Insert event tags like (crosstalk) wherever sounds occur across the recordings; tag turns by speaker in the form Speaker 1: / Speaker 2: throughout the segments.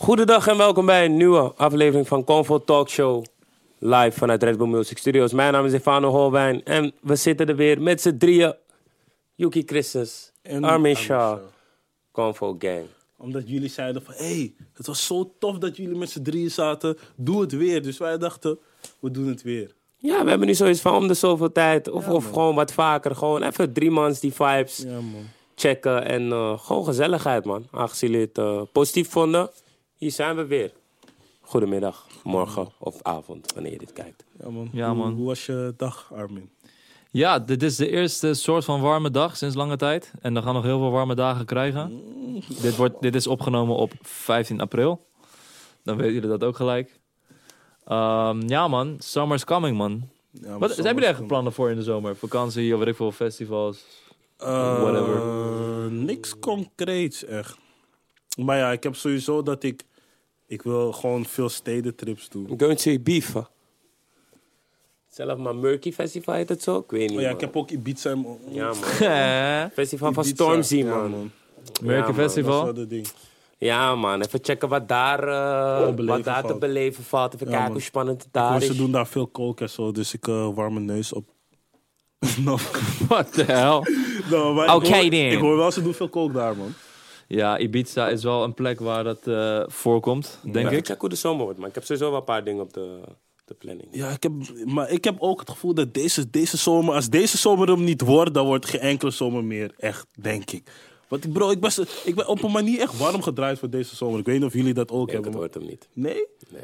Speaker 1: Goedendag en welkom bij een nieuwe aflevering van Convo Talk Show. Live vanuit Red Bull Music Studios. Mijn naam is Stefano Holwijn en we zitten er weer met z'n drieën. Yuki Christus,
Speaker 2: En
Speaker 1: Armin
Speaker 2: Armin
Speaker 1: Shah,
Speaker 2: Shah.
Speaker 1: Convo Gang.
Speaker 2: Omdat jullie zeiden van, hé, hey, het was zo tof dat jullie met z'n drieën zaten. Doe het weer. Dus wij dachten, we doen het weer.
Speaker 1: Ja, we hebben nu zoiets van om de zoveel tijd of, of gewoon wat vaker. Gewoon even drie mans die vibes
Speaker 2: Ja, man.
Speaker 1: checken en eh, gewoon gezelligheid man. Aangezien jullie het eh, positief vonden, hier zijn we weer. Goedemiddag, morgen of avond, wanneer je dit kijkt.
Speaker 2: Ja, man.
Speaker 3: Ja,
Speaker 2: Hoe-
Speaker 3: man.
Speaker 2: Hoe, was je dag, Armin?
Speaker 3: Ja, dit is de eerste soort van warme dag sinds lange tijd. En we gaan nog heel veel warme dagen krijgen. Dit, wordt, dit is opgenomen op 15 april. Dan weten jullie dat ook gelijk. Ehm, ja man, summer's coming man.
Speaker 2: Ja, man,
Speaker 3: Wat
Speaker 2: zo
Speaker 3: zijn jullie
Speaker 2: was
Speaker 3: eigenlijk plannen voor in de zomer? Vakantie of weet ik veel, festivals?
Speaker 2: (laughs) het. Eh,
Speaker 3: Whatever.
Speaker 2: Niks concreets, echt. Maar ja, ik heb sowieso dat ik... Ik wil gewoon veel stedentrips doen.
Speaker 1: I'm going to Ibiza. Zelf maar Murky Festival heet het zo? Ik weet niet.
Speaker 2: Maar Oh ja, ik
Speaker 1: man.
Speaker 2: heb ook Ibiza en...
Speaker 1: Ja, man.
Speaker 3: Eh,
Speaker 1: Festival van
Speaker 2: Ibiza.
Speaker 1: Stormzy,
Speaker 2: Ja,
Speaker 1: man.
Speaker 3: Merken
Speaker 1: man,
Speaker 2: Dat is wel
Speaker 3: festival.
Speaker 2: dat ding.
Speaker 1: Ja, man. Even checken wat daar, eh,
Speaker 2: Te Oh, beleven
Speaker 1: wat daar te
Speaker 2: valt.
Speaker 1: beleven valt. Even
Speaker 2: Ja,
Speaker 1: kijken
Speaker 2: man.
Speaker 1: hoe spannend het daar
Speaker 2: Maar
Speaker 1: is.
Speaker 2: ze doen daar veel kook en zo, dus ik eh, warm mijn neus op. (laughs)
Speaker 3: What the hell?
Speaker 2: Nou, maar ik
Speaker 3: Oké,
Speaker 2: hoor-
Speaker 3: then.
Speaker 2: Ik hoor wel, ze doen veel kook daar, man.
Speaker 3: Ja, Ibiza is wel een plek waar dat eh, voorkomt, denk
Speaker 1: Maar
Speaker 3: ik.
Speaker 1: Even checken hoe de zomer wordt, man. Ik heb sowieso wel een paar dingen op de, de planning.
Speaker 2: Ja, ik heb, maar ik heb ook het gevoel dat deze, deze zomer, als deze zomer hem niet wordt, dan wordt geen enkele zomer meer echt, denk ik. Want ik- bro, ik ben, zo- ik ben op een manier echt warm gedraaid voor deze zomer. Ik weet niet of jullie dat ook
Speaker 1: Ik denk,
Speaker 2: hebben.
Speaker 1: het
Speaker 2: maar-
Speaker 1: wordt hem niet.
Speaker 2: Nee?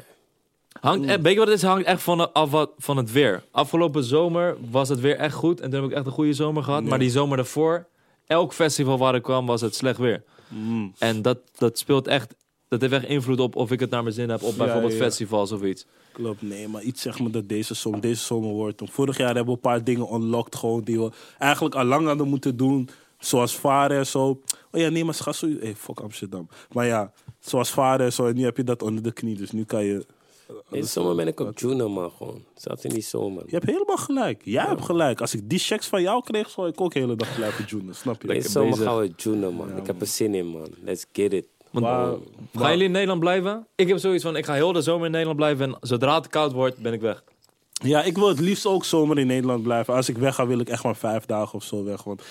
Speaker 3: Hangt, eh, weet je wat het is? Hangt echt van, de- af wat, van het weer. Afgelopen zomer was het weer echt goed. En toen heb ik echt een goede zomer gehad. Maar die zomer daarvoor, elk festival waar ik kwam, was het slecht weer.
Speaker 1: Mm.
Speaker 3: En dat, dat speelt echt... Dat heeft echt invloed op of ik het naar mijn zin heb op bijvoorbeeld
Speaker 2: ja.
Speaker 3: festivals of iets.
Speaker 2: Klopt, nee, maar iets zeg maar dat deze zomer, deze zomer wordt. hem. Vorig jaar hebben we een paar dingen unlocked gewoon die we eigenlijk al lang hadden moeten doen. Zoals varen en zo. Oh ja, nee, maar schat, zo... Hey, fuck Amsterdam. Maar ja, zoals varen en zo. En nu heb je dat onder de knie, dus nu kan je...
Speaker 1: Deze zomer ben ik op Juno, man. Gewoon. Zelfs in die zomer.
Speaker 2: Je hebt helemaal gelijk. Jij hebt gelijk. Als ik die checks van jou kreeg, zou ik ook de hele dag blijven joenen. Snap je?
Speaker 1: Deze zomer
Speaker 3: bezig.
Speaker 1: gaan we Juno, man. ik heb er zin in, man. Let's get it.
Speaker 3: Want,
Speaker 2: Waar-
Speaker 1: Nou.
Speaker 3: gaan jullie in Nederland blijven? Ik heb zoiets van, ik ga heel de zomer in Nederland blijven. En zodra het koud wordt, ben ik weg.
Speaker 2: Ja, ik wil het liefst ook zomer in Nederland blijven. Als ik weg ga, wil ik echt maar vijf dagen of zo weg. Want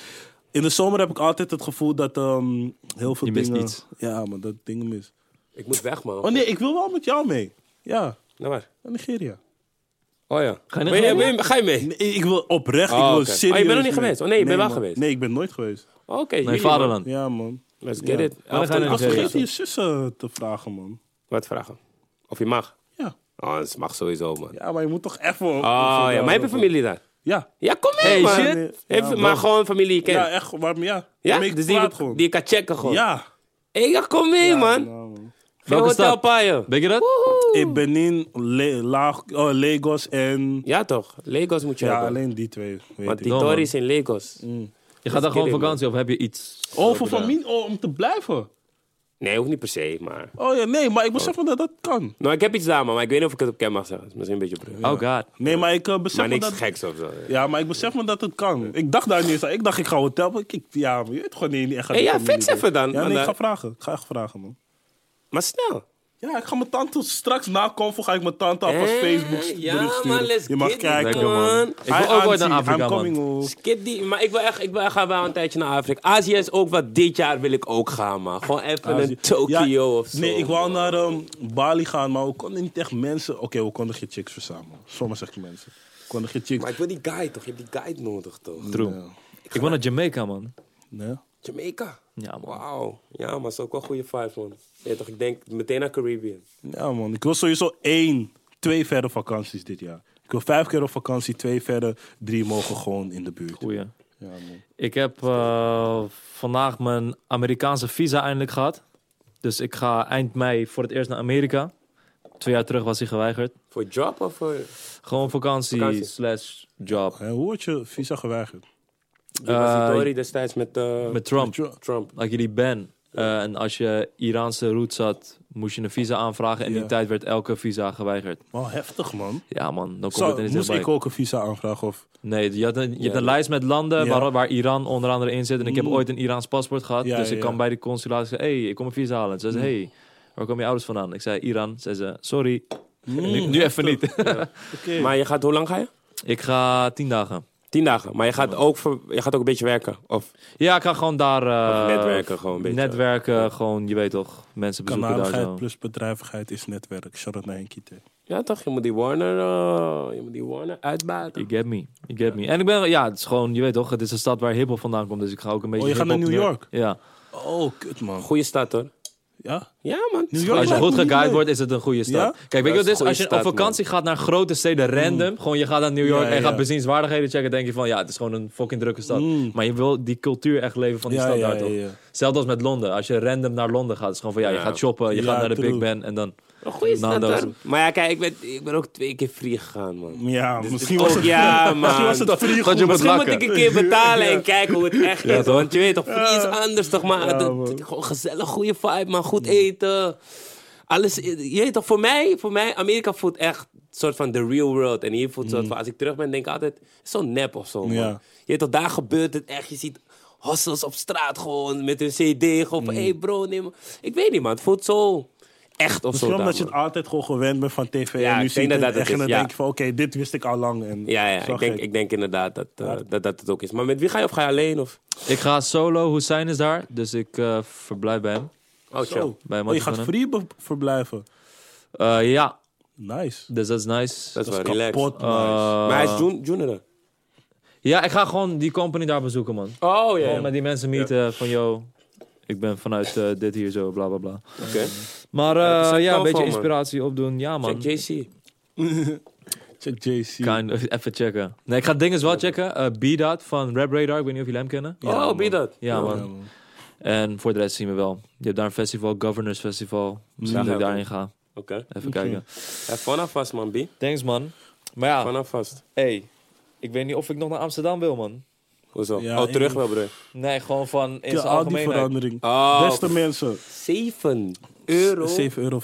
Speaker 2: in de zomer heb ik altijd het gevoel dat ehm, heel veel
Speaker 3: Je mist
Speaker 2: dingen...
Speaker 3: iets.
Speaker 2: Ja, maar dat dingen mis.
Speaker 1: Ik moet weg, man.
Speaker 2: Oh nee, ik wil wel met jou mee. Ja,
Speaker 1: Nou, maar.
Speaker 2: naar Nigeria.
Speaker 1: Oh ja.
Speaker 3: Ga je naar
Speaker 1: Ben
Speaker 3: Nigeria?
Speaker 1: ben ga je mee?
Speaker 2: Nee, ik wil oprecht,
Speaker 1: Oh,
Speaker 2: ik wil
Speaker 1: oké.
Speaker 2: serieus
Speaker 1: Oh, je bent nog niet
Speaker 2: mee.
Speaker 1: geweest? Oh, nee, je bent wel
Speaker 2: man.
Speaker 1: geweest.
Speaker 2: Nee, ik ben nooit geweest.
Speaker 1: Oké.
Speaker 3: Mijn
Speaker 1: jullie, man.
Speaker 3: vaderland.
Speaker 2: Ja, man.
Speaker 1: Let's get it.
Speaker 3: Wanneer ga je
Speaker 2: Ik
Speaker 3: naar
Speaker 2: was
Speaker 3: Nigeria?
Speaker 2: vergeten je zussen te vragen, man.
Speaker 1: Wat vragen? Of je mag?
Speaker 2: Ja.
Speaker 1: Oh, dat mag sowieso, man.
Speaker 2: Ja, maar je moet toch even... Oh,
Speaker 1: Oh ja, maar heb je familie daar?
Speaker 2: Ja.
Speaker 1: Ja, kom mee,
Speaker 3: Hey,
Speaker 1: man.
Speaker 3: shit.
Speaker 1: Even-
Speaker 2: Ja,
Speaker 1: maar gewoon familie je kent.
Speaker 2: Ja,
Speaker 1: Ja,
Speaker 2: echt, maar ja. Maar ik
Speaker 1: dus die,
Speaker 2: praat
Speaker 1: je-
Speaker 2: gewoon.
Speaker 1: die je kan checken gewoon. Ja.
Speaker 2: Ja.
Speaker 1: ja, kom mee, man.
Speaker 2: Nou, man.
Speaker 1: Geen
Speaker 3: Welke
Speaker 1: hotel
Speaker 3: stad?
Speaker 1: paaien.
Speaker 3: Weet je dat?
Speaker 2: In Benin, Le- Laag- oh, Lagos en...
Speaker 1: Ja, toch? Lagos moet je
Speaker 2: Ja,
Speaker 1: hebben.
Speaker 2: alleen die twee. Weet
Speaker 1: Want
Speaker 2: ik.
Speaker 1: die
Speaker 3: Dom,
Speaker 1: Tories
Speaker 3: man.
Speaker 1: is in Lagos.
Speaker 3: Je gaat daar gewoon
Speaker 1: kidding,
Speaker 3: vakantie of heb je iets?
Speaker 2: Oh, voor familie, oh, om te blijven.
Speaker 1: Nee, hoeft niet per se, maar...
Speaker 2: Oh ja, nee, maar ik besef wel dat dat kan.
Speaker 1: Nou, ik heb iets daar, man, maar ik weet niet of ik het op cam mag zeggen. Het is misschien een beetje brug.
Speaker 3: Oh god.
Speaker 2: Nee, maar ik eh, besef
Speaker 1: Maar
Speaker 2: me
Speaker 1: niks
Speaker 2: dat...
Speaker 1: geks of zo.
Speaker 2: Ja, maar ik besef me dat het kan. Ik dacht daar niet eens aan. Ik dacht, ik ga hotel. maar Ik, ik- ja, maar je weet gewoon niet niet echt... aan
Speaker 1: Hey,
Speaker 2: die
Speaker 1: ja,
Speaker 2: familie
Speaker 1: fix
Speaker 2: doen.
Speaker 1: even dan,
Speaker 2: Ja,
Speaker 1: want,
Speaker 2: nee, ik
Speaker 1: eh,
Speaker 2: ga vragen. Ik ga echt vragen, man.
Speaker 1: Maar snel.
Speaker 2: Ja, ik ga mijn tante straks na Convo ga ik mijn tante alvast
Speaker 1: Eh,
Speaker 2: Facebook
Speaker 1: ja,
Speaker 2: bericht sturen.
Speaker 1: man, let's
Speaker 2: je mag
Speaker 1: get it,
Speaker 2: kijken.
Speaker 3: Lekker man.
Speaker 1: Ik
Speaker 3: Ik
Speaker 2: Hi,
Speaker 3: wil ook ooit naar
Speaker 2: auntie,
Speaker 3: Afrika
Speaker 2: I'm
Speaker 3: man.
Speaker 2: coming oh. home.
Speaker 1: Skip die, maar ik wil echt, ik wil echt gaan wel een tijdje naar Afrika. Azië is ook wat, dit jaar wil ik ook gaan, man. Gewoon even een Tokio
Speaker 2: Ja,
Speaker 1: of zo.
Speaker 2: Nee, ik
Speaker 1: man.
Speaker 2: wou naar ehm, Bali gaan, maar we konden niet echt mensen. Oké, we konden geen chicks verzamelen. Zomaar zeg ik mensen. We konden geen chicks.
Speaker 1: Maar ik wil die guide toch? Je hebt die guide nodig toch?
Speaker 3: True. Ik wil naar Jamaica man.
Speaker 2: Nee.
Speaker 1: Jamaica.
Speaker 3: Ja, man.
Speaker 1: Wauw. Ja, maar het is ook wel goede vibes, man. Ja, toch, ik denk meteen naar Caribbean.
Speaker 2: Ja, man. Ik wil sowieso één, twee verre vakanties dit jaar. Ik wil vijf keer op vakantie, twee verre, drie mogen gewoon in de buurt.
Speaker 3: Goeie.
Speaker 2: Ja, man.
Speaker 3: Ik heb eh, vandaag mijn Amerikaanse visa eindelijk gehad. Dus ik ga eind mei voor het eerst naar Amerika. Twee jaar terug was hij geweigerd.
Speaker 1: Voor job of voor...
Speaker 3: Gewoon vakantie,
Speaker 1: Vakantie.
Speaker 3: slash job.
Speaker 2: Hè, hoe word je visa geweigerd?
Speaker 1: Die was die
Speaker 3: Eh,
Speaker 1: Tory destijds met, eh,
Speaker 3: Met Trump.
Speaker 2: Met Trump.
Speaker 1: Trump.
Speaker 3: Dat je die ban. Eh, en als je Iraanse roots had, moest je een visa aanvragen. En in
Speaker 2: Ja.
Speaker 3: die tijd werd elke visa geweigerd.
Speaker 2: Wel heftig, man.
Speaker 3: Ja man, dan komt het
Speaker 2: Zou,
Speaker 3: in
Speaker 2: moest ik
Speaker 3: de
Speaker 2: ook een visa aanvragen? Of...
Speaker 3: Nee, je, had een, je hebt
Speaker 1: Ja.
Speaker 3: een lijst met landen
Speaker 2: Ja.
Speaker 3: waar, waar Iran onder andere in zit. En ik heb
Speaker 2: Mm.
Speaker 3: ooit een Iraans paspoort gehad.
Speaker 2: Ja, Mm.
Speaker 3: dus
Speaker 2: ja,
Speaker 3: ik
Speaker 2: ja.
Speaker 3: kan bij de consulaat zeggen, hey, ik kom een visa halen. Ze zegt, hey, Waar komen je ouders vandaan? Ik zei Iran. Zei ze, sorry,
Speaker 2: Mm.
Speaker 3: nu, nu even niet. (laughs)
Speaker 2: Oké.
Speaker 1: Maar je gaat, hoe lang ga je?
Speaker 3: ik ga tien dagen.
Speaker 1: Tien dagen. Maar je gaat ook, voor, je gaat ook een beetje werken. Of
Speaker 3: Ja, ik ga gewoon daar... eh,
Speaker 1: Of netwerken gewoon een beetje.
Speaker 3: Netwerken, gewoon, je weet toch, mensen bezoeken daar
Speaker 2: Kanaligheid
Speaker 3: zo.
Speaker 2: plus bedrijvigheid is netwerk. Shout out naar Henkie T.
Speaker 1: ja, toch? Je moet die Warner, eh, je moet die Warner uitbaten.
Speaker 3: You get me, you get me. En ik ben, ja, het is gewoon, je weet toch, het is een stad waar hiphop vandaan komt, dus ik ga ook een beetje...
Speaker 2: Oh, je gaat naar
Speaker 3: hiphop
Speaker 2: New
Speaker 3: meer-
Speaker 2: York?
Speaker 3: Ja.
Speaker 2: Oh, kut man.
Speaker 1: Goeie stad hoor.
Speaker 2: Ja?
Speaker 1: Ja, man.
Speaker 2: New York
Speaker 3: Als je
Speaker 2: lijkt
Speaker 3: goed
Speaker 2: me niet
Speaker 3: geguid
Speaker 2: leuk.
Speaker 3: wordt, is het een goede stad.
Speaker 2: Ja?
Speaker 3: Kijk, weet je
Speaker 1: Ja,
Speaker 3: wat het
Speaker 1: het
Speaker 3: is?
Speaker 1: is
Speaker 3: Als je
Speaker 1: een goede
Speaker 3: op
Speaker 1: stad,
Speaker 3: vakantie gaat naar grote steden random, gewoon je gaat naar New York
Speaker 2: Mm. Ja,
Speaker 3: en je
Speaker 2: ja,
Speaker 3: gaat
Speaker 2: ja.
Speaker 3: bezienswaardigheden checken, denk je van, ja, het is gewoon een fucking drukke stad. Maar je wil die cultuur echt leven van die
Speaker 2: Mm. Ja,
Speaker 3: stad
Speaker 2: ja,
Speaker 3: daar, toch?
Speaker 2: ja, ja.
Speaker 3: Hetzelfde als met Londen. Als je random naar Londen gaat, is gewoon van, ja, je
Speaker 1: Ja.
Speaker 3: gaat shoppen, je
Speaker 2: Ja,
Speaker 3: gaat naar de
Speaker 2: true.
Speaker 3: Big Ben en dan...
Speaker 1: Een goede stad
Speaker 3: Nando's.
Speaker 1: hoor. Maar ja, kijk, ik ben, ik ben ook twee keer free gegaan, man.
Speaker 2: Ja, misschien
Speaker 1: ook-
Speaker 2: was het
Speaker 1: ja,
Speaker 2: (laughs)
Speaker 3: (laughs)
Speaker 2: Misschien
Speaker 1: man.
Speaker 2: was het free
Speaker 3: Want je
Speaker 2: goed.
Speaker 3: moet-
Speaker 1: Misschien moet
Speaker 3: lakken.
Speaker 1: ik een keer betalen en kijken hoe het echt is. Want je weet toch, voor iets anders toch, maar dat- gewoon gezellig, goede vibe, man. Goed eten. Alles, je weet toch, voor mij, voor mij, Amerika voelt echt een soort van the real world. En hier voelt het soort van, als ik terug ben, denk ik altijd, zo nep of zo, man.
Speaker 2: Mhm. Ja.
Speaker 1: Je weet toch, daar gebeurt het echt. Je ziet hossels op straat gewoon met hun cd, gewoon
Speaker 2: Mhm.
Speaker 1: van, hey bro, neem... Ik weet niet, man. Het voelt zo echt of
Speaker 2: Misschien
Speaker 1: zo. daar,
Speaker 2: omdat je het
Speaker 1: man.
Speaker 2: altijd gewoon gewend bent van tv.
Speaker 1: Ja,
Speaker 2: en nu
Speaker 1: ik
Speaker 2: zie
Speaker 1: denk dat
Speaker 2: je het
Speaker 1: dat
Speaker 2: echt
Speaker 1: het
Speaker 2: en dan
Speaker 1: is, ja.
Speaker 2: denk je van, oké, dit wist ik al lang. En
Speaker 1: Ja, ja,
Speaker 2: zo
Speaker 1: ik denk,
Speaker 2: gek.
Speaker 1: ik denk inderdaad dat, eh, dat dat het ook is. Maar met wie ga je of ga je alleen? Of?
Speaker 3: Ik ga solo, Hussein is daar, dus ik eh, verblijf bij hem.
Speaker 1: Oh,
Speaker 2: Zo.
Speaker 1: chill.
Speaker 3: Bij
Speaker 2: oh, je gaat
Speaker 3: Matty
Speaker 2: free be- verblijven.
Speaker 3: Eh, ja,
Speaker 2: Nice.
Speaker 3: dus dat is nice.
Speaker 1: Dat is
Speaker 2: Dat is
Speaker 1: wel relaxed. Oh.
Speaker 2: kapot nice.
Speaker 3: Eh,
Speaker 1: Maar hij is jun junior.
Speaker 3: Ja, ik ga gewoon die company daar bezoeken, man.
Speaker 1: Oh, ja.
Speaker 3: Gewoon met die mensen meeten van, yo, ik ben vanuit eh, dit hier zo, bla bla bla.
Speaker 1: Oké.
Speaker 3: Maar
Speaker 1: dat is
Speaker 3: eh,
Speaker 1: echt
Speaker 3: ja,
Speaker 1: wel
Speaker 3: een beetje
Speaker 1: van, man.
Speaker 3: inspiratie opdoen. Ja, man.
Speaker 1: Check JC.
Speaker 2: Check JC.
Speaker 3: Kind of, even checken. Nee, ik ga dingen wel checken. Eh B-Dot van Rap Radar. Ik weet niet of jullie hem kennen.
Speaker 1: oh, be dat.
Speaker 3: Ja, man.
Speaker 2: Ja, man.
Speaker 3: En voor de rest zien we wel. Je hebt daar een festival, Governors Festival. Misschien
Speaker 1: Ja,
Speaker 3: dat ik
Speaker 1: ja,
Speaker 3: daarin ga.
Speaker 1: Oké.
Speaker 3: Even kijken.
Speaker 1: Hij vanaf vast, man, B.
Speaker 3: Thanks, man. Maar ja,
Speaker 1: Vanaf vast.
Speaker 3: hey, ik weet niet of ik nog naar Amsterdam wil, man.
Speaker 1: Hoezo?
Speaker 2: Ja,
Speaker 1: oh, terug
Speaker 2: ik-
Speaker 1: wel, bro.
Speaker 3: Nee, gewoon van in
Speaker 2: Ja, al
Speaker 3: zijn
Speaker 2: die
Speaker 3: algemeenheid.
Speaker 2: verandering.
Speaker 1: Oh.
Speaker 2: Beste mensen,
Speaker 1: 7 euro.
Speaker 2: 7,50 euro.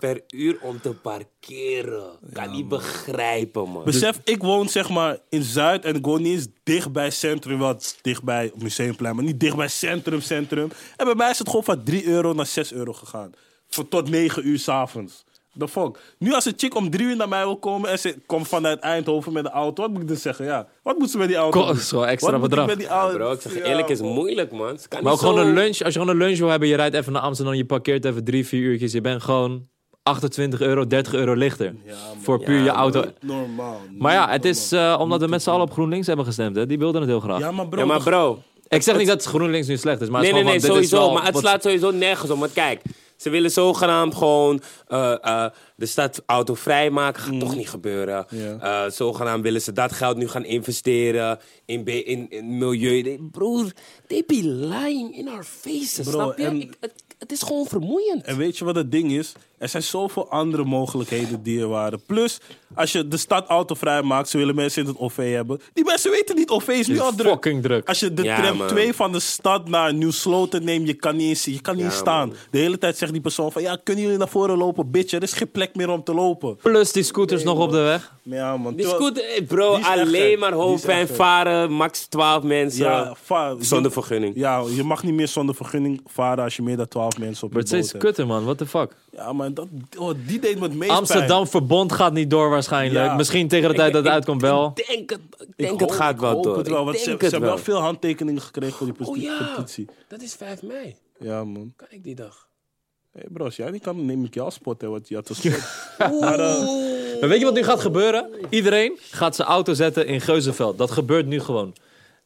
Speaker 1: per uur om te parkeren. Kan niet begrijpen, man.
Speaker 2: Besef, ik woon zeg maar in Zuid en ik woon niet eens dichtbij Centrum. Wat dichtbij Museumplein, maar niet dichtbij Centrum, Centrum. En bij mij is het gewoon van 3 euro naar 6 euro gegaan. Voor tot 9 uur s'avonds. The fuck. Nu als een chick om 3 uur naar mij wil komen en ze komt vanuit Eindhoven met een auto, wat moet ik dan zeggen? Ja, wat moet ze met die auto?
Speaker 3: Ko-
Speaker 2: doen?
Speaker 3: zo, extra
Speaker 2: Wat moet ik
Speaker 3: bedrag.
Speaker 2: met die auto?
Speaker 1: Bro, ik zeg je
Speaker 2: Ja,
Speaker 1: eerlijk, is
Speaker 2: man.
Speaker 1: moeilijk, man. Ze kan
Speaker 3: Maar ook
Speaker 1: niet
Speaker 3: gewoon
Speaker 1: zo-
Speaker 3: een lunch. Als je gewoon een lunch wil hebben, je rijdt even naar Amsterdam, je parkeert even drie, vier uurtjes. Je bent gewoon 28 euro, 30 euro lichter. voor puur je
Speaker 1: Ja,
Speaker 3: auto.
Speaker 2: Normaal.
Speaker 3: Maar ja, het is eh, omdat we met z'n allen op GroenLinks hebben gestemd. Hè? Die wilden het heel graag.
Speaker 2: Ja, maar bro.
Speaker 1: Ja, maar
Speaker 2: toch-
Speaker 1: bro.
Speaker 3: ik zeg niet dat GroenLinks nu slecht is, maar
Speaker 1: Nee,
Speaker 3: het
Speaker 1: nee,
Speaker 3: is
Speaker 1: nee,
Speaker 3: gewoon van, dit is
Speaker 1: sowieso.
Speaker 3: wel
Speaker 1: Maar het
Speaker 3: wat-
Speaker 1: slaat sowieso nergens om. Want kijk, ze willen zogenaamd gewoon eh, eh, de stad autovrij maken. Gaat toch niet gebeuren.
Speaker 2: Mm. Ja.
Speaker 1: Eh, zogenaamd willen ze dat geld nu gaan investeren in, be- in, in milieu. Nee, Broer, they be lying in our faces,
Speaker 2: Bro,
Speaker 1: snap je?
Speaker 2: en-
Speaker 1: Ik- het, het is gewoon vermoeiend.
Speaker 2: En weet je wat het ding is? Er zijn zoveel andere mogelijkheden die er waren. Plus, als je de stad autovrij maakt, ze willen mensen in het OV hebben. Die mensen weten niet, OV is nu
Speaker 3: is
Speaker 2: al druk.
Speaker 3: fucking druk.
Speaker 2: Als je de
Speaker 1: Ja,
Speaker 2: tram
Speaker 1: man.
Speaker 2: 2 van de stad naar Nieuw Sloten neemt, je kan niet eens, je kan niet eens staan.
Speaker 1: man.
Speaker 2: De hele tijd zegt die persoon van, ja, kunnen jullie naar voren lopen? Bitch, er is geen plek meer om te lopen.
Speaker 3: Plus die scooters nog op de weg.
Speaker 2: Maar Ja, man.
Speaker 1: Die
Speaker 2: terwijl-
Speaker 1: scooter, eh, bro,
Speaker 2: die is echt
Speaker 1: alleen
Speaker 2: gek.
Speaker 1: maar
Speaker 2: Die is
Speaker 1: hoofdpijn
Speaker 2: echt gek.
Speaker 1: varen, max 12 mensen.
Speaker 2: Ja, va-
Speaker 1: zonder
Speaker 2: je-
Speaker 1: vergunning.
Speaker 2: Ja, je mag niet meer zonder vergunning varen als je meer dan 12 mensen op
Speaker 3: Wordt
Speaker 2: je boot
Speaker 3: steeds
Speaker 2: hebt.
Speaker 3: kutter, man. What the fuck?
Speaker 2: Ja, maar dat, oh, die deed me het meest pijn.
Speaker 3: Amsterdam Verbond gaat niet door waarschijnlijk.
Speaker 2: Ja.
Speaker 3: Misschien tegen de tijd dat het
Speaker 1: ik-
Speaker 3: uitkomt wel.
Speaker 1: Ik denk het, ik
Speaker 2: Ik
Speaker 1: denk het
Speaker 2: hoop-
Speaker 1: gaat
Speaker 2: ik
Speaker 1: wel
Speaker 2: hoop
Speaker 1: door.
Speaker 2: Het wel,
Speaker 1: ik
Speaker 2: want ze,
Speaker 1: denk
Speaker 2: ze
Speaker 1: het
Speaker 2: hebben
Speaker 1: wel.
Speaker 2: wel veel handtekeningen gekregen voor die peti-
Speaker 1: Oh ja,
Speaker 2: petitie.
Speaker 1: dat is 5 mei.
Speaker 2: Ja, man.
Speaker 1: Kan ik die dag?
Speaker 2: Hey bro, als jij niet kan, neem ik jou spot, hè, want je (laughs) had een spot.
Speaker 3: Maar weet je wat nu gaat gebeuren? Iedereen gaat zijn auto zetten in Geuzenveld. Dat gebeurt nu gewoon.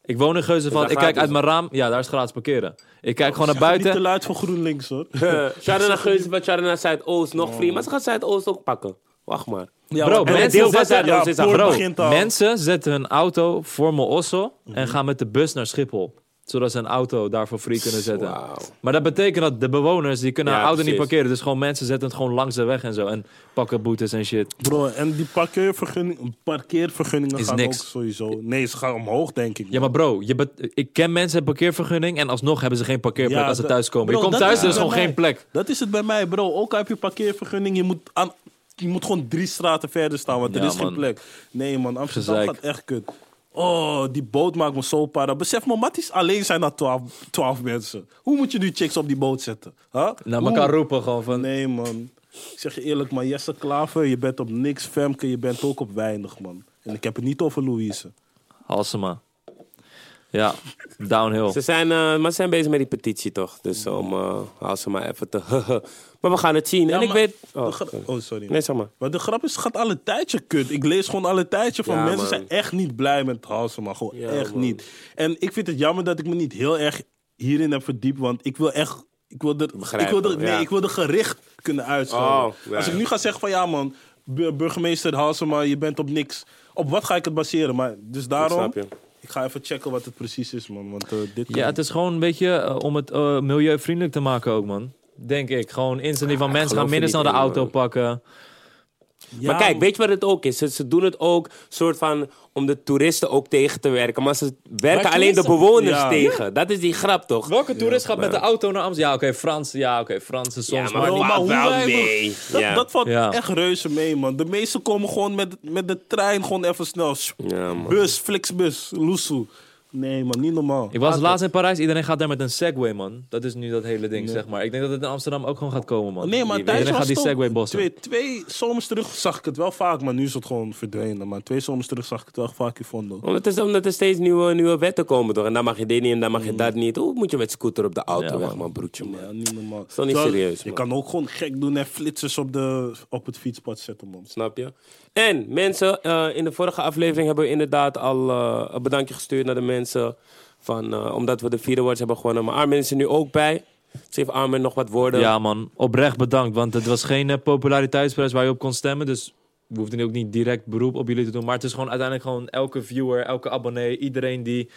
Speaker 3: Ik woon in Geuzenveld.
Speaker 1: daar
Speaker 3: ik kijk
Speaker 1: gratis
Speaker 3: uit mijn raam. Ja, daar is gratis parkeren. Ik kijk gewoon naar
Speaker 2: Oh, Niet te
Speaker 3: buiten.
Speaker 2: luid voor GroenLinks, hoor. (laughs)
Speaker 1: Shout-out naar Geuzenveld, shout-out naar Zuidoost, nog free. Maar ze gaan Zuidoost ook pakken. Wacht maar.
Speaker 3: Bro,
Speaker 1: en het
Speaker 3: mensen
Speaker 1: deel van
Speaker 3: zetten,
Speaker 1: Zuidoost is
Speaker 2: ja,
Speaker 1: aan.
Speaker 2: voor-
Speaker 3: bro,
Speaker 2: begint al.
Speaker 3: mensen zetten hun auto voor mijn osso
Speaker 2: Mhm.
Speaker 3: en gaan met de bus naar Schiphol. Zodat ze een auto daarvoor free kunnen zetten.
Speaker 1: Wauw.
Speaker 3: Maar dat betekent dat de bewoners die kunnen
Speaker 1: Ja,
Speaker 3: hun auto niet
Speaker 1: precies.
Speaker 3: parkeren. Dus gewoon mensen zetten het gewoon langs de weg en zo. En pakken boetes en shit.
Speaker 2: Bro, en die parkeervergunning, parkeervergunningen
Speaker 3: Is
Speaker 2: gaan
Speaker 3: niks.
Speaker 2: ook sowieso... Nee, ze gaan omhoog, denk ik.
Speaker 3: Ja, maar bro, je bet- ik ken mensen met parkeervergunning en alsnog hebben ze geen parkeerplek
Speaker 2: Ja,
Speaker 3: als ze
Speaker 2: dat-
Speaker 3: thuiskomen.
Speaker 2: bro,
Speaker 3: je komt
Speaker 2: dat
Speaker 3: thuis,
Speaker 2: is
Speaker 3: er is
Speaker 2: het
Speaker 3: gewoon
Speaker 2: bij
Speaker 3: geen
Speaker 2: mij.
Speaker 3: plek.
Speaker 2: Dat is het bij mij, bro. Ook al heb je parkeervergunning, je moet, aan, je moet gewoon drie straten verder staan, want
Speaker 3: Ja,
Speaker 2: er is geen
Speaker 3: man.
Speaker 2: plek. Nee, man, Amsterdam
Speaker 3: Gezeik.
Speaker 2: gaat echt kut. Oh, die boot maakt me zo para. Besef me, matties alleen zijn dat 12, 12 mensen. Hoe moet je nu chicks op die boot zetten? Huh?
Speaker 3: Naar
Speaker 2: Hoe-
Speaker 3: elkaar roepen gewoon van...
Speaker 2: Nee, man. Ik zeg je eerlijk, man. Jesse Klaver, je bent op niks. Femke, je bent ook op weinig, man. En ik heb het niet over Louise.
Speaker 3: Halsema. Ja, downhill.
Speaker 1: Ze zijn, eh, maar ze zijn bezig met die petitie toch? Dus om, eh als ze maar even te. (laughs) maar we gaan het zien. en ik
Speaker 2: maar-
Speaker 1: weet.
Speaker 2: De
Speaker 1: Oh,
Speaker 2: gra-
Speaker 1: sorry.
Speaker 2: oh, sorry.
Speaker 1: nee, zeg maar.
Speaker 2: Maar de grap is, het gaat alle tijdje kut. Ik lees gewoon alle tijdje van
Speaker 1: Ja,
Speaker 2: mensen
Speaker 1: man.
Speaker 2: zijn echt niet blij met Halsema. Gewoon
Speaker 1: Ja,
Speaker 2: echt
Speaker 1: man.
Speaker 2: niet. En ik vind het jammer dat ik me niet heel erg hierin heb verdiept. Want ik wil echt... Ik wil er, ik
Speaker 1: Begrijpen,
Speaker 2: wil er, nee,
Speaker 1: ja.
Speaker 2: ik wil er gericht kunnen uitschrijven.
Speaker 1: Oh, ja.
Speaker 2: Als ik nu ga zeggen van ja man, bu- burgemeester Halsema, je bent op niks. Op wat ga ik het baseren? Maar, dus daarom,
Speaker 1: snap je.
Speaker 2: ik ga even checken wat het precies is man. Want eh, dit kan
Speaker 3: Ja, het is gewoon een beetje eh, om het eh, milieuvriendelijk te maken ook, man. Denk Ah, ik. Gewoon instant van mensen
Speaker 1: geloof
Speaker 3: gaan
Speaker 1: je
Speaker 3: minder snel
Speaker 1: niet
Speaker 3: de
Speaker 1: in,
Speaker 3: auto
Speaker 1: man.
Speaker 3: pakken.
Speaker 2: Ja,
Speaker 1: maar kijk, weet je wat het ook is? Ze, ze doen het ook soort van om de toeristen ook tegen te werken. Maar ze werken
Speaker 3: Maar
Speaker 1: alleen de
Speaker 3: toeristen-
Speaker 1: bewoners
Speaker 2: Ja.
Speaker 1: tegen. Dat is die grap toch?
Speaker 3: Welke toerist gaat met de auto naar Amsterdam? Ja, oké, Frans. Ja, oké, Frans is soms.
Speaker 1: Ja,
Speaker 3: maar,
Speaker 1: maar
Speaker 2: Bro,
Speaker 1: niet-
Speaker 2: maar hoe
Speaker 1: wel
Speaker 2: wij-
Speaker 1: mee.
Speaker 2: Dat,
Speaker 1: Ja.
Speaker 2: dat valt
Speaker 3: Ja.
Speaker 2: echt reuze mee, man. De meesten komen gewoon met, met de trein gewoon even snel.
Speaker 1: Ja, man.
Speaker 2: Bus, flixbus, loesoe. Nee, man, niet normaal.
Speaker 3: Ik was laatst in Parijs. Iedereen gaat daar met een Segway, man. Dat is nu dat hele ding, zeg maar. Ik denk dat het in Amsterdam ook gewoon gaat komen, man.
Speaker 2: Nee, maar
Speaker 3: Iedereen
Speaker 2: tijdens
Speaker 3: gaat
Speaker 2: was
Speaker 3: die
Speaker 2: het ook-
Speaker 3: Segway bossen.
Speaker 2: twee, twee zomers terug zag ik het wel vaak, maar nu is het gewoon verdwenen. Maar twee zomers terug zag ik het wel vaak in Vondo.
Speaker 1: Omdat er, omdat er steeds nieuwe, nieuwe wetten komen toch? En dan mag je dit niet en dan mag je dat niet. Hoe moet je met scooter op de auto
Speaker 3: Ja,
Speaker 1: weg,
Speaker 3: man.
Speaker 1: man, broertje, man.
Speaker 2: Ja, niet normaal.
Speaker 1: toch niet
Speaker 2: Terwijl,
Speaker 1: serieus,
Speaker 2: Je
Speaker 1: man.
Speaker 2: kan ook gewoon gek doen en flitsers op, de, op het fietspad zetten, man.
Speaker 1: Snap je? En mensen, eh, in de vorige aflevering hebben we inderdaad al eh, een bedankje gestuurd naar de mensen. Van, eh, omdat we de vier awards hebben gewonnen. Maar Armin is er nu ook bij. Dus heeft Armin nog wat woorden?
Speaker 3: Ja, man. Oprecht bedankt. Want het was geen eh, populariteitsprijs waar je op kon stemmen. Dus we hoefden ook niet direct beroep op jullie te doen. Maar het is gewoon uiteindelijk gewoon elke viewer, elke abonnee, iedereen die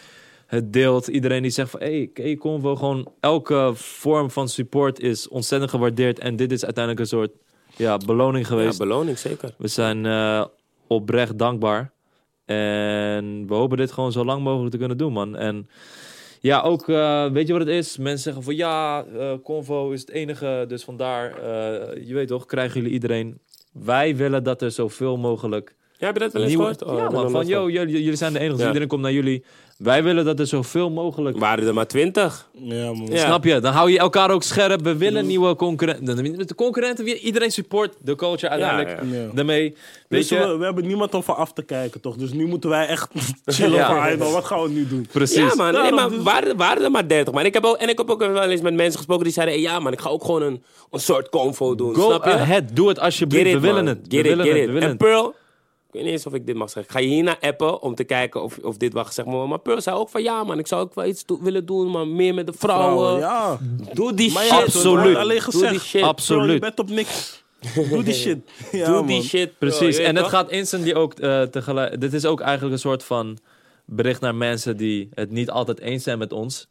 Speaker 3: het deelt. Iedereen die zegt van, hé, hey, Convo. Gewoon elke vorm van support is ontzettend gewaardeerd. En dit is uiteindelijk een soort ja, beloning
Speaker 1: ja
Speaker 3: geweest.
Speaker 1: beloning zeker.
Speaker 3: we zijn eh, oprecht dankbaar. En we hopen dit gewoon zo lang mogelijk te kunnen doen, man. En ja, ook, eh, weet je wat het is? Mensen zeggen van ja, eh, Convo is het enige, dus vandaar, eh, je weet toch, krijgen jullie iedereen. Wij willen dat er zoveel mogelijk
Speaker 1: Ja, heb je dat wel eens
Speaker 3: nieuwe-
Speaker 1: gehoord? Oh,
Speaker 3: ja,
Speaker 1: ik ben
Speaker 3: man,
Speaker 1: nog
Speaker 3: van
Speaker 1: nooit
Speaker 3: yo,
Speaker 1: gehoord.
Speaker 3: jullie, jullie zijn de enige, dus
Speaker 1: Ja.
Speaker 3: iedereen komt naar jullie. Wij willen dat er zoveel mogelijk...
Speaker 1: Waren er maar twintig?
Speaker 2: Ja, man.
Speaker 1: Ja. Mm.
Speaker 3: Snap je? Dan hou je elkaar ook scherp. We willen nieuwe concurrenten. De concurrenten, wie- iedereen support de culture uiteindelijk.
Speaker 1: ja.
Speaker 2: Ja.
Speaker 3: Daarmee,
Speaker 2: Dus
Speaker 3: weet je...
Speaker 2: we, we hebben niemand om van af te kijken, toch? Dus nu moeten wij echt (laughs) chillen
Speaker 3: Ja.
Speaker 2: van, "Hey, man, wat gaan we nu doen?
Speaker 3: Precies.
Speaker 1: Ja, man. Nee,
Speaker 2: Daarom
Speaker 1: maar
Speaker 2: dus-
Speaker 1: waren, waren er maar dertig. Maar ik heb ook, en ik heb ook wel eens met mensen gesproken die zeiden... "Hey, ja, man, ik ga ook gewoon een, een soort convo doen.
Speaker 3: Go
Speaker 1: snap je?
Speaker 3: ahead, doe het
Speaker 1: Get
Speaker 3: alsjeblieft.
Speaker 1: it,
Speaker 3: we willen
Speaker 1: man.
Speaker 3: het.
Speaker 1: Get
Speaker 3: we
Speaker 1: it,
Speaker 3: willen
Speaker 1: get
Speaker 3: het.
Speaker 1: it.
Speaker 3: We
Speaker 1: En
Speaker 3: willen het.
Speaker 1: Pearl, ik weet niet eens of ik dit mag zeggen. Ik ga je hierna appen om te kijken of, of dit wel gezegd mag worden. Maar Pearl zei ook van ja man, ik zou ook wel iets do- willen doen, maar meer met de vrouwen.
Speaker 2: ja.
Speaker 1: Doe die
Speaker 2: Maar
Speaker 1: shit.
Speaker 2: ja,
Speaker 3: Absoluut.
Speaker 2: het wordt Alleen
Speaker 1: Doe die
Speaker 2: gezegd.
Speaker 1: shit.
Speaker 3: Abs-
Speaker 2: Bro,
Speaker 3: Absoluut.
Speaker 2: je bent op niks. Doe die shit. (laughs) Ja,
Speaker 1: Doe
Speaker 2: man.
Speaker 1: die shit. Pearl,
Speaker 3: Precies.
Speaker 1: je weet
Speaker 3: en het
Speaker 1: toch?
Speaker 3: gaat instantly ook eh, tegelijk. Dit is ook eigenlijk een soort van bericht naar mensen die het niet altijd eens zijn met ons.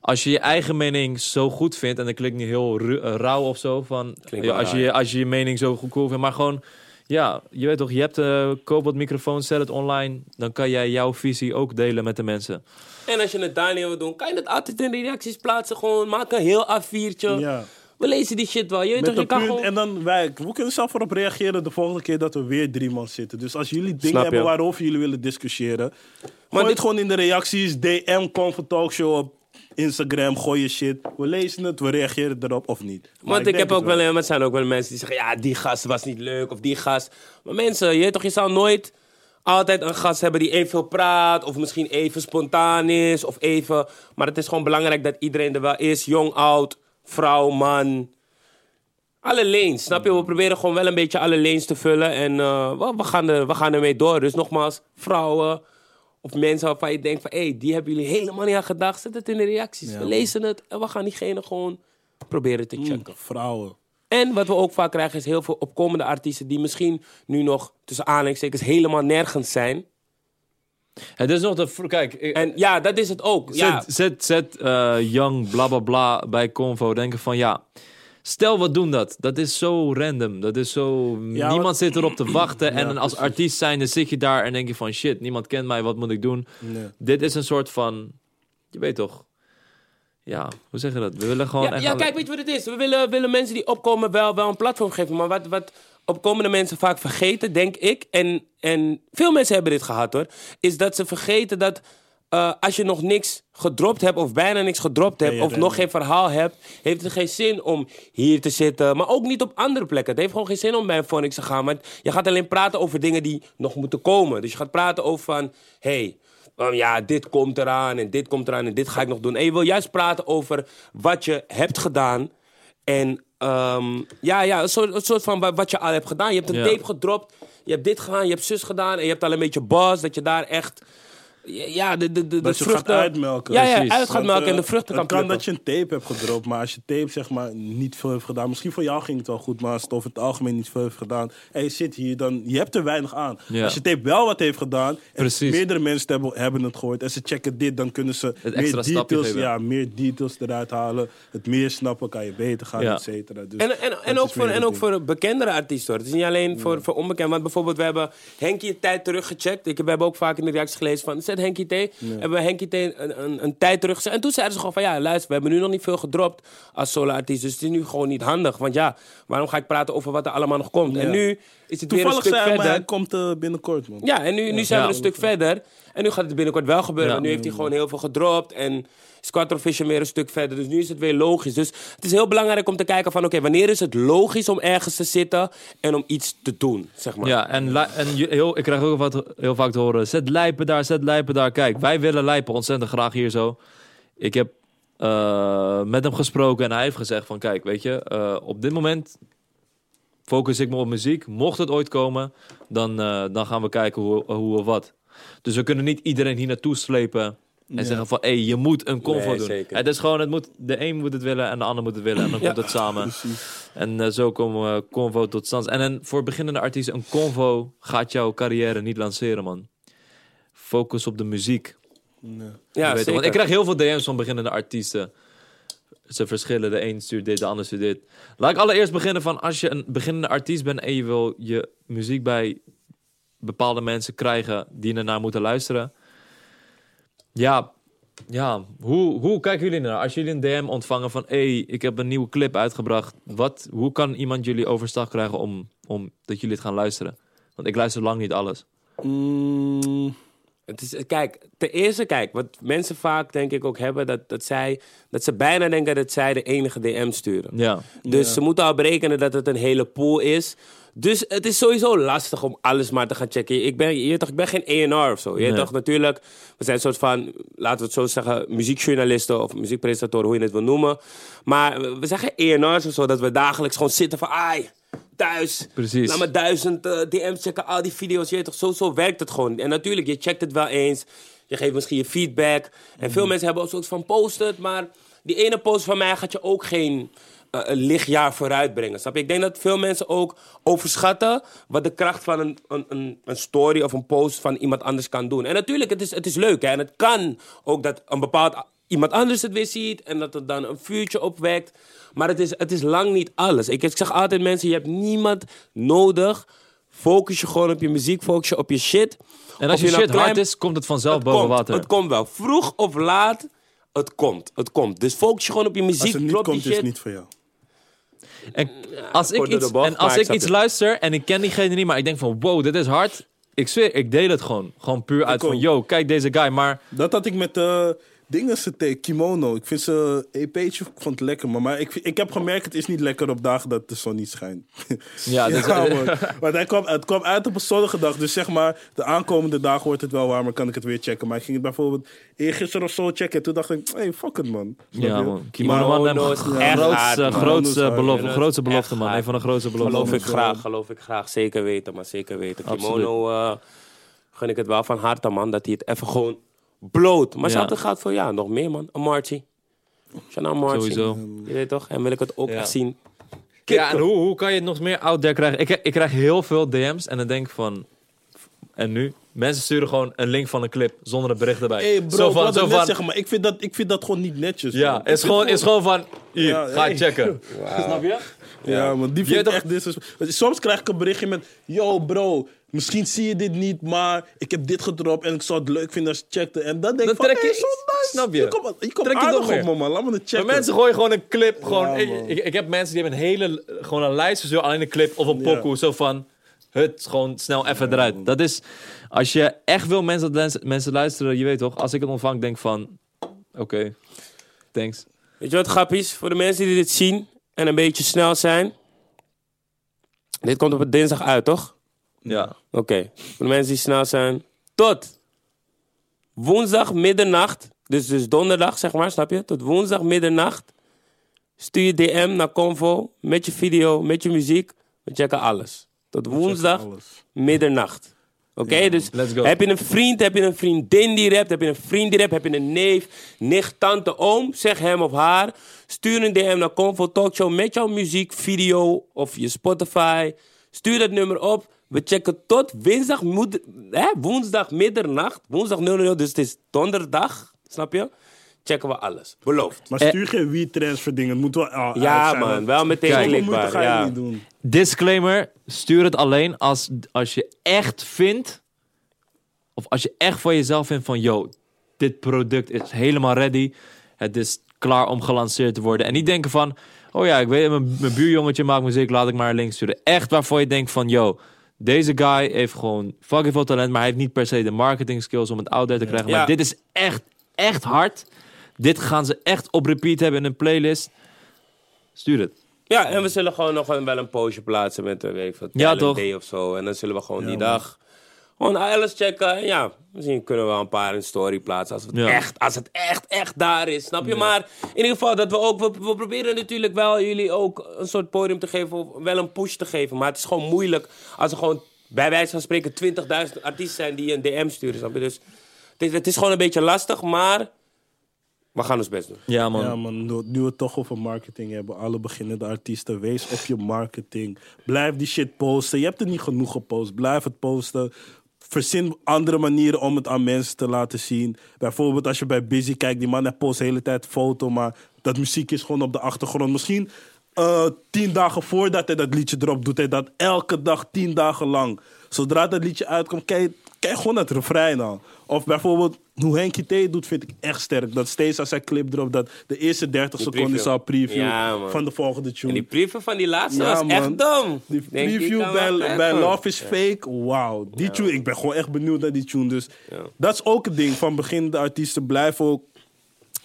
Speaker 3: Als je je eigen mening zo goed vindt, en dat klinkt niet heel ru- eh, rauw of zo, van
Speaker 1: Klinkt
Speaker 3: ja,
Speaker 1: wel
Speaker 3: als, je,
Speaker 1: raar.
Speaker 3: je- als je je mening zo goed cool vindt, maar gewoon, ja, je weet toch, je hebt, eh, koop wat microfoons, zet het online, dan kan jij jouw visie ook delen met de mensen.
Speaker 1: En als je het daar niet wil doen, kan je dat altijd in de reacties plaatsen. Gewoon maak een heel A4'tje.
Speaker 2: Ja.
Speaker 1: We lezen die shit wel. Je weet
Speaker 2: Met
Speaker 1: toch, je
Speaker 2: een
Speaker 1: kan
Speaker 2: punt
Speaker 1: gewoon...
Speaker 2: en dan wij. We kunnen zelf erop reageren de volgende keer dat we weer drie man zitten. Dus als jullie dingen
Speaker 1: Snap je.
Speaker 2: hebben waarover jullie willen discussiëren, gooi
Speaker 1: dit-
Speaker 2: het gewoon in de reacties. DM, Comfort Talk Show op Instagram, gooi je shit. We lezen het, we reageren erop of niet. Maar
Speaker 1: Want ik,
Speaker 2: denk
Speaker 1: heb
Speaker 2: het
Speaker 1: ook wel, maar het zijn ook wel mensen die zeggen: ja, die gast was niet leuk of die gast. Maar mensen, je, weet toch, je zal nooit altijd een gast hebben die even veel praat, of misschien even spontaan is, of even. Maar het is gewoon belangrijk dat iedereen er wel is: jong, oud, vrouw, man. Alle lanes, snap je? We proberen gewoon wel een beetje alle lanes te vullen. En eh, we, we, gaan er, we gaan ermee door. Dus nogmaals, vrouwen of mensen waarvan je denkt van... hé, hey, die hebben jullie helemaal niet aan gedacht. Zet het in de reacties. we lezen het en we gaan diegene gewoon proberen
Speaker 2: Mm.
Speaker 1: te checken.
Speaker 2: Vrouwen.
Speaker 1: En wat we ook vaak krijgen is heel veel opkomende artiesten... die misschien nu nog tussen aanhalingstekens helemaal nergens zijn.
Speaker 3: Het is nog de. vro- Kijk, ik-
Speaker 1: En ja, dat is het ook. Ja,
Speaker 3: Zet, zet, zet eh, Young bla bla bla bij Convo. Denken van ja. Stel, we doen dat. Dat is zo random. Dat is zo...
Speaker 2: Ja,
Speaker 3: niemand
Speaker 2: want-
Speaker 3: zit erop te wachten. en als
Speaker 2: precies.
Speaker 3: artiest zijnde zit je daar en denk je van... Shit, niemand kent mij. Wat moet ik doen?
Speaker 2: Nee.
Speaker 3: Dit is een soort van... Je weet toch... ja, hoe zeg je dat? We willen gewoon
Speaker 1: Ja,
Speaker 3: echt
Speaker 1: ja,
Speaker 3: alle-
Speaker 1: kijk, weet je wat het is? We willen, willen mensen die opkomen wel, wel een platform geven. Maar wat, wat opkomende mensen vaak vergeten, denk ik... en, en veel mensen hebben dit gehad, hoor... is dat ze vergeten dat eh, als je nog niks gedropt hebt... of bijna niks gedropt hebt,
Speaker 2: ja,
Speaker 1: of
Speaker 2: ja,
Speaker 1: nog
Speaker 2: ja.
Speaker 1: geen verhaal hebt... heeft het geen zin om hier te zitten. Maar ook niet op andere plekken. Het heeft gewoon geen zin om bij een Phonics te gaan. Want je gaat alleen praten over dingen die nog moeten komen. Dus je gaat praten over van... Hey, Ehm, ja, dit komt eraan en dit komt eraan en dit ga ik nog doen. En je wil juist praten over wat je hebt gedaan. En ehm, ja, ja, een soort, een soort van wa- wat je al hebt gedaan. Je hebt een
Speaker 3: Ja.
Speaker 1: tape gedropt, je hebt dit gedaan, je hebt zus gedaan. En je hebt al een beetje bas, dat je daar echt... Ja, de, de, de,
Speaker 2: Dat
Speaker 1: de
Speaker 2: je gaat
Speaker 1: Dus vruchten...
Speaker 2: uitmelken.
Speaker 1: Ja, ja,
Speaker 3: precies.
Speaker 1: uit gaat
Speaker 2: Want,
Speaker 1: melken en
Speaker 2: eh,
Speaker 1: de vruchten kan
Speaker 2: Het kan
Speaker 1: plukken.
Speaker 2: dat je een tape hebt gedropt, maar als je tape zeg maar niet veel heeft gedaan. Misschien voor jou ging het wel goed, maar als het over het algemeen niet veel heeft gedaan. En je zit hier, dan je hebt er weinig aan.
Speaker 3: Ja.
Speaker 2: Als je tape wel wat heeft gedaan, en
Speaker 3: Precies.
Speaker 2: meerdere mensen hebben, hebben het gehoord. En ze checken dit, dan kunnen ze
Speaker 3: extra
Speaker 2: meer
Speaker 3: stapje
Speaker 2: details,
Speaker 3: geven.
Speaker 2: ja, meer details eruit halen. Het meer snappen kan je beter gaan,
Speaker 3: Ja.
Speaker 2: et cetera. Dus
Speaker 1: En, en,
Speaker 2: dat
Speaker 1: en,
Speaker 2: is
Speaker 1: ook voor,
Speaker 2: meer
Speaker 1: en
Speaker 2: het
Speaker 1: ook
Speaker 2: ding.
Speaker 1: voor bekendere artiesten hoor. Het is niet alleen voor, voor onbekend. Want bijvoorbeeld, we hebben Henkie een tijd terug gecheckt. Ik, we hebben ook vaak in de reacties gelezen van, zet Henkie T. Hebben we Henkie T een, een, een tijd terug gezet. En toen zeiden ze gewoon van, ja luister, we hebben nu nog niet veel gedropt als solo-artiest. Dus het is nu gewoon niet handig. Want ja, waarom ga ik praten over wat er allemaal nog komt? En nu is het weer een
Speaker 2: Toevallig
Speaker 1: stuk
Speaker 2: zei hij, maar
Speaker 1: verder.
Speaker 2: hij komt eh, binnenkort, man.
Speaker 1: Ja, en nu, nu zijn we
Speaker 3: Ja.
Speaker 1: een stuk verder. En nu gaat het binnenkort wel gebeuren.
Speaker 3: Ja.
Speaker 1: want nu heeft hij gewoon heel veel gedropt. En is Quattro Vision weer een stuk verder. Dus nu is het weer logisch. Dus het is heel belangrijk om te kijken van... oké, wanneer is het logisch om ergens te zitten en om iets te doen, zeg maar.
Speaker 3: Ja, en, li- en je- heel, ik krijg ook wat, heel vaak te horen: zet lijpen daar, zet lijpen daar. Kijk, wij willen lijpen ontzettend graag hier zo. Ik heb eh, met hem gesproken en hij heeft gezegd: van kijk, weet je, eh, op dit moment focus ik me op muziek. Mocht het ooit komen, dan, eh, dan gaan we kijken hoe, hoe of wat. Dus we kunnen niet iedereen hier naartoe slepen. En zeggen van, hé, je moet een combo
Speaker 1: Nee,
Speaker 3: doen.
Speaker 1: zeker.
Speaker 3: Het is gewoon, het moet, de een moet het willen en de ander moet het willen. En dan komt het samen. En eh, zo komen we Convo tot stand. En, en voor beginnende artiesten, een Convo gaat jouw carrière niet lanceren, man. Focus op de muziek.
Speaker 1: Ja,
Speaker 3: Je weet toch,
Speaker 1: zeker.
Speaker 3: want ik krijg heel veel DM's van beginnende artiesten. Ze verschillen, de een stuurt dit, de ander stuurt dit. Laat ik allereerst beginnen van als je een beginnende artiest bent en je wil je muziek bij bepaalde mensen krijgen die ernaar moeten luisteren. Ja, ja. Hoe, hoe kijken jullie naar? Als jullie een DM ontvangen van hé, hey, ik heb een nieuwe clip uitgebracht. Wat, hoe kan iemand jullie overstag krijgen om, om dat jullie het gaan luisteren? Want ik luister lang niet alles.
Speaker 2: Mm,
Speaker 1: Het is, kijk, ten eerste, kijk, wat mensen vaak denk ik ook hebben... dat, dat, zij, dat ze bijna denken dat zij de enige DM sturen.
Speaker 3: Ja,
Speaker 1: Dus ze moeten al berekenen dat het een hele pool is. Dus het is sowieso lastig om alles maar te gaan checken. Ik ben, je weet toch, ik ben geen ENR of zo. Je weet
Speaker 3: Nee.
Speaker 1: toch, natuurlijk, we zijn een soort van, laten we het zo zeggen, muziekjournalisten of muziekpresentatoren, hoe je het wil noemen. Maar we we zijn geen ENR's of zo, dat we dagelijks gewoon zitten van, ai, thuis.
Speaker 3: Precies.
Speaker 1: Laat me duizend eh, DM's checken, al die video's. Je weet toch, zo, zo werkt het gewoon. En natuurlijk, je checkt het wel eens. Je geeft misschien je feedback. En veel mensen hebben ook soort van post het. Maar die ene post van mij gaat je ook geen eh, een lichtjaar vooruit brengen. Snap je? Ik denk dat veel mensen ook overschatten wat de kracht van een, een, een, een story of een post van iemand anders kan doen. En natuurlijk, het is, het is leuk. Hè? En het kan ook dat een bepaald a- iemand anders het weer ziet. En dat het dan een vuurtje opwekt. Maar het is, het is lang niet alles. Ik, ik zeg altijd mensen, je hebt niemand nodig. Focus je gewoon op je muziek, focus je op je shit.
Speaker 3: En als
Speaker 1: Of
Speaker 3: je,
Speaker 1: nou
Speaker 3: shit hard
Speaker 1: klein-
Speaker 3: is, komt het vanzelf
Speaker 1: het
Speaker 3: boven
Speaker 1: komt,
Speaker 3: water.
Speaker 1: Het komt wel. Vroeg of laat, het komt. Het komt. Dus focus je gewoon op je muziek.
Speaker 2: als het niet
Speaker 1: drop
Speaker 2: komt,
Speaker 1: die
Speaker 2: is
Speaker 1: shit.
Speaker 2: het niet voor jou.
Speaker 3: En als ik
Speaker 1: kort door de
Speaker 3: iets,
Speaker 1: bocht,
Speaker 3: en
Speaker 1: maar
Speaker 3: als
Speaker 1: ik
Speaker 3: ik
Speaker 1: snap
Speaker 3: iets
Speaker 1: je.
Speaker 3: luister en ik ken diegene niet, maar ik denk van wow, dit is hard. Ik zweer, ik deel het gewoon. Gewoon puur uit van
Speaker 2: ook.
Speaker 3: yo, kijk deze guy. Maar
Speaker 2: Dat had ik met eh dingen ze tegen kimono. Ik vind ze EP'tje vond het lekker, maar, maar ik, ik heb gemerkt het is niet lekker op dagen dat de zon niet schijnt.
Speaker 3: (laughs) Ja,
Speaker 2: (laughs)
Speaker 3: dus, eh, dat is- (laughs)
Speaker 2: man. Want hij kwam, het kwam uit op een zonnige dag, dus zeg maar de aankomende dagen wordt het wel warmer, kan ik het weer checken. Maar ik ging het bijvoorbeeld eergisteren of zo checken. Toen dacht ik, hey, fuck it man. Snap
Speaker 3: ja,
Speaker 2: je? eh,
Speaker 3: man. Kimono
Speaker 1: Maar
Speaker 3: man, hem
Speaker 1: Ono is echt hard,
Speaker 3: grootste,
Speaker 1: man.
Speaker 3: grootste,
Speaker 2: Ono is
Speaker 3: belofte,
Speaker 1: hard.
Speaker 3: grootste
Speaker 1: Echt
Speaker 3: belofte, man.
Speaker 1: hard.
Speaker 3: Een van de grootste beloften.
Speaker 1: Geloof ik
Speaker 3: man.
Speaker 1: graag, geloof ik graag. Zeker weten, maar zeker weten. Kimono eh, gun ik het wel van harte, man. Dat hij het even gewoon bloot. Maar
Speaker 3: Ja.
Speaker 1: ja. gaat voor, ja, nog meer, man. Amarty. Shana Amarty.
Speaker 3: Sowieso.
Speaker 1: Je weet toch? En wil ik het ook
Speaker 3: Ja.
Speaker 1: echt zien.
Speaker 3: Ja, en hoe, hoe kan je het nog meer out there krijgen? Ik, ik krijg heel veel DM's en dan denk ik van... En nu? Mensen sturen gewoon een link van een clip zonder een bericht erbij.
Speaker 2: Hey bro,
Speaker 3: Zo
Speaker 2: ik wou
Speaker 3: van,
Speaker 2: dat
Speaker 3: zo
Speaker 2: net
Speaker 3: van...
Speaker 2: zeggen, maar ik vind dat, ik vind dat gewoon niet netjes.
Speaker 3: Ja,
Speaker 2: man.
Speaker 3: is gewoon, is gewoon van...
Speaker 1: (laughs)
Speaker 3: Hier,
Speaker 2: Ja,
Speaker 3: ga
Speaker 2: hey.
Speaker 3: checken. Snap je?
Speaker 2: Ja, man, die
Speaker 3: Jij
Speaker 2: vind ik
Speaker 3: toch-
Speaker 2: echt disrespect. Soms krijg ik een berichtje met... Yo, bro, misschien zie je dit niet, maar ik heb dit gedropt... en ik zou het leuk vinden als je checkte. En dan denk ik
Speaker 3: Dan
Speaker 2: van,
Speaker 3: trek
Speaker 2: hey,
Speaker 3: je-
Speaker 2: zo nice.
Speaker 3: snap je?
Speaker 2: Je komt je komt
Speaker 3: Trek je nog
Speaker 2: aardig op
Speaker 3: meer.
Speaker 2: me, man. Laat me het checken.
Speaker 3: Maar mensen gooien gewoon een clip. Gewoon,
Speaker 2: Ja,
Speaker 3: ik,
Speaker 2: man.
Speaker 3: ik, ik heb mensen die hebben een hele gewoon een lijst, dus alleen een clip of een
Speaker 2: Ja.
Speaker 3: pokoe. Zo van, het, gewoon snel even eruit. Dat is, als je echt wil mensen, dat mensen luisteren, je weet toch, als ik het ontvang, denk van, oké, thanks.
Speaker 1: Weet je wat grappig is? Voor de mensen die dit zien en een beetje snel zijn. Dit komt op een dinsdag uit, toch?
Speaker 3: Ja.
Speaker 1: Oké. Voor de mensen die snel zijn. Tot woensdag middernacht. Dus, dus donderdag, zeg maar, snap je? Tot woensdag middernacht. Stuur je DM naar Convo met je video, met je muziek. We checken alles. Tot woensdag
Speaker 2: alles.
Speaker 1: middernacht. Oké, dus
Speaker 3: let's go.
Speaker 1: heb je een vriend, heb je een vriendin die rapt, heb je een vriend die rapt, heb je een neef, nicht, tante, oom, zeg hem of haar. Stuur een DM naar Convo Talkshow met jouw muziek, video of je Spotify. Stuur dat nummer op. We checken tot woensdag, moed- hè, woensdag middernacht, woensdag 00, dus het is donderdag, snap je? Checken we alles, beloofd.
Speaker 2: Maar
Speaker 3: Eh.
Speaker 2: stuur geen WeTransfer dingen. Het moet wel ah, uit
Speaker 1: Ja
Speaker 2: zijn,
Speaker 1: man, wel meteen
Speaker 3: Kijk,
Speaker 2: Zoveel moeite
Speaker 1: klikbaar.
Speaker 2: ga je
Speaker 1: Ja.
Speaker 2: niet doen.
Speaker 3: Disclaimer, stuur het alleen als, als je echt vindt, of als je echt van jezelf vindt van, yo, dit product is helemaal ready. Het is klaar om gelanceerd te worden. En niet denken van, oh ja, ik weet, mijn, mijn buurjongetje maakt muziek, laat ik maar een link sturen. Echt waarvoor je denkt van, yo, deze guy heeft gewoon fucking veel talent, maar hij heeft niet per se de marketing skills om het out there te krijgen.
Speaker 1: Ja.
Speaker 3: Maar dit is echt, echt hard. Dit gaan ze echt op repeat hebben in een playlist. Stuur het.
Speaker 1: Ja, en we zullen gewoon nog een- wel een postje plaatsen met, eh, weet ik veel,
Speaker 3: Ja,
Speaker 1: Talent
Speaker 3: toch?
Speaker 1: Day of zo. En dan zullen we gewoon die dag gewoon alles checken. En ja, misschien kunnen we wel een paar in story plaatsen als het,
Speaker 3: Ja.
Speaker 1: echt, als het echt, echt daar is. Snap je? Maar in ieder geval, dat we ook, we, we proberen natuurlijk wel jullie ook een soort podium te geven. Of wel een push te geven. Maar het is gewoon moeilijk als er gewoon, bij wijze van spreken, 20.000 artiesten zijn die je een DM sturen. Snap je? Dus het is, het is gewoon een beetje lastig, maar we gaan ons best doen.
Speaker 3: Ja, man.
Speaker 2: Ja, man, nu- nu we het toch over marketing hebben, alle beginnende artiesten, wees op je marketing. Blijf die shit posten. Je hebt het niet genoeg gepost. Blijf het posten. Verzin andere manieren om het aan mensen te laten zien. Bijvoorbeeld als je bij Busy kijkt, die man hij post de hele tijd foto, maar dat muziek is gewoon op de achtergrond. Misschien eh, tien dagen voordat hij dat liedje erop doet, hij dat elke dag, tien dagen lang. Zodra dat liedje uitkomt, kijk, kijk gewoon het refrein al. Of bijvoorbeeld hoe Henkie T doet, vind ik echt sterk. Dat steeds als hij clip erop, dat de eerste 30
Speaker 1: Die
Speaker 2: seconden is
Speaker 1: preview.
Speaker 2: al preview
Speaker 1: Ja, man.
Speaker 2: van de volgende tune.
Speaker 1: En die brieven van die laatste
Speaker 2: Ja,
Speaker 1: was
Speaker 2: man.
Speaker 1: echt dom.
Speaker 2: Die
Speaker 1: Denk ik
Speaker 2: preview
Speaker 1: dan wel
Speaker 2: bij,
Speaker 1: echt,
Speaker 2: bij
Speaker 1: man.
Speaker 2: Love is Fake, wauw. Die tune, ik ben gewoon echt benieuwd naar die tune. Dus dat is ook het ding van beginnende artiesten. Blijf ook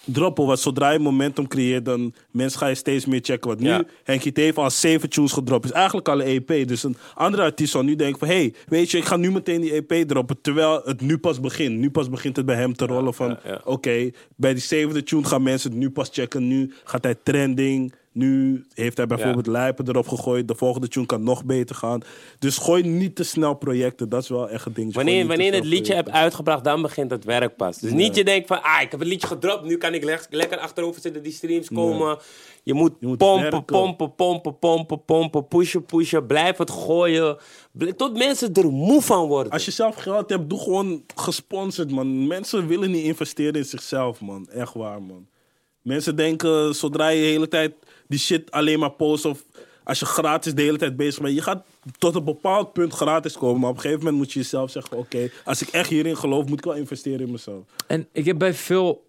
Speaker 2: droppen, want zodra je momentum creëert, dan mensen gaan je steeds meer checken. Want nu,
Speaker 1: Ja.
Speaker 2: Henkie T heeft al zeven tunes gedropt. Is eigenlijk al een EP. Dus een andere artiest zal nu denken van, hey, weet je, ik ga nu meteen die EP droppen. Terwijl het nu pas begint. Nu pas begint het bij hem te rollen van,
Speaker 1: ja.
Speaker 2: oké, bij die zevende tune gaan mensen het nu pas checken. Nu gaat hij trending. Nu heeft hij bijvoorbeeld Lijpen erop gegooid. De volgende tune kan nog beter gaan. Dus gooi niet te snel projecten. Dat is wel echt een ding. Dus
Speaker 1: Wanneer, wanneer je het liedje hebt uitgebracht, dan begint het werk pas. Dus niet je denkt van, ah, ik heb het liedje gedropt, nu kan ik le- lekker achterover zitten, die streams komen. Je moet,
Speaker 2: moet
Speaker 1: pompen,
Speaker 2: werken.
Speaker 1: pompen, pompen, pompen, pompen, pushen, pushen, blijf het gooien. Bl- Tot mensen er moe van worden.
Speaker 2: Als je zelf geld hebt, doe gewoon gesponsord, man. Mensen willen niet investeren in zichzelf, man. Echt waar, man. Mensen denken, zodra je de hele tijd die shit alleen maar post... of als je gratis de hele tijd bezig bent... je gaat tot een bepaald punt gratis komen. Maar op een gegeven moment moet je jezelf zeggen... oké, als ik echt hierin geloof, moet ik wel investeren in mezelf.
Speaker 3: En ik heb bij veel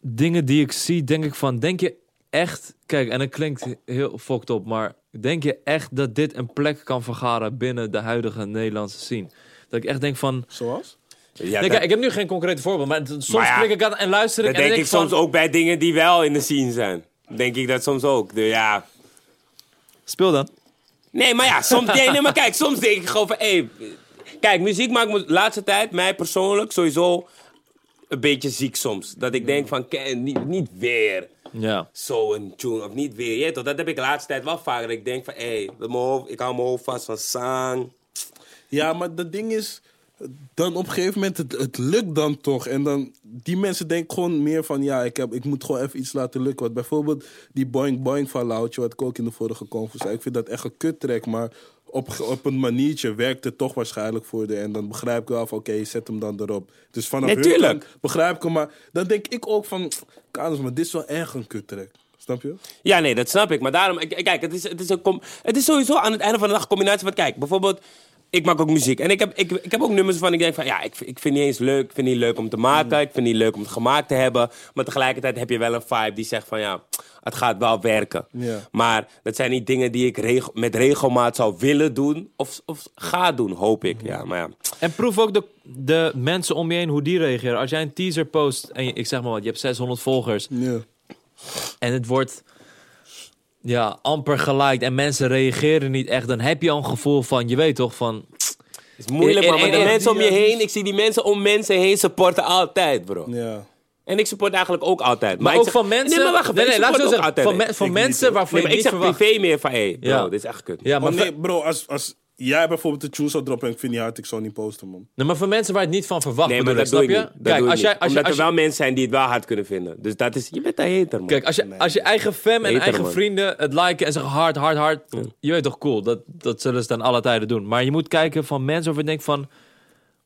Speaker 3: dingen die ik zie, denk ik van, denk je echt, kijk, en het klinkt heel fucked op, maar denk je echt dat dit een plek kan vergaren binnen de huidige Nederlandse scene? Dat ik echt denk van,
Speaker 2: Zoals?
Speaker 1: Ja,
Speaker 3: nee,
Speaker 1: dat,
Speaker 3: kijk, ik heb nu geen concreet voorbeeld, maar het- soms
Speaker 1: Maar ja,
Speaker 3: klik ik aan en luister ik
Speaker 1: dat
Speaker 3: en dan
Speaker 1: denk ik
Speaker 3: van,
Speaker 1: soms ook bij dingen die wel in de scene zijn. Denk ik dat soms ook. De, ja,
Speaker 3: speel dan.
Speaker 1: Nee, maar ja, soms, nee, nee, maar kijk, soms denk ik gewoon van, hé, kijk, muziek maakt me de laatste tijd, mij persoonlijk, sowieso een beetje ziek soms. Dat ik denk van, ke- niet, niet weer
Speaker 3: Ja.
Speaker 1: zo'n tune, of niet weer, je weet toch, dat heb ik de laatste tijd wel vaker. Ik denk van, hé, dat mijn hoofd- ik hou mijn hoofd vast van zang.
Speaker 2: Ja, maar dat ding is, dan op een gegeven moment, het, het lukt dan toch. En dan, die mensen denken gewoon meer van, ja, ik, heb, ik moet gewoon even iets laten lukken. Want bijvoorbeeld die boing boing van Loutje, wat ik ook in de vorige conference zei. Ik vind dat echt een kuttrek, maar op, ge- op een maniertje werkt het toch waarschijnlijk voor de. En dan begrijp ik wel van, oké, zet hem dan erop. Dus vanaf hun
Speaker 1: Natuurlijk.
Speaker 2: kant begrijp ik hem. Maar dan denk ik ook van, Karels, maar dit is wel echt een kuttrek. Snap je?
Speaker 1: Ja, nee, dat snap ik. Maar daarom, k- kijk, het is, het is, een com- het is sowieso aan het einde van de dag een combinatie van, kijk, bijvoorbeeld, ik maak ook muziek. En ik heb, ik, ik heb ook nummers van, ik denk van, ja, ik, ik vind niet eens leuk. Ik vind niet leuk om te maken. Ik vind niet leuk om het gemaakt te hebben. Maar tegelijkertijd heb je wel een vibe die zegt van, ja, het gaat wel werken.
Speaker 2: Ja.
Speaker 1: Maar dat zijn niet dingen die ik regel- met regelmaat zou willen doen. Of, of ga doen, hoop ik. Ja, maar ja.
Speaker 3: En proef ook de, de mensen om je heen hoe die reageren. Als jij een teaser post en je- ik zeg maar wat, je hebt 600 volgers
Speaker 2: Ja.
Speaker 3: en het wordt ja, amper geliked en mensen reageren niet echt, dan heb je al een gevoel van, je weet toch, van
Speaker 1: Het is moeilijk,
Speaker 3: En-
Speaker 1: man. Maar
Speaker 3: en-
Speaker 1: de
Speaker 3: en-
Speaker 1: mensen om je
Speaker 2: die-
Speaker 1: heen, ik zie die mensen om mensen heen supporten altijd, bro.
Speaker 2: Ja.
Speaker 1: En ik support eigenlijk ook altijd. Maar,
Speaker 3: Maar,
Speaker 1: ik
Speaker 3: ook
Speaker 1: zeg-
Speaker 3: van mensen.
Speaker 1: Nee, maar wacht, even,
Speaker 3: nee, nee,
Speaker 1: ik
Speaker 3: laat ik
Speaker 1: support
Speaker 3: zo
Speaker 1: ook
Speaker 3: zeggen.
Speaker 1: altijd.
Speaker 3: Van, me- van mensen waarvan
Speaker 1: Nee, maar
Speaker 3: je
Speaker 1: ik
Speaker 3: niet
Speaker 1: zeg
Speaker 3: verwacht.
Speaker 1: privé meer van, hé, bro,
Speaker 3: Ja.
Speaker 1: dit is echt kut.
Speaker 3: Ja, maar,
Speaker 2: Maar nee,
Speaker 3: voor-
Speaker 2: bro, als, als jij bijvoorbeeld de tune zou droppen en ik vind die hard, ik zou niet posten, man.
Speaker 3: nee, maar voor mensen waar je het niet van verwacht,
Speaker 1: Nee, maar
Speaker 3: bedoel
Speaker 1: dat doe
Speaker 3: ik,
Speaker 1: ik
Speaker 3: snap
Speaker 1: niet.
Speaker 3: je?
Speaker 1: Dat doe
Speaker 3: Kijk,
Speaker 1: ik
Speaker 3: als
Speaker 1: niet.
Speaker 3: jij, als, je-
Speaker 1: Omdat
Speaker 3: als,
Speaker 1: er
Speaker 3: je-
Speaker 1: wel mensen zijn die het wel hard kunnen vinden. Dus dat is... Je bent een hater, man.
Speaker 3: kijk, als, je, als je eigen fam en
Speaker 1: Hater,
Speaker 3: eigen
Speaker 1: man.
Speaker 3: vrienden het liken en zeggen hard, hard, hard. Je weet toch, cool. Dat, dat zullen ze dan alle tijden doen. Maar je moet kijken van mensen of je denkt van...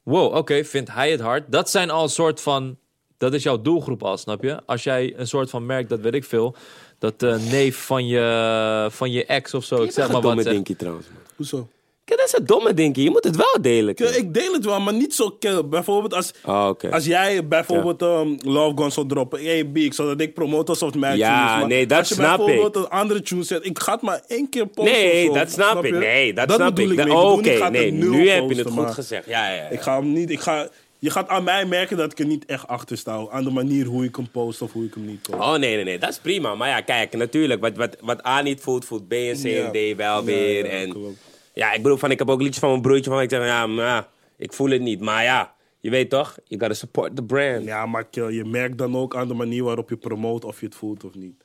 Speaker 3: Wow, oké, vindt hij het hard? Dat zijn al een soort van... Dat is jouw doelgroep al, snap je? Als jij een soort van merkt, dat weet ik veel... Dat eh neef van je, van je ex of zo, ik
Speaker 1: dat is
Speaker 3: zeg
Speaker 1: een
Speaker 3: maar wat.
Speaker 1: domme
Speaker 3: zegt-
Speaker 1: dinkie, trouwens. man.
Speaker 2: Hoezo?
Speaker 1: Kijk, dat is een domme dinkie. Je moet het wel delen.
Speaker 2: Ja,
Speaker 1: kijk.
Speaker 2: ik deel het wel, maar niet zo kill. Bijvoorbeeld als,
Speaker 1: Ah, oké.
Speaker 2: als jij bijvoorbeeld ehm, Love Gun zou droppen. Hey, B, ik zou dat ik promote alsof mijn
Speaker 1: Ja,
Speaker 2: tune is. maar
Speaker 1: nee, dat
Speaker 2: als je
Speaker 1: snap ik.
Speaker 2: bijvoorbeeld een andere tune zet, ik ga het maar één keer posten.
Speaker 1: Nee,
Speaker 2: of zo,
Speaker 1: dat snap ik.
Speaker 2: je?
Speaker 1: Nee, dat snap
Speaker 2: bedoel
Speaker 1: ik. Da-
Speaker 2: mee. bedoel niet,
Speaker 1: Oké,
Speaker 2: ik ga het
Speaker 1: nee,
Speaker 2: met nul
Speaker 1: nu heb je
Speaker 2: posten,
Speaker 1: het goed
Speaker 2: maar
Speaker 1: gezegd. Ja, ja,
Speaker 2: Ik
Speaker 1: ja.
Speaker 2: ga hem niet, ik ga, je gaat aan mij merken dat ik er niet echt achter sta. Aan de manier hoe ik hem post of hoe ik hem niet post.
Speaker 1: Oh nee, nee, nee, dat is prima. Maar ja, kijk, natuurlijk, wat, wat, wat A niet voelt, voelt B en C
Speaker 2: Ja.
Speaker 1: en D wel
Speaker 2: Ja,
Speaker 1: weer.
Speaker 2: ja,
Speaker 1: en,
Speaker 2: klopt.
Speaker 1: ja, ik bedoel, van, ik heb ook liedjes van mijn broertje van, ik zeg, van, ja, maar, ja, ik voel het niet. Maar ja, je weet toch, you gotta support the brand.
Speaker 2: Ja, maar kill, je merkt dan ook aan de manier waarop je promoot of je het voelt of niet.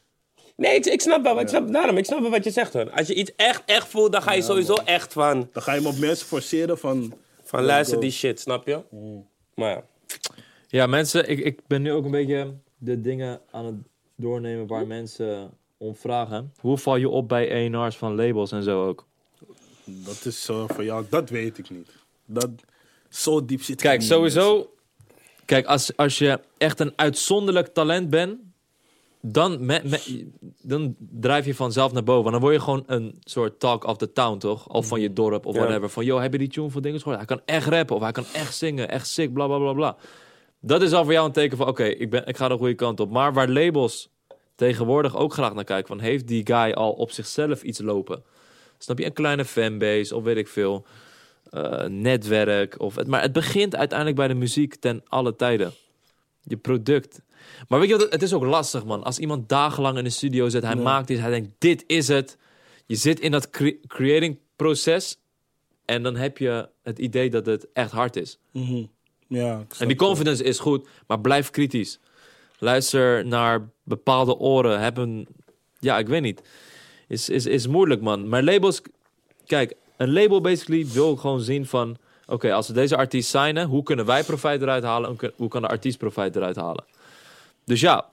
Speaker 1: Nee, ik, ik snap wel, wat- ik snap, daarom, ik snap wel wat je zegt hoor. Als je iets echt, echt voelt, dan ga je sowieso echt van,
Speaker 2: Dan ga je hem op mensen forceren van...
Speaker 1: van luister die shit, snap je?
Speaker 3: Mm.
Speaker 1: Maar ja.
Speaker 3: Ja, mensen, ik, ik ben nu ook een beetje de dingen aan het doornemen waar mensen om vragen. Hoe val je op bij ENR's van labels en zo ook?
Speaker 2: Dat is eh, voor jou, dat weet ik niet. Dat, zo diep zit ik
Speaker 3: Kijk,
Speaker 2: niet,
Speaker 3: sowieso. Kijk, als, als je echt een uitzonderlijk talent bent, dan, me- me- dan drijf je vanzelf naar boven. Dan word je gewoon een soort talk of the town, toch? Of van je dorp of
Speaker 1: Ja.
Speaker 3: whatever. Van, yo, heb je die tune van dingen gehoord? Hij kan echt rappen of hij kan echt zingen, echt sick, bla bla bla bla. Dat is al voor jou een teken van, oké, ik ben, ik ga de goede kant op. Maar waar labels tegenwoordig ook graag naar kijken, van heeft die guy al op zichzelf iets lopen? Snap je? Een kleine fanbase of weet ik veel. eh, netwerk. Of het, maar het begint uiteindelijk bij de muziek ten alle tijden. Je product. Maar weet je wat, het- het is ook lastig, man. Als iemand dagenlang in de studio zit, hij maakt iets, hij denkt, dit is het. Je zit in dat cre- creating proces en dan heb je het idee dat het echt hard is.
Speaker 2: Mhm. Ja, ik
Speaker 3: En
Speaker 2: snap
Speaker 3: die
Speaker 2: het.
Speaker 3: confidence is goed, maar blijf kritisch. Luister naar bepaalde oren. Heb een... Ja, ik weet niet. Is, is, is moeilijk, man. Maar labels... Kijk, een label basically wil gewoon zien van... Oké, als we deze artiest signen, hoe kunnen wij profijt eruit halen? En kun- hoe kan de artiest profijt eruit halen? Dus ja,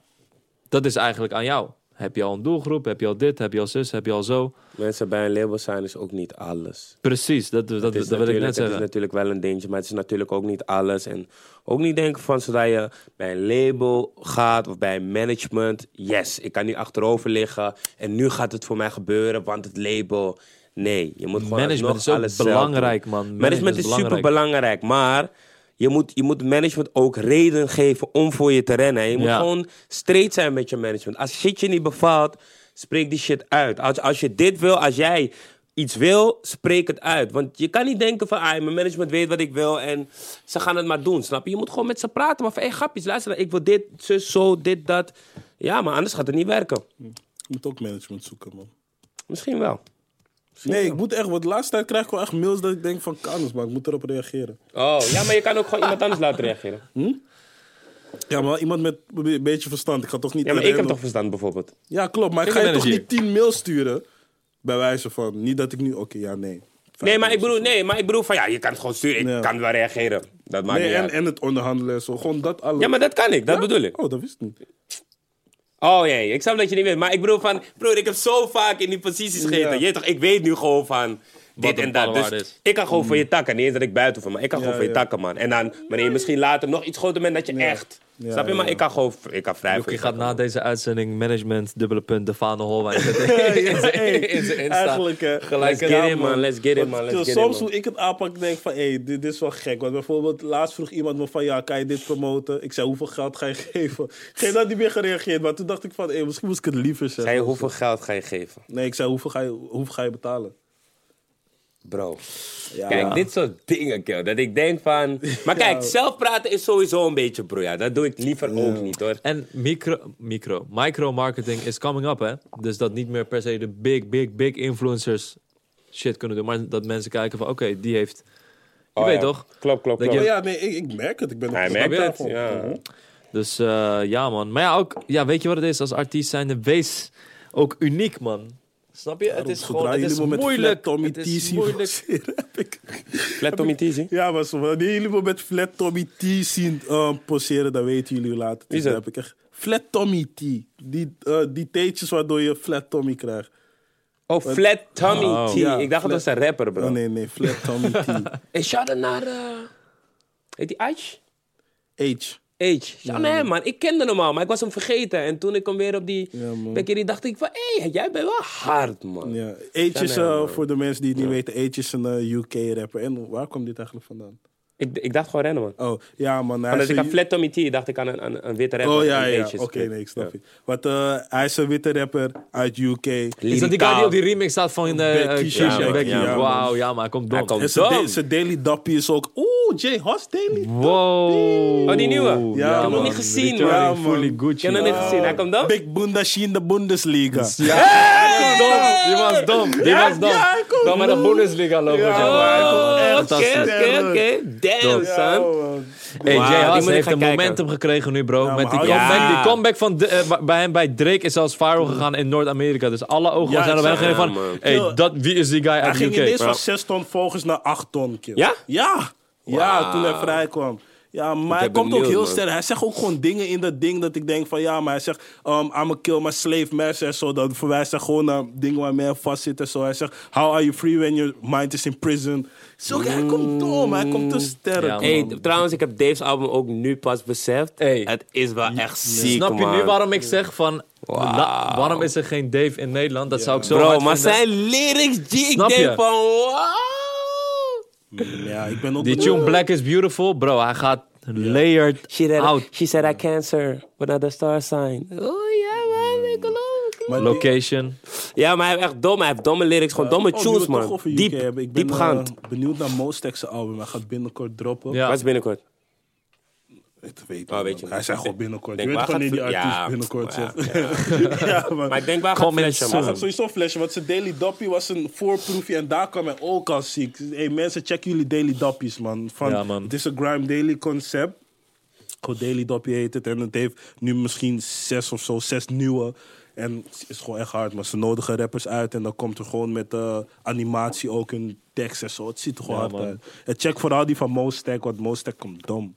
Speaker 3: dat is eigenlijk aan jou. Heb je al een doelgroep? Heb je al dit? Heb je al zus? Heb je al zo?
Speaker 1: Mensen bij een label zijn is ook niet alles.
Speaker 3: Precies, dat, dat,
Speaker 1: Het
Speaker 3: dat,
Speaker 1: is,
Speaker 3: wil ik
Speaker 1: natuurlijk-
Speaker 3: net
Speaker 1: het is
Speaker 3: zeggen.
Speaker 1: natuurlijk wel een dingetje, maar het is natuurlijk ook niet alles. En ook niet denken van zodra je bij een label gaat of bij een management. Yes, ik kan nu achterover liggen en nu gaat het voor mij gebeuren, want het label. Nee, je moet gewoon
Speaker 3: Management
Speaker 1: alsnog
Speaker 3: is ook
Speaker 1: alles zelf doen.
Speaker 3: belangrijk, man. Management
Speaker 1: Management is
Speaker 3: is belangrijk.
Speaker 1: super belangrijk, maar je moet, je moet management ook reden geven om voor je te rennen. Je moet
Speaker 3: Ja.
Speaker 1: gewoon straight zijn met je management. Als shit je niet bevalt, spreek die shit uit. Als, als je dit wil, als jij iets wil, spreek het uit. Want je kan niet denken van, ah, mijn management weet wat ik wil en ze gaan het maar doen, snap je? Je moet gewoon met ze praten, maar van, hey, grapjes, luister, ik wil dit, zus, zo, dit, dat. Ja, maar anders gaat het niet werken.
Speaker 2: Je moet ook management zoeken, man.
Speaker 1: Misschien wel.
Speaker 2: Nee, ik moet echt... Want de laatste tijd krijg ik wel echt mails dat ik denk van... Kanus, maar ik moet erop reageren.
Speaker 1: Oh, ja, maar je kan ook gewoon iemand anders laten reageren.
Speaker 2: Ja, maar iemand met een beetje verstand. Ik ga toch niet...
Speaker 1: Ja, maar ik heb
Speaker 2: iedereen
Speaker 1: toch
Speaker 2: op-
Speaker 1: verstand bijvoorbeeld.
Speaker 2: Ja, klopt. Maar ik ga je toch
Speaker 3: Kindermanager.
Speaker 2: niet tien mails sturen? Bij wijze van... Niet dat ik nu... Oké, ja, nee.
Speaker 1: Nee maar, ik bedoel, nee, maar ik bedoel van ja, je kan het gewoon sturen. Ik
Speaker 2: Ja.
Speaker 1: kan wel reageren. Dat maakt
Speaker 2: Nee,
Speaker 1: niet
Speaker 2: en,
Speaker 1: uit.
Speaker 2: en het onderhandelen en zo. Gewoon dat alles.
Speaker 1: Ja, maar dat kan ik. Dat bedoel ik.
Speaker 2: Oh, dat wist ik niet.
Speaker 1: Oh jee, ik snap dat je niet weet. Maar ik bedoel van, broer, ik heb zo vaak in die posities gezeten.
Speaker 2: Ja.
Speaker 1: Je weet toch, ik weet nu gewoon van dit
Speaker 3: een
Speaker 1: en dat.
Speaker 3: bepaalde waarde
Speaker 1: Dus
Speaker 3: is.
Speaker 1: ik kan gewoon voor je takken. Niet eens dat ik buiten van, maar ik kan gewoon voor je
Speaker 2: Mm. ja.
Speaker 1: takken, man. En dan, wanneer je misschien later nog iets groter bent, dat je echt
Speaker 2: Ja,
Speaker 1: Snap je?
Speaker 2: ja,
Speaker 1: Maar
Speaker 2: ja.
Speaker 1: ik kan gewoon ik kan vrij
Speaker 3: Joekie
Speaker 1: veel
Speaker 3: gaat na deze uitzending management, dubbele punt, de Fano
Speaker 1: (laughs)
Speaker 3: Holwijn (laughs) zetten
Speaker 2: (laughs)
Speaker 3: in
Speaker 2: Ja, hey,
Speaker 3: zijn- in zijn Insta.
Speaker 2: Eigenlijk, hè.
Speaker 1: eh, Let's
Speaker 2: Ja,
Speaker 1: get in, man. Let's get in,
Speaker 2: Want
Speaker 1: man. Let's get in,
Speaker 2: soms
Speaker 1: man.
Speaker 2: hoe ik het aanpak, denk van, hé, dit, dit is wel gek. Want bijvoorbeeld, laatst vroeg iemand me van, ja, kan je dit promoten? Ik zei, hoeveel geld ga je geven? Geen dat niet meer gereageerd, maar toen dacht ik van, hé, misschien moest ik het liever zeggen.
Speaker 1: Zei je, hoeveel geld ga je geven?
Speaker 2: Nee, ik zei, hoeveel ga je, hoeveel ga je betalen?
Speaker 1: Bro.
Speaker 2: Ja.
Speaker 1: Kijk, dit soort dingen, kill. Dat ik denk
Speaker 2: (laughs)
Speaker 1: van... Maar kijk, zelf praten is sowieso een beetje broeia. Dat doe ik liever ook niet, hoor.
Speaker 3: En micro, micro, micro-marketing is coming up, hè? Dus dat niet meer per se de big, big, big influencers shit kunnen doen. Maar dat mensen kijken van, oké, die heeft... Je
Speaker 1: Oh,
Speaker 3: weet
Speaker 1: ja.
Speaker 3: toch?
Speaker 1: Klopt, klopt,
Speaker 3: Dat
Speaker 1: klopt.
Speaker 2: Maar ja, nee, ik, ik merk het. Ik ben
Speaker 1: Hij
Speaker 2: op-
Speaker 1: merkt
Speaker 3: het,
Speaker 2: daarvan.
Speaker 1: ja.
Speaker 2: Mhm.
Speaker 3: Dus eh, ja, man. Maar ja, ook, ja, weet je wat het is? Als artiest zijnde, wees ook uniek, man. Snap je? het is
Speaker 2: Zodra
Speaker 3: gewoon, het
Speaker 2: jullie
Speaker 3: is
Speaker 2: me met
Speaker 3: moeilijk.
Speaker 2: Flat Tommy
Speaker 3: het
Speaker 2: T
Speaker 3: is
Speaker 2: zien
Speaker 3: moeilijk.
Speaker 2: boxeren, (laughs) heb ik...
Speaker 1: Flat Tommy Teasy.
Speaker 2: Ja, maar zo, wanneer jullie me met Flat Tommy T zien eh, poseren, dan weten jullie hoe laat het
Speaker 1: Wie is
Speaker 2: is. Dan
Speaker 1: dat?
Speaker 2: heb ik echt Flat Tommy T. Die, eh die teetjes waardoor je Flat Tommy krijgt.
Speaker 1: Oh, Flat Tommy
Speaker 3: Oh.
Speaker 1: T.
Speaker 2: Ja,
Speaker 1: ik dacht dat was een rapper, bro.
Speaker 2: Oh nee, nee, Flat Tommy
Speaker 1: (laughs)
Speaker 2: T.
Speaker 1: En shout-out naar... eh, Heet die Aitch?
Speaker 2: H.
Speaker 1: Age. Ja, nee, man. Ik kende hem al, maar ik was hem vergeten. En toen ik hem weer op die
Speaker 2: Ja, man.
Speaker 1: bekkerie dacht ik van... Hé, hey, jij bent wel hard, man.
Speaker 2: Ja. H is,
Speaker 1: nee,
Speaker 2: eh,
Speaker 1: man.
Speaker 2: voor de mensen die het niet weten, H is een eh, UK-rapper. En waar kwam dit eigenlijk vandaan?
Speaker 1: Ik, ik dacht gewoon rennen, man.
Speaker 2: Oh, ja man. Hij
Speaker 1: Omdat
Speaker 2: is
Speaker 1: ik aan
Speaker 2: een-
Speaker 1: Flat Tommy T dacht ik aan een, aan een witte rapper.
Speaker 2: Oh ja,
Speaker 1: die
Speaker 2: ja.
Speaker 1: Age
Speaker 2: Oké,
Speaker 1: is.
Speaker 2: nee, ik snap je. Want eh, hij is een witte rapper uit UK.
Speaker 3: Is dat die guy die op die remix staat van de
Speaker 2: Becky,
Speaker 3: eh
Speaker 2: ja,
Speaker 3: Keisha
Speaker 2: man.
Speaker 3: Becky?
Speaker 2: Ja, man.
Speaker 3: Wauw, ja, maar hij komt
Speaker 1: Hij
Speaker 3: door.
Speaker 1: komt
Speaker 2: En zijn
Speaker 1: Dom.
Speaker 2: da- zijn Daily Dappie is ook... Oeh, Jay Hos Daily
Speaker 3: Wow.
Speaker 1: Oh, die nieuwe?
Speaker 2: Ja,
Speaker 1: ik heb hem
Speaker 2: man.
Speaker 1: niet gezien,
Speaker 2: Richard
Speaker 1: man.
Speaker 2: Lee, man.
Speaker 3: Fully
Speaker 1: Ik
Speaker 3: Gucci.
Speaker 1: heb hem nog niet gezien. Hij komt dan?
Speaker 2: Big Bundashi in de Bundesliga.
Speaker 3: Ja, die was dom. Die was dom.
Speaker 2: ja, hij komt
Speaker 3: Dan met de
Speaker 2: door.
Speaker 3: Bundesliga lopen.
Speaker 2: Ja,
Speaker 3: zeg maar.
Speaker 2: man.
Speaker 1: Oh, oké,
Speaker 3: Fantastisch.
Speaker 1: oké, oké. Damn,
Speaker 2: Ja,
Speaker 1: son.
Speaker 2: man.
Speaker 3: Hey,
Speaker 1: Wauw,
Speaker 3: Jay
Speaker 1: die
Speaker 3: Haas
Speaker 1: moet ik
Speaker 3: heeft
Speaker 1: gaan
Speaker 3: een
Speaker 1: kijken.
Speaker 3: momentum gekregen nu, bro.
Speaker 2: Ja, maar
Speaker 3: met die
Speaker 2: hou-
Speaker 3: comeback.
Speaker 1: Ja.
Speaker 3: Die comeback van de- eh, bij hem bij Drake is zelfs viral gegaan in Noord-Amerika. Dus alle ogen
Speaker 2: Ja,
Speaker 3: zijn op hem
Speaker 2: ik
Speaker 3: gegeven
Speaker 1: zag-
Speaker 3: van...
Speaker 1: Ja, man.
Speaker 3: hey, dat, wie is die guy
Speaker 2: Hij
Speaker 3: uit de
Speaker 2: ging ineens
Speaker 3: UK?
Speaker 2: van 6 ton volgers naar 8 ton, kill.
Speaker 1: Ja?
Speaker 2: Ja. Ja, toen hij vrij kwam. Ja, maar hij
Speaker 1: ben
Speaker 2: komt ook
Speaker 1: benieuwd,
Speaker 2: heel
Speaker 1: man.
Speaker 2: sterk. Hij zegt ook gewoon dingen in dat ding dat ik denk van... Ja, maar hij zegt... Um, I'm a kill my slave master en zo. Dan verwijst hij gewoon naar dingen waar men vast zit en zo. Hij zegt... How are you free when your mind is in prison? Zo, hij komt door, maar hij komt te sterk.
Speaker 3: Mm. Ja,
Speaker 1: Hey,
Speaker 2: man.
Speaker 1: trouwens, ik heb Dave's album ook nu pas beseft.
Speaker 3: Hey.
Speaker 1: Het is wel echt ziek,
Speaker 3: Snap je
Speaker 1: man.
Speaker 3: nu waarom ik zeg van... la- waarom is er geen Dave in Nederland? Dat zou ik zo
Speaker 1: Bro,
Speaker 3: hard
Speaker 1: maar
Speaker 3: vinden.
Speaker 1: zijn lyrics, G, ik
Speaker 3: Snap je?
Speaker 1: denk van... Wow.
Speaker 2: ja, ik ben ook
Speaker 3: Die
Speaker 2: benieuwd.
Speaker 3: tune Black is Beautiful, bro. Hij gaat layered
Speaker 1: She said,
Speaker 3: out.
Speaker 1: she said I cancer without a star sign. Oh ja, man, ik geloof ik geloof.
Speaker 2: Maar die-
Speaker 3: Location.
Speaker 1: Ja, maar hij heeft echt domme, hij heeft domme lyrics, gewoon domme
Speaker 2: Oh, die wil
Speaker 1: tunes,
Speaker 2: het toch
Speaker 1: man.
Speaker 2: over UK
Speaker 1: Diep,
Speaker 2: hebben. Ik ben
Speaker 1: diepgaand.
Speaker 2: eh, benieuwd naar Mostek's album. Hij gaat binnenkort droppen.
Speaker 3: Ja.
Speaker 1: Wat is binnenkort?
Speaker 2: Ik weet het
Speaker 1: Oh, weet
Speaker 2: niet.
Speaker 1: je
Speaker 2: Hij
Speaker 1: niet.
Speaker 2: zei gewoon binnenkort.
Speaker 1: Denk
Speaker 2: je weet
Speaker 1: waar
Speaker 2: gewoon niet die
Speaker 1: gaat-
Speaker 2: artiest
Speaker 1: ja,
Speaker 2: binnenkort
Speaker 1: ja, (laughs)
Speaker 2: zegt. Ja, man.
Speaker 1: Maar ik denk waar gaat
Speaker 3: Kom in
Speaker 1: Fletcher,
Speaker 2: Hij
Speaker 1: man?
Speaker 2: zag sowieso flesje, want zijn Daily Dappie was een voorproefje en daar kwam hij ook al ziek. Hey, mensen, check jullie Daily Dappies, man. Van,
Speaker 3: Ja, man.
Speaker 2: Het is een Grime Daily concept. Gewoon Daily Dappie heet het en het heeft nu misschien zes of zo, zes nieuwe. En het is gewoon echt hard, maar ze nodigen rappers uit en dan komt er gewoon met eh, animatie ook een tekst en zo. Het ziet er gewoon hard
Speaker 3: man.
Speaker 2: uit. En check vooral die van Mostek, want Mostek komt dom.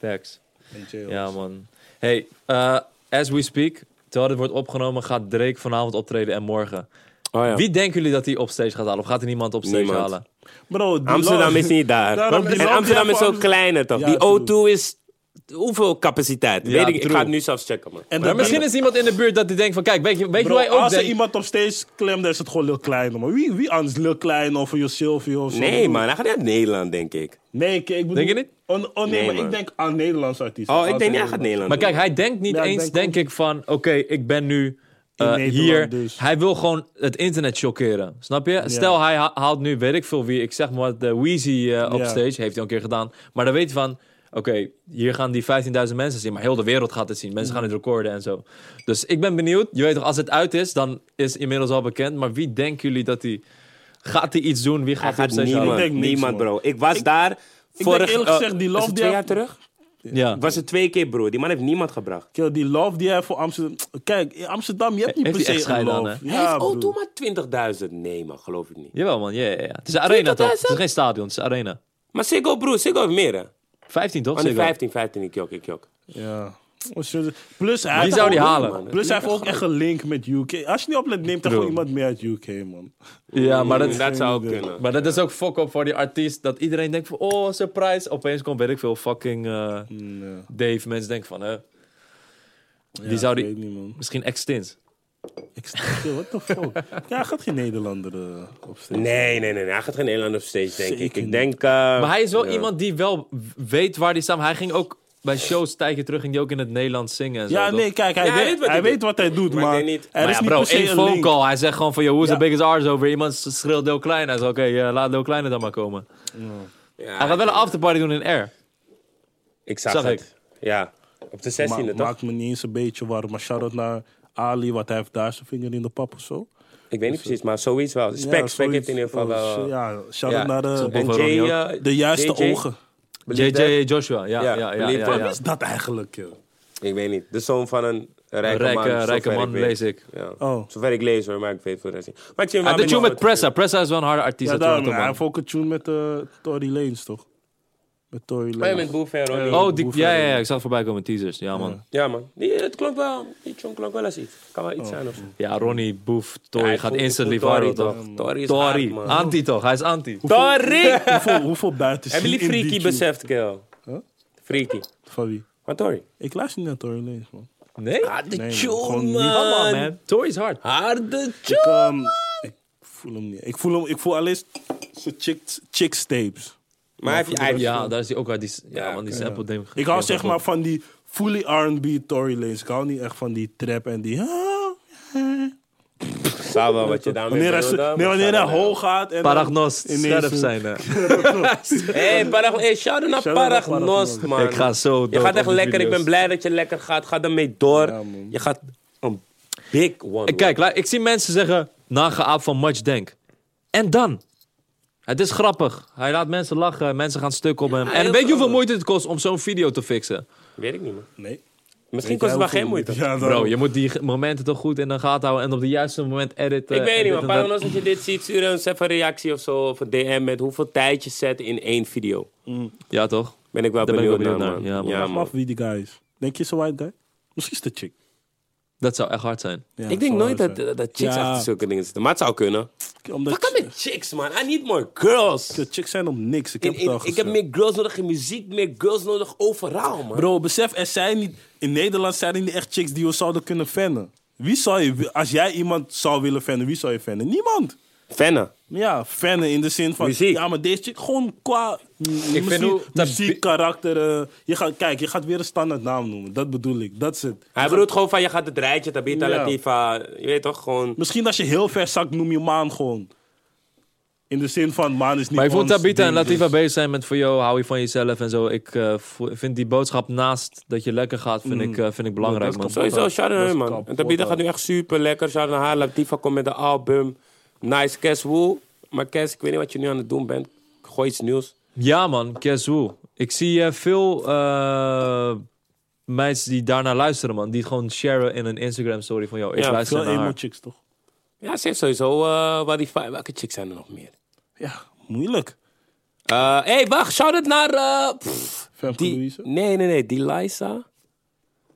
Speaker 3: Thanks.
Speaker 2: Weet je,
Speaker 3: Ja, man. Hey, eh, as we speak, terwijl dit wordt opgenomen, gaat Drake vanavond optreden en morgen.
Speaker 1: Oh, ja.
Speaker 3: Wie denken jullie dat hij op stage gaat halen? Of gaat er niemand op stage
Speaker 1: Niemand.
Speaker 3: halen?
Speaker 2: Bro, die
Speaker 1: Amsterdam
Speaker 2: lo-
Speaker 1: is niet daar.
Speaker 2: Daarom is
Speaker 1: en
Speaker 2: Amsterdam
Speaker 1: Amsterdam is ook
Speaker 2: gewoon-
Speaker 1: kleiner, toch?
Speaker 2: Ja,
Speaker 1: die O2 is... Hoeveel capaciteit?
Speaker 3: Ja,
Speaker 1: Weet ik, ik
Speaker 3: true.
Speaker 1: ga het nu zelfs checken, man.
Speaker 2: En
Speaker 3: Maar
Speaker 2: dat-
Speaker 3: misschien is iemand in de buurt dat die denkt van, kijk, weet je, weet je
Speaker 2: Bro,
Speaker 3: hoe hij ook
Speaker 2: als er
Speaker 3: denkt?
Speaker 2: iemand op steeds klemt, dan is het gewoon Lil Klein. Maar wie, wie anders? Lil Klein of Jo Silvio of zo?
Speaker 1: Nee, man, hij gaat niet naar Nederland, denk ik.
Speaker 2: Nee, ik, ik bedoel...
Speaker 3: Denk je niet?
Speaker 2: Oh, oh, nee,
Speaker 1: Nee,
Speaker 2: maar
Speaker 1: man.
Speaker 2: ik denk aan Nederlandse artiesten.
Speaker 1: Oh, ik
Speaker 2: Als
Speaker 1: denk niet, hij
Speaker 2: er-
Speaker 1: gaat Nederland.
Speaker 3: Maar
Speaker 1: doen.
Speaker 3: kijk, hij denkt niet
Speaker 2: Ja, ik
Speaker 3: eens,
Speaker 2: denk
Speaker 3: denk,
Speaker 2: ook-
Speaker 3: ik, van... Oké, ik ben nu eh,
Speaker 2: Nederland
Speaker 3: hier.
Speaker 2: dus.
Speaker 3: Hij wil gewoon het internet shockeren. Snap je? Stel, hij ha- haalt nu, weet ik veel wie... Ik zeg maar, de Weezy eh, op
Speaker 2: Ja.
Speaker 3: stage. Heeft hij al een keer gedaan. Maar dan weet hij van... Oké, hier gaan die 15.000 mensen zien. Maar heel de wereld gaat het zien. Mensen gaan het recorden en zo. Dus ik ben benieuwd. Je weet toch, als het uit is, dan is inmiddels al bekend. Maar wie denken jullie dat hij... Gaat hij iets doen? Wie
Speaker 1: Hij
Speaker 3: gaat hij op
Speaker 1: gaat
Speaker 3: stage halen?
Speaker 1: niemand,
Speaker 2: Ik denk niks,
Speaker 1: niemand,
Speaker 2: man.
Speaker 1: bro. Ik was daar vorig...
Speaker 2: eerlijk
Speaker 1: eh,
Speaker 2: gezegd, die
Speaker 1: is
Speaker 2: Love
Speaker 1: het
Speaker 2: die
Speaker 1: twee jaar
Speaker 2: heeft-
Speaker 1: terug?
Speaker 3: Ja.
Speaker 1: Was het twee keer, bro. Die man heeft niemand gebracht.
Speaker 2: Kill, die love die hij voor Amsterdam... Kijk, in Amsterdam, je hebt niet
Speaker 3: Heeft
Speaker 2: per
Speaker 3: hij echt
Speaker 2: se een
Speaker 3: scheid aan,
Speaker 2: love.
Speaker 3: hè?
Speaker 1: Hij heeft
Speaker 2: broer.
Speaker 1: O2 maar 20.000. Nee, man, geloof ik niet.
Speaker 3: Jawel, man. Ja, ja, ja. Het is een arena, toch?
Speaker 1: 20.000?
Speaker 3: Het is geen stadion. Het is een arena.
Speaker 1: Maar Siggo, broer, Siggo heeft meer, hè?
Speaker 3: 15, toch?
Speaker 1: Oh, nee,
Speaker 3: Ziggo?
Speaker 1: 15, 15, ik jok, ik jok.
Speaker 2: Ja. Plus hij
Speaker 3: Wie
Speaker 2: heeft
Speaker 3: zou die
Speaker 2: ook-
Speaker 3: halen?
Speaker 2: Plus hij heeft ook echt een link met UK. Als je niet oplet, neemt hij gewoon iemand mee uit UK, man.
Speaker 3: Ja, maar
Speaker 1: dat,
Speaker 3: dat,
Speaker 1: zou ook kunnen.
Speaker 3: maar dat is ook fuck op voor die artiest. Dat iedereen denkt van, oh, surprise. Opeens komt, weet ik veel, fucking eh,
Speaker 2: Nee.
Speaker 3: Dave. Mensen denken van, hè.
Speaker 2: Mm, Ja,
Speaker 3: die zou
Speaker 2: Ik
Speaker 3: die...
Speaker 2: weet niet, man.
Speaker 3: Misschien extins.
Speaker 2: Ik snap je, what the fuck?
Speaker 3: (laughs)
Speaker 2: Ja, hij gaat geen Nederlander eh, opsteken.
Speaker 1: Nee, nee, nee, nee. Hij gaat geen Nederlander op stage, denk ik.
Speaker 2: Zeker
Speaker 1: Ik
Speaker 2: niet.
Speaker 1: denk... eh,
Speaker 3: Maar hij is wel
Speaker 1: ja.
Speaker 3: iemand die wel weet waar hij staat. Hij ging ook bij shows tijdje terug, ging die ook in het Nederlands zingen en zo.
Speaker 2: Ja,
Speaker 3: toch?
Speaker 2: nee, kijk, hij,
Speaker 1: Ja, hij
Speaker 2: weet,
Speaker 1: weet wat
Speaker 2: hij
Speaker 1: hij
Speaker 2: weet
Speaker 1: doet.
Speaker 2: wat hij doet,
Speaker 1: Maar
Speaker 2: maar,
Speaker 1: ik denk niet-
Speaker 2: er
Speaker 3: Maar
Speaker 2: is
Speaker 3: ja,
Speaker 2: niet
Speaker 3: bro,
Speaker 2: per se
Speaker 3: één
Speaker 2: een
Speaker 3: phone
Speaker 2: link.
Speaker 3: call. Hij zegt gewoon van, yo, who's
Speaker 2: Ja.
Speaker 3: the biggest arse over? Iemand schreeuwt Deel Klein. Hij zegt, oké, eh, laat Deel Klein dan maar komen.
Speaker 1: Ja,
Speaker 3: Hij gaat wel een
Speaker 1: ik-
Speaker 3: afterparty doen in R.
Speaker 1: Ik zag,
Speaker 3: Zag
Speaker 1: het.
Speaker 3: ik.
Speaker 1: Ja. Op de 16e,
Speaker 2: Ma-
Speaker 1: toch?
Speaker 2: maakt me niet eens een beetje warm. Maar shout-out naar Ali, wat hij heeft daar zijn vinger in de pap of zo.
Speaker 1: Ik weet niet precies, maar zoiets wel. Spec,
Speaker 2: Ja,
Speaker 1: Spec heeft in ieder
Speaker 2: zoiets.
Speaker 1: geval
Speaker 2: Oh,
Speaker 1: wel...
Speaker 2: shit, Ja, shout-out
Speaker 1: Ja.
Speaker 2: naar de,
Speaker 1: En
Speaker 3: Bob
Speaker 1: Jay,
Speaker 3: Ronnie
Speaker 1: eh,
Speaker 2: de juiste
Speaker 1: JJ?
Speaker 2: ogen.
Speaker 1: Believe that?
Speaker 3: JJ Joshua, ja,
Speaker 1: Ja,
Speaker 3: ja, ja. ja,
Speaker 1: believe that.
Speaker 3: ja.
Speaker 2: Wat is dat eigenlijk, joh?
Speaker 1: Ik weet niet. De zoon van een rijke,
Speaker 3: Rijke-
Speaker 1: man.
Speaker 3: rijke
Speaker 1: zover
Speaker 3: man,
Speaker 1: weet.
Speaker 3: lees ik.
Speaker 1: Ja.
Speaker 2: Oh.
Speaker 1: Zover ik lees hoor, maar ik weet voor de rest niet. Maar ik zie hem
Speaker 3: Hij
Speaker 1: wel
Speaker 3: had een Ah, tune
Speaker 1: met-
Speaker 3: met Pressa. Pressa is wel een harde artiest.
Speaker 2: Ja,
Speaker 3: dat doet
Speaker 2: daarom.
Speaker 3: het
Speaker 2: Hij
Speaker 3: ook,
Speaker 2: heeft ook een tune met eh Tory Lanez, toch? Met Tory
Speaker 1: Oh ja,
Speaker 2: Lanez.
Speaker 1: met Boefer, hoor.
Speaker 3: man.
Speaker 1: Die-
Speaker 3: Oh, die, ja,
Speaker 2: eh,
Speaker 3: ja, ja, ik zag het voorbij komen in teasers. Ja, man.
Speaker 1: Ja, man. Die, het klonk wel. Die tune klonk wel als iets. Kan wel
Speaker 2: Oh.
Speaker 1: iets zijn of zo.
Speaker 3: Ja, Ronnie, Boef, Tory
Speaker 1: Ja, ik
Speaker 3: gaat
Speaker 1: voel-
Speaker 3: instantly
Speaker 1: ik voel Tory
Speaker 3: viral, toch?
Speaker 1: toch? Tory is
Speaker 3: Tory,
Speaker 1: hard, man.
Speaker 3: anti toch? Hij is anti.
Speaker 1: Tori!
Speaker 2: (laughs) hoeveel, hoeveel buiten
Speaker 1: Hebben jullie
Speaker 2: in die
Speaker 1: Freaky
Speaker 2: tune?
Speaker 1: beseft, Kel? Freaky.
Speaker 2: Van wie?
Speaker 1: Maar Tori. Ah,
Speaker 2: Ik luister niet naar Tory Lanez, man.
Speaker 3: Nee?
Speaker 1: Harde
Speaker 2: Nee, tune, gewoon niet. man.
Speaker 3: Come on, man. Tory is hard.
Speaker 1: Harde
Speaker 2: Ik, ehm, ik voel hem niet. Ik voel, hem, ik voel alleen zijn chicks, chicks tapes.
Speaker 1: Maar hij heeft hij heeft-
Speaker 3: Ja, daar is hij ook hard. Die, s- ja,
Speaker 1: Ja,
Speaker 3: man, die
Speaker 1: oké.
Speaker 3: sample ding.
Speaker 2: Ik hou zeg maar van die fully R&B Tory Lanez. Ik hou niet echt van die trap en die... "Ah."
Speaker 1: Zou wel wat je daarmee
Speaker 2: Wanneer hij,
Speaker 1: bedoelde,
Speaker 2: zo-
Speaker 1: maar
Speaker 2: nee, wanneer
Speaker 1: zou
Speaker 2: hij
Speaker 1: wel.
Speaker 2: hoog gaat en... dan
Speaker 3: Paragnost,
Speaker 2: ineens-
Speaker 3: scherp (laughs) zijn. hè.
Speaker 1: Hey, Parag hey, shout-out naar
Speaker 2: Shout-out naar
Speaker 1: Paragnost,
Speaker 2: Paragnost.
Speaker 1: man.
Speaker 3: Ik ga zo
Speaker 1: Je
Speaker 3: dood op
Speaker 1: gaat echt
Speaker 3: die
Speaker 1: lekker. Ik
Speaker 3: video's.
Speaker 1: ben blij dat je lekker gaat. Ga ermee door.
Speaker 2: Ja, man.
Speaker 1: je gaat een big one.
Speaker 3: Ik Kijk, la- ik zie mensen zeggen, nageaap van Much Denk. En dan? Het is grappig. Hij laat mensen lachen, mensen gaan stuk op hem. En
Speaker 1: heel
Speaker 3: weet je hoeveel
Speaker 1: grappig.
Speaker 3: moeite het kost om zo'n video te fixen?
Speaker 1: Weet ik niet, man.
Speaker 2: Nee.
Speaker 1: Misschien kost het wel geen moeite.
Speaker 2: Ja, daarom.
Speaker 3: Bro, je moet die g- momenten toch goed in de gaten houden en op het juiste moment editen.
Speaker 1: Ik weet
Speaker 3: en
Speaker 1: niet,
Speaker 3: dit
Speaker 1: man.
Speaker 3: en dat.
Speaker 1: Paragnost, als je dit ziet, stuur ons even een reactie of zo. Of een DM met hoeveel tijd je zet in één video.
Speaker 3: Ja, toch?
Speaker 1: Ben ik wel
Speaker 3: Daar ben ik
Speaker 1: benieuwd,
Speaker 3: wel benieuwd
Speaker 1: naar,
Speaker 3: naar.
Speaker 1: man.
Speaker 3: Ja, man.
Speaker 2: Vraag me af wie die guy is. Denk je is een white guy? Misschien is het een chick.
Speaker 3: Dat zou echt hard zijn.
Speaker 2: Ja,
Speaker 1: ik denk
Speaker 2: zal
Speaker 1: nooit
Speaker 2: hij
Speaker 1: dat,
Speaker 2: zijn.
Speaker 1: dat chicks
Speaker 2: Ja.
Speaker 1: achter zulke dingen zitten. Maar het zou kunnen.
Speaker 2: Omdat
Speaker 1: Wat kan
Speaker 2: chi-
Speaker 1: met chicks, man? I need more girls.
Speaker 2: de chicks zijn om niks. Ik
Speaker 1: In-
Speaker 2: heb het
Speaker 1: in-
Speaker 2: al
Speaker 1: ik heb
Speaker 2: gezegd.
Speaker 1: meer girls nodig in muziek, meer girls nodig overal, man.
Speaker 2: Bro, besef, er zijn niet... In Nederland zijn er niet echt chicks die we zouden kunnen fannen. Wie zou je... wi- Als jij iemand zou willen fannen, wie zou je fannen? Niemand.
Speaker 1: Fennen.
Speaker 2: Ja, fannen in de zin van...
Speaker 1: Muziek.
Speaker 2: Ja, maar deze chick gewoon qua... Ik
Speaker 3: vind hoe- dat
Speaker 2: muziek, karakter... eh, je gaat, kijk, je gaat weer een standaard naam noemen. Dat bedoel ik. Dat is het.
Speaker 1: Hij bedoelt gewoon van, je gaat het rijtje, Tabita
Speaker 2: Ja.
Speaker 1: Latifa. Je weet toch, gewoon...
Speaker 2: Misschien als je heel ver zakt, noem je Maan gewoon. In de zin van Maan is niet
Speaker 3: Maar ik vond
Speaker 2: ons
Speaker 3: Tabita en
Speaker 2: ding,
Speaker 3: Latifa
Speaker 2: dus-
Speaker 3: bezig zijn met voor jou, hou je van jezelf en zo. Ik eh, vo- vind die boodschap naast dat je lekker gaat, vind, ik, eh, vind ik belangrijk,
Speaker 2: Mm. dat
Speaker 3: man.
Speaker 2: kan-
Speaker 1: Sowieso,
Speaker 2: Dat-
Speaker 1: shout
Speaker 2: dat
Speaker 1: out
Speaker 2: is
Speaker 1: hem, man.
Speaker 2: kapot,
Speaker 1: En Tabitha
Speaker 2: man.
Speaker 1: gaat nu echt super lekker. Shout out naar haar. Latifa komt met een album. Nice, Kes Wool. Maar Kes, ik weet niet wat je nu aan het doen bent. Gooi iets nieuws.
Speaker 3: Ja, man, guess who? Ik zie eh, veel eh meisjes die daarnaar luisteren, man. Die het gewoon sharen in een Instagram-story van, jou. ik
Speaker 1: Ja,
Speaker 3: luister
Speaker 2: Veel
Speaker 3: naar
Speaker 2: emo
Speaker 3: haar.
Speaker 2: chicks, toch?
Speaker 1: Ja, ze heeft sowieso... eh waar die, fi- welke chicks zijn er nog meer?
Speaker 2: Ja, moeilijk.
Speaker 1: Hé, hey, wacht. Shout out naar... eh, pff,
Speaker 2: Femke
Speaker 1: die,
Speaker 2: Louise?
Speaker 1: Nee, nee, nee. Die Liza.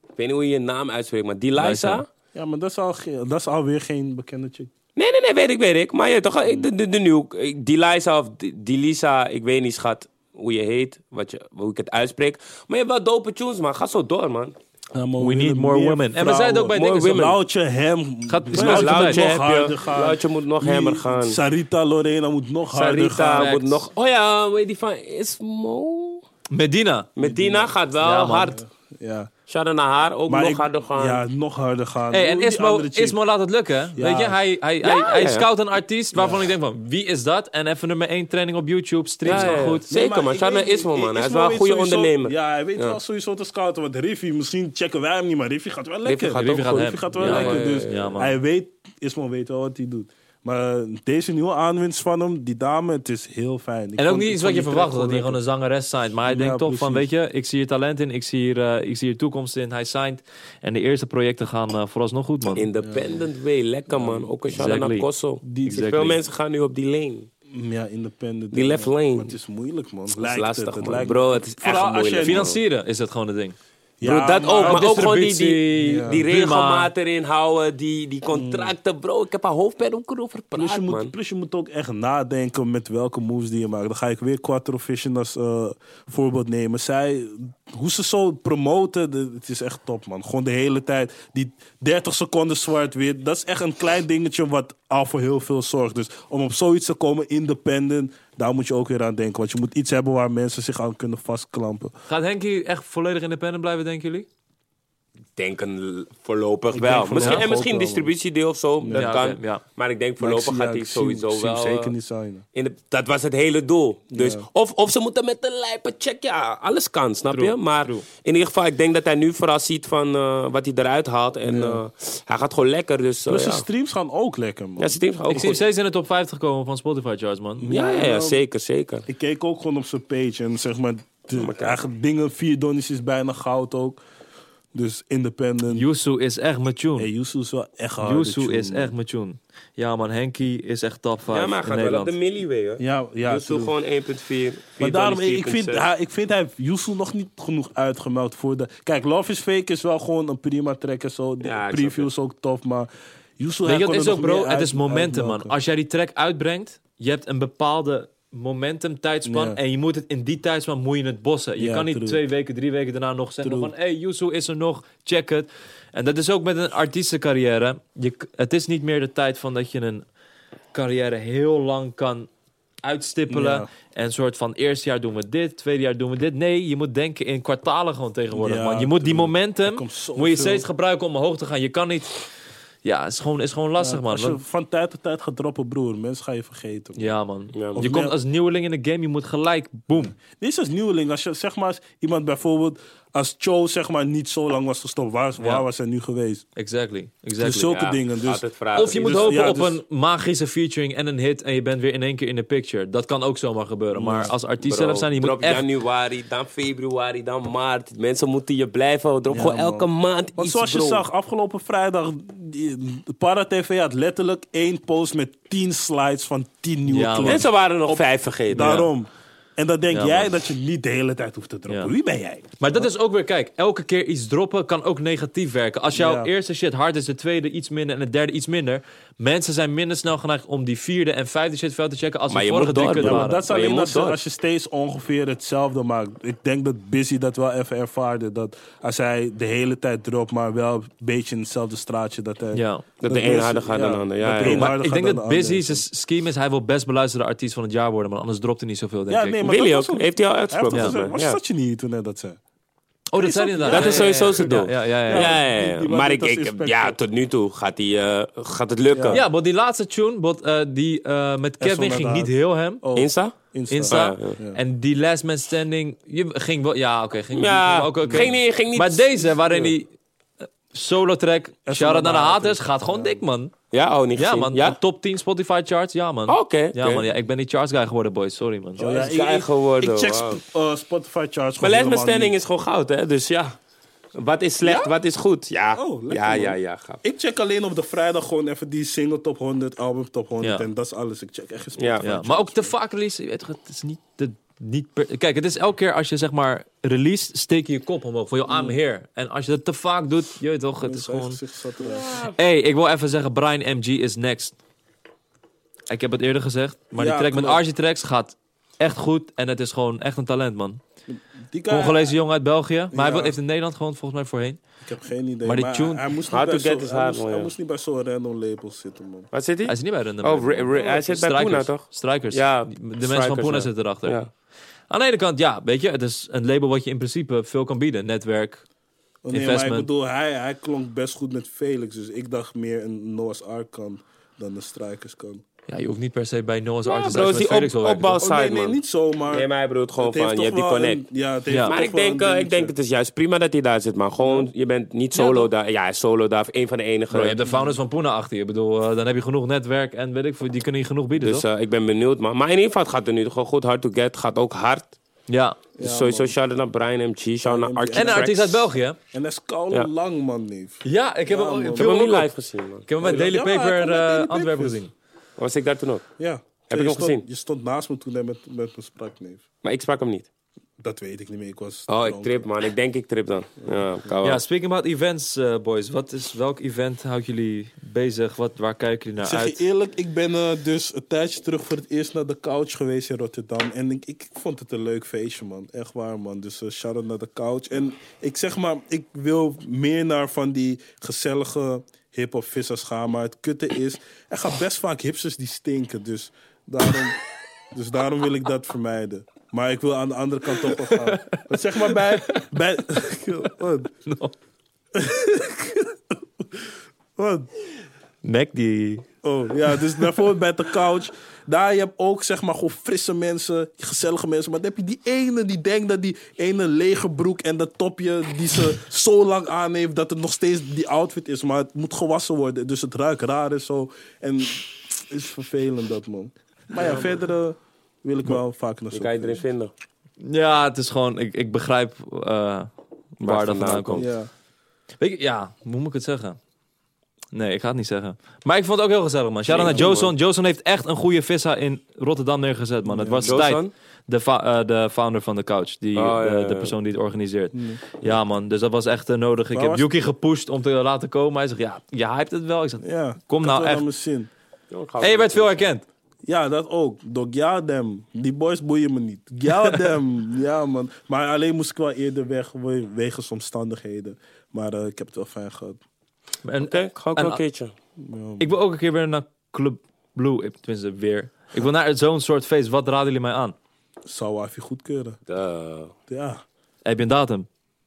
Speaker 1: Ik weet niet hoe je je naam uitspreekt, maar die Liza.
Speaker 3: Liza.
Speaker 2: Ja, maar dat is, al ge- dat is alweer geen bekende chick.
Speaker 1: Nee, nee, nee, weet ik, weet ik. Maar je, toch, ik- de, de, de nieuw, ik- die Liza of die- die Lisa, ik weet niet, schat, hoe je heet, wat je, hoe ik het uitspreek. Maar je hebt wel dope tunes, man. Ga zo door, man.
Speaker 3: we need more women. En we zijn het ook bij
Speaker 1: More
Speaker 3: dingen zo.
Speaker 1: women.
Speaker 2: Loutje, hem.
Speaker 3: Gaat- is
Speaker 2: Loutje
Speaker 3: best wel
Speaker 2: moet
Speaker 3: tijd.
Speaker 2: nog
Speaker 1: Heb je-
Speaker 2: harder gaan.
Speaker 1: Loutje moet nog
Speaker 2: Die
Speaker 1: hammer gaan.
Speaker 2: Sarita Lorena moet nog harder gaan.
Speaker 1: Sarita
Speaker 3: gaan.
Speaker 1: moet nog... Oh ja, weet die van Ismo?
Speaker 3: Medina.
Speaker 1: Medina gaat wel
Speaker 3: Ja, man.
Speaker 1: hard.
Speaker 2: Ja.
Speaker 1: Shout-out naar haar, ook nog harder gaan.
Speaker 2: Ja, nog harder gaan.
Speaker 3: Hey, en
Speaker 2: Hoe die
Speaker 3: Ismo,
Speaker 2: andere chick.
Speaker 3: Ismo laat het lukken. hè? Weet je, hij, hij, hij, hij
Speaker 1: ja.
Speaker 3: scout een artiest waarvan ik denk van, wie is dat? En even nummer 1 training op YouTube, streams
Speaker 1: Ja, ja,
Speaker 3: gewoon
Speaker 1: ja.
Speaker 3: goed.
Speaker 1: Zeker,
Speaker 2: Nee, maar
Speaker 1: man.
Speaker 2: ik
Speaker 1: Shout-out
Speaker 2: weet-
Speaker 1: naar Ismo, man. Hij is
Speaker 2: Ismo
Speaker 1: wel een
Speaker 2: weet
Speaker 1: goede
Speaker 2: sowieso-
Speaker 1: ondernemer.
Speaker 2: Ja, hij weet wel sowieso te scouten. Want Riffy, misschien checken wij hem niet, maar Riffy gaat wel lekker.
Speaker 1: gaat
Speaker 3: ook
Speaker 2: Riffy
Speaker 3: goed.
Speaker 2: gaat wel
Speaker 3: Ja,
Speaker 2: lekker.
Speaker 3: man.
Speaker 2: dus
Speaker 3: Ja, man.
Speaker 2: hij weet, Ismo weet wel wat hij doet. Maar eh, deze nieuwe aanwinst van hem, die dame, het is heel fijn. Ik
Speaker 3: En ook
Speaker 2: vond-
Speaker 3: niet
Speaker 2: ik
Speaker 3: iets
Speaker 2: vond
Speaker 3: wat je
Speaker 2: die
Speaker 3: verwacht,
Speaker 2: track
Speaker 3: dat hij gewoon een zangeres signed. Maar hij
Speaker 2: Ja,
Speaker 3: denkt toch van, weet
Speaker 2: precies.
Speaker 3: je, ik zie hier talent in, ik zie hier, eh, ik zie hier toekomst in. Hij signed. En de eerste projecten gaan eh, vooralsnog goed, man.
Speaker 1: Independent way, lekker, man. Ook een shout-out
Speaker 3: Exactly.
Speaker 1: naar Kosso.
Speaker 2: Die-
Speaker 1: Ik zie
Speaker 3: Exactly.
Speaker 1: Veel mensen gaan nu op die lane.
Speaker 2: Mm, Ja, independent.
Speaker 1: Die left lane.
Speaker 2: Maar het is moeilijk, man.
Speaker 1: Dat is
Speaker 2: Lijkt het,
Speaker 1: lastig,
Speaker 2: het
Speaker 1: man.
Speaker 2: lijkt-
Speaker 1: Bro, het is echt
Speaker 2: Vooral als je
Speaker 1: moeilijk. man.
Speaker 3: Financieren is dat gewoon het ding.
Speaker 1: Bro, dat
Speaker 2: maar-
Speaker 1: ook, maar ook gewoon die, die,
Speaker 3: distributie,
Speaker 1: die
Speaker 3: prima.
Speaker 1: regelmaat erin houden, die, die contracten, bro. Ik heb een hoofdpijn om erover te
Speaker 2: Plus je,
Speaker 1: praten,
Speaker 2: moet,
Speaker 1: man.
Speaker 2: plus je moet ook echt nadenken met welke moves die je maakt. Dan ga ik weer Quattro Vision als eh, voorbeeld nemen. Zij, hoe ze zo promoten, de- het is echt top man. Gewoon de hele tijd, die 30 seconden zwart weer. Dat is echt een klein dingetje wat al voor heel veel zorgt. Dus om op zoiets te komen, independent, daar moet je ook weer aan denken. Want je moet iets hebben waar mensen zich aan kunnen vastklampen.
Speaker 3: Gaat Henky echt volledig independent blijven, denken jullie?
Speaker 1: Ik denk een, voorlopig wel.
Speaker 2: Ik denk voorlopig
Speaker 1: misschien, en misschien
Speaker 2: ook wel,
Speaker 1: een
Speaker 2: man.
Speaker 1: distributiedeel of zo, dat
Speaker 3: Ja,
Speaker 1: kan.
Speaker 3: oké, ja.
Speaker 1: Maar ik denk
Speaker 2: Maar ik
Speaker 1: voorlopig
Speaker 2: zie- ja,
Speaker 1: gaat hij
Speaker 2: ik zie-
Speaker 1: sowieso
Speaker 2: ik zie hem
Speaker 1: wel...
Speaker 2: zeker
Speaker 1: eh,
Speaker 2: niet zijn.
Speaker 1: in de- dat was het hele doel. Dus,
Speaker 2: Ja.
Speaker 1: of, of ze moeten met de lijpen checken. Ja, alles kan, snap
Speaker 3: True,
Speaker 1: je? Maar
Speaker 3: true.
Speaker 1: in ieder geval, ik denk dat hij nu vooral ziet van eh, wat hij eruit haalt. En eh, hij gaat gewoon lekker, dus... eh,
Speaker 2: Plus
Speaker 1: ja.
Speaker 2: de streams gaan ook lekker man.
Speaker 1: ja, zijn team gaat ook
Speaker 3: Ik zie hem
Speaker 1: goed.
Speaker 3: steeds in de top 50 komen van Spotify charts, man.
Speaker 1: Ja, ja, ja, zeker, zeker.
Speaker 2: Ik keek ook gewoon op zijn page en zeg maar, de, eigen dingen, vier donnies is bijna goud ook. Dus independent.
Speaker 3: Yusu is echt mijn tune.
Speaker 2: Hey, Yusu is wel echt hard.
Speaker 3: Yusu is echt mijn tune. Ja, man, Henky is echt top 5
Speaker 1: Ja, maar hij
Speaker 3: in
Speaker 1: gaat wel op
Speaker 3: Nederland.
Speaker 1: de milli weer, hoor.
Speaker 2: Ja, ja.
Speaker 1: dus doe
Speaker 2: true.
Speaker 1: gewoon 1.4.
Speaker 2: maar daarom, ik, ik vind, hij- ik vind hij heeft Yusu nog niet genoeg uitgemeld voor de... Kijk, Love is Fake is wel gewoon een prima track en zo. De
Speaker 1: Ja, ik
Speaker 2: preview
Speaker 1: snap
Speaker 2: is ook tof, maar Yusu...
Speaker 3: Weet
Speaker 2: hij
Speaker 3: je,
Speaker 2: kon
Speaker 3: dat
Speaker 2: er
Speaker 3: is ook,
Speaker 2: nog
Speaker 3: bro.
Speaker 2: meer
Speaker 3: Het
Speaker 2: uit-
Speaker 3: is momentum, man.
Speaker 2: uitmelken.
Speaker 3: Als jij die track uitbrengt, je hebt een bepaalde momentum tijdspan
Speaker 2: Ja.
Speaker 3: en je moet het in die tijdspan moet je het bossen. Je
Speaker 2: Ja,
Speaker 3: kan niet
Speaker 2: true.
Speaker 3: twee weken, drie weken daarna nog zeggen
Speaker 2: True.
Speaker 3: van, hey, Yusu is er nog, check het. En dat is ook met een artiestencarrière. Je, k- het is niet meer de tijd van dat je een carrière heel lang kan uitstippelen
Speaker 2: Ja.
Speaker 3: en een soort van eerste jaar doen we dit, tweede jaar doen we dit. Nee, je moet denken in kwartalen gewoon tegenwoordig,
Speaker 2: Ja,
Speaker 3: man. Je moet die
Speaker 2: true.
Speaker 3: momentum
Speaker 2: Er komt zoveel-
Speaker 3: moet je steeds gebruiken om omhoog te gaan. Je kan niet... Ja, het is gewoon, is gewoon lastig, man.
Speaker 2: Als je
Speaker 3: Want-
Speaker 2: van tijd tot tijd gaat droppen, broer, mensen gaan je vergeten. man.
Speaker 3: ja, man.
Speaker 1: Ja, man.
Speaker 3: Of
Speaker 2: Of
Speaker 3: je komt
Speaker 2: meer-
Speaker 3: als nieuweling in de game, je moet gelijk, boom.
Speaker 2: Dit is als nieuweling. Als je zeg maar als iemand bijvoorbeeld als Cho zeg maar niet zo lang was gestopt, waar, waar was hij nu geweest?
Speaker 3: Exactly,
Speaker 2: Dus
Speaker 3: exactly.
Speaker 2: zulke dingen. Dus
Speaker 1: Altijd vragen.
Speaker 3: of je moet
Speaker 2: Dus-
Speaker 3: hopen
Speaker 2: ja,
Speaker 3: op
Speaker 2: dus-
Speaker 3: een magische featuring en een hit en je bent weer in één keer in de picture. Dat kan ook zomaar gebeuren. Maar
Speaker 2: Mm.
Speaker 3: als artiest
Speaker 1: Bro,
Speaker 3: zelf zijn, je
Speaker 1: drop
Speaker 3: moet echt...
Speaker 1: januari, dan februari, dan maart. Mensen moeten je blijven houden. Drop
Speaker 2: Ja,
Speaker 1: gewoon
Speaker 2: man.
Speaker 1: elke maand
Speaker 2: Want
Speaker 1: iets,
Speaker 2: zoals je
Speaker 1: bro.
Speaker 2: zag, afgelopen vrijdag, die- ParaTV had letterlijk één post met tien slides van tien nieuwe
Speaker 3: Ja, man.
Speaker 2: clips.
Speaker 1: Mensen waren er nog vijf vergeten.
Speaker 2: Daarom. En dan denk
Speaker 3: Ja,
Speaker 2: jij
Speaker 3: man.
Speaker 2: dat je niet de hele tijd hoeft te droppen.
Speaker 3: Ja.
Speaker 2: Wie ben jij?
Speaker 3: Maar dat is ook weer, kijk, elke keer iets droppen kan ook negatief werken. Als jouw
Speaker 2: Ja.
Speaker 3: eerste shit hard is, de tweede iets minder en de derde iets minder. Mensen zijn minder snel geneigd om die vierde en vijfde shit veel te checken als
Speaker 1: Maar
Speaker 3: de
Speaker 1: je
Speaker 3: vorige
Speaker 1: moet
Speaker 3: drie
Speaker 1: door,
Speaker 3: kut
Speaker 1: bro.
Speaker 2: Ja, maar
Speaker 3: waren.
Speaker 2: dat is
Speaker 1: Maar je
Speaker 2: alleen
Speaker 1: moet
Speaker 2: als je,
Speaker 1: door.
Speaker 2: als je steeds ongeveer hetzelfde maakt. Ik denk dat Busy dat wel even ervaarde. Dat als hij de hele tijd dropt, maar wel een beetje in hetzelfde straatje. Dat, hij,
Speaker 3: Ja. Dat
Speaker 1: de een
Speaker 2: Busy-
Speaker 1: harder gaat dan de ander. Ja, ja,
Speaker 2: dat de
Speaker 1: ja.
Speaker 2: een
Speaker 1: Maar
Speaker 2: harder
Speaker 3: Ik
Speaker 2: gaat
Speaker 3: denk
Speaker 2: dan
Speaker 3: dat
Speaker 2: de ander.
Speaker 3: Busy zijn scheme is, hij wil best beluisterde artiest van het jaar worden, maar anders dropt hij niet zoveel, denk
Speaker 2: Ja,
Speaker 3: ik.
Speaker 2: nee, maar
Speaker 1: Willy
Speaker 2: dat was
Speaker 1: ook.
Speaker 2: ook-
Speaker 1: Heeft hij al
Speaker 2: Hij heeft
Speaker 1: uitgesproken?
Speaker 2: toch
Speaker 1: volgens
Speaker 2: gezegd,
Speaker 1: mij.
Speaker 2: was
Speaker 1: Ja.
Speaker 2: dat je niet toen hij dat zei?
Speaker 3: oh, dat zei hij inderdaad.
Speaker 1: Dat is
Speaker 3: Ja, ja,
Speaker 1: sowieso
Speaker 3: ja,
Speaker 1: zijn doel.
Speaker 3: Ja, ja, ja. ja.
Speaker 1: Ja, ja,
Speaker 2: Die-
Speaker 1: ja.
Speaker 2: die
Speaker 1: Maar
Speaker 2: waren
Speaker 1: ik,
Speaker 2: net als
Speaker 1: ik,
Speaker 2: inspector.
Speaker 1: ja, tot nu toe gaat, die, eh, gaat het lukken.
Speaker 3: Ja, want die laatste tune bot, eh, die eh, met Kevin ging
Speaker 2: inderdaad.
Speaker 3: niet heel hem.
Speaker 2: Oh,
Speaker 1: Insta?
Speaker 2: Insta.
Speaker 3: Insta.
Speaker 1: Oh, ja,
Speaker 2: ja.
Speaker 3: En die Last Man Standing je, ging wel... Ja, oké. ging,
Speaker 1: Ja,
Speaker 3: ging wel- oké, oké.
Speaker 1: ging niet- ging niet-
Speaker 3: Maar deze, waarin die eh, solo track...
Speaker 2: van
Speaker 3: Shout-out naar de
Speaker 2: de
Speaker 3: haters.
Speaker 2: haters.
Speaker 3: Gaat gewoon dik, man.
Speaker 1: Ja, oh, niet
Speaker 3: Ja,
Speaker 1: gezien.
Speaker 3: man.
Speaker 1: Ja?
Speaker 3: Top 10 Spotify charts. Ja, man.
Speaker 1: Oh, oké,
Speaker 3: Ja,
Speaker 1: oké.
Speaker 3: man. Ja, ik ben die charts guy geworden, boys. Sorry, man.
Speaker 2: Oh,
Speaker 1: Dat is klein geworden,
Speaker 2: Ik check
Speaker 1: wauw.
Speaker 2: sp- eh, Spotify charts.
Speaker 1: Maar
Speaker 2: gewoon
Speaker 1: Last Man
Speaker 2: helemaal
Speaker 1: Standing
Speaker 2: niet.
Speaker 1: is gewoon goud, hè? Dus ja. Wat is slecht, wat is goed? Ja.
Speaker 2: Oh, lekker,
Speaker 1: ja,
Speaker 2: man.
Speaker 1: ja, ja, gaaf.
Speaker 2: Ik check alleen op de vrijdag gewoon even die single top 100, album top 100
Speaker 3: Ja.
Speaker 2: en dat is alles. Ik check echt geen
Speaker 1: Ja.
Speaker 2: Spotify.
Speaker 3: Ja, maar ook te vaak release. Je weet toch, het is niet... De, niet per- Kijk, het is elke keer als je zeg maar release, steek je je kop omhoog. Voor
Speaker 1: Mm.
Speaker 3: jou, I'm here. En als je dat te vaak doet, je weet toch, het is
Speaker 2: Mensen eigen
Speaker 3: gewoon...
Speaker 2: gezicht zat eruit.
Speaker 3: Hey, ik wil even zeggen, Brian MG is next. Ik heb het eerder gezegd, maar
Speaker 2: Ja,
Speaker 3: die track met
Speaker 2: klopt.
Speaker 3: Argitrax gaat echt goed en het is gewoon echt een talent, man.
Speaker 2: Die guy,
Speaker 3: Congolese jongen uit België, maar hij
Speaker 2: Ja.
Speaker 3: wo- heeft in Nederland gewoon volgens mij voorheen.
Speaker 2: Ik heb geen idee.
Speaker 3: Maar
Speaker 2: Maar,
Speaker 3: die tune-
Speaker 2: hij, hij moest
Speaker 1: Hard
Speaker 2: niet
Speaker 1: to
Speaker 2: bij
Speaker 1: Get
Speaker 2: zo-
Speaker 1: is
Speaker 2: hij
Speaker 1: hard,
Speaker 2: moest-
Speaker 1: man,
Speaker 2: hij
Speaker 1: ja.
Speaker 2: moest niet bij zo'n random label zitten, man.
Speaker 1: Wat zit
Speaker 3: Hij
Speaker 1: hij?
Speaker 3: is niet bij Random.
Speaker 1: Oh,
Speaker 3: Random.
Speaker 1: Ra- Ra- hij zit bij Poena,
Speaker 3: Strikers.
Speaker 1: toch?
Speaker 3: Strikers.
Speaker 1: Ja,
Speaker 3: de mensen van
Speaker 1: Strikers,
Speaker 3: Poena
Speaker 1: ja.
Speaker 3: zitten erachter.
Speaker 1: Ja.
Speaker 3: Aan de ene kant, ja, weet je, het is een label wat je in principe veel kan bieden. Netwerk.
Speaker 2: Oh, nee, maar ik
Speaker 3: Investment.
Speaker 2: bedoel, hij, hij klonk best goed met Felix, dus ik dacht meer een Noah's Ark kan dan de Strikers kan.
Speaker 3: Ja, je hoeft niet per se bij Noah's
Speaker 1: Ja,
Speaker 3: Artist
Speaker 1: bro,
Speaker 3: Arts
Speaker 1: die
Speaker 3: met Felix
Speaker 1: op-
Speaker 3: wel werken,
Speaker 1: opbouw-
Speaker 3: toch?
Speaker 2: Oh, nee,
Speaker 1: Side,
Speaker 2: nee,
Speaker 1: man.
Speaker 2: niet zomaar.
Speaker 1: Nee, maar hij bedoelt gewoon
Speaker 2: Het heeft
Speaker 1: van, je
Speaker 2: toch
Speaker 1: hebt die
Speaker 2: wel een-
Speaker 1: connect.
Speaker 2: ja, het heeft
Speaker 3: Ja.
Speaker 2: toch
Speaker 1: Maar ik
Speaker 2: wel
Speaker 1: denk,
Speaker 2: een
Speaker 1: eh, ik denk
Speaker 2: dingetje.
Speaker 1: het is juist prima dat hij daar zit, man. Gewoon, je bent niet solo daar. Ja, hij is solo daar, een van de enige.
Speaker 3: Bro, je hebt de founders van Poena achter je. Ik bedoel, eh, dan heb je genoeg netwerk en weet ik veel, die kunnen je genoeg bieden,
Speaker 1: dus
Speaker 3: toch?
Speaker 1: eh, ik ben benieuwd, man. Maar in ieder geval, het gaat er nu gewoon goed. Hard to get gaat ook hard.
Speaker 3: Ja.
Speaker 1: Dus
Speaker 2: Ja,
Speaker 1: sowieso
Speaker 2: man.
Speaker 1: shout-out naar Brian MG, shout-out naar
Speaker 2: En
Speaker 1: Archie
Speaker 3: En een
Speaker 1: Tracks.
Speaker 3: artiest uit België, hè?
Speaker 2: En dat is koude
Speaker 1: Ja.
Speaker 2: lang, man, neef.
Speaker 3: Ja, ik heb,
Speaker 2: Ja,
Speaker 3: hem, ook-
Speaker 2: man.
Speaker 3: ik
Speaker 1: Ik heb hem
Speaker 3: hem ook
Speaker 1: niet
Speaker 3: op-
Speaker 1: live gezien, man.
Speaker 3: Ik heb hem met
Speaker 2: Ja,
Speaker 3: Daily
Speaker 2: ja, ik heb
Speaker 3: Paper
Speaker 2: hem met
Speaker 3: eh,
Speaker 2: Daily
Speaker 3: Antwerpen
Speaker 2: Papers.
Speaker 3: gezien.
Speaker 1: Was ik daar toen ook?
Speaker 2: Ja. Heb
Speaker 1: hem
Speaker 2: je stond,
Speaker 1: gezien.
Speaker 2: Je stond naast me toen hij met, met me sprak, neef.
Speaker 1: Maar ik sprak hem niet.
Speaker 2: Dat weet ik niet meer. Ik was
Speaker 1: Oh, ik trip, man. Ik denk ik trip dan. Ja, kan wel.
Speaker 3: Ja, speaking about events, eh, boys. Wat is, welk event houdt jullie bezig? Wat, waar kijken jullie
Speaker 2: Ik
Speaker 3: naar
Speaker 2: zeg je
Speaker 3: Nou, uit?
Speaker 2: eerlijk, ik ben eh, dus een tijdje terug voor het eerst naar de couch geweest in Rotterdam. En ik, ik vond het een leuk feestje, man. Echt waar, man. Dus eh shout-out naar de couch. En ik zeg maar, ik wil meer naar van die gezellige hip-hop vissers gaan. Maar het kutte is, er gaan best vaak hipsters die stinken. Dus daarom, dus daarom wil ik dat vermijden. Maar ik wil aan de andere kant ook wel gaan. Want zeg maar bij... bij (laughs) wat? Wat?
Speaker 3: Nek die...
Speaker 2: Oh, ja, dus bijvoorbeeld bij de couch. Daar je hebt ook zeg maar gewoon frisse mensen, gezellige mensen. Maar dan heb je die ene die denkt dat die ene lege broek en dat topje die ze zo lang aan heeft dat het nog steeds die outfit is. Maar het moet gewassen worden, dus het ruikt raar en zo. En het is vervelend dat man. Maar ja, verder eh, wil ik wel vaak naar
Speaker 1: Je
Speaker 2: zo'n
Speaker 1: kan je erin
Speaker 2: feest.
Speaker 1: vinden.
Speaker 3: Ja, het is gewoon... Ik, ik begrijp eh, waar dat
Speaker 1: vandaan
Speaker 3: vandaan komt.
Speaker 2: Ja.
Speaker 3: Weet je, ja, hoe moet ik het zeggen? Nee, ik ga het niet zeggen. Maar ik vond het ook heel gezellig, man. Shout-out
Speaker 1: Nee,
Speaker 3: naar
Speaker 1: man.
Speaker 3: Joson. Joson heeft echt een goede vissa in Rotterdam neergezet, man. Het was tijd.
Speaker 1: Josan?
Speaker 3: De, fa- eh, de founder van de couch. Die, eh,
Speaker 1: Oh, ja,
Speaker 3: de,
Speaker 1: ja, Mm. ja.
Speaker 3: de persoon die het organiseert. Ja, man. Dus dat was echt eh, nodig. Ik
Speaker 2: Maar
Speaker 3: heb
Speaker 2: was-
Speaker 3: Yuki gepusht om te laten komen. Hij zegt, ja, je hypt het wel. Ik zeg,
Speaker 2: Ja,
Speaker 3: Kom
Speaker 2: dat
Speaker 3: nou
Speaker 2: wel
Speaker 3: echt.
Speaker 2: naar mijn zin.
Speaker 3: hey, je werd veel herkend.
Speaker 2: Ja, dat ook. Door Gyaldem. Die boys boeien me niet. Gyaldem. ja, man. Maar alleen moest ik wel eerder weg we- wegens omstandigheden. Maar eh, ik heb het wel fijn gehad.
Speaker 3: En
Speaker 1: Oké, ik ga ook
Speaker 3: En-
Speaker 1: wel een keertje.
Speaker 3: ik wil ook een keer weer naar Club Blue. Ik- Tenminste, weer. Ik wil naar zo'n soort feest. Wat raden jullie mij aan?
Speaker 2: Zou Wafi goedkeuren.
Speaker 1: Duh.
Speaker 2: Ja.
Speaker 3: Heb je een datum?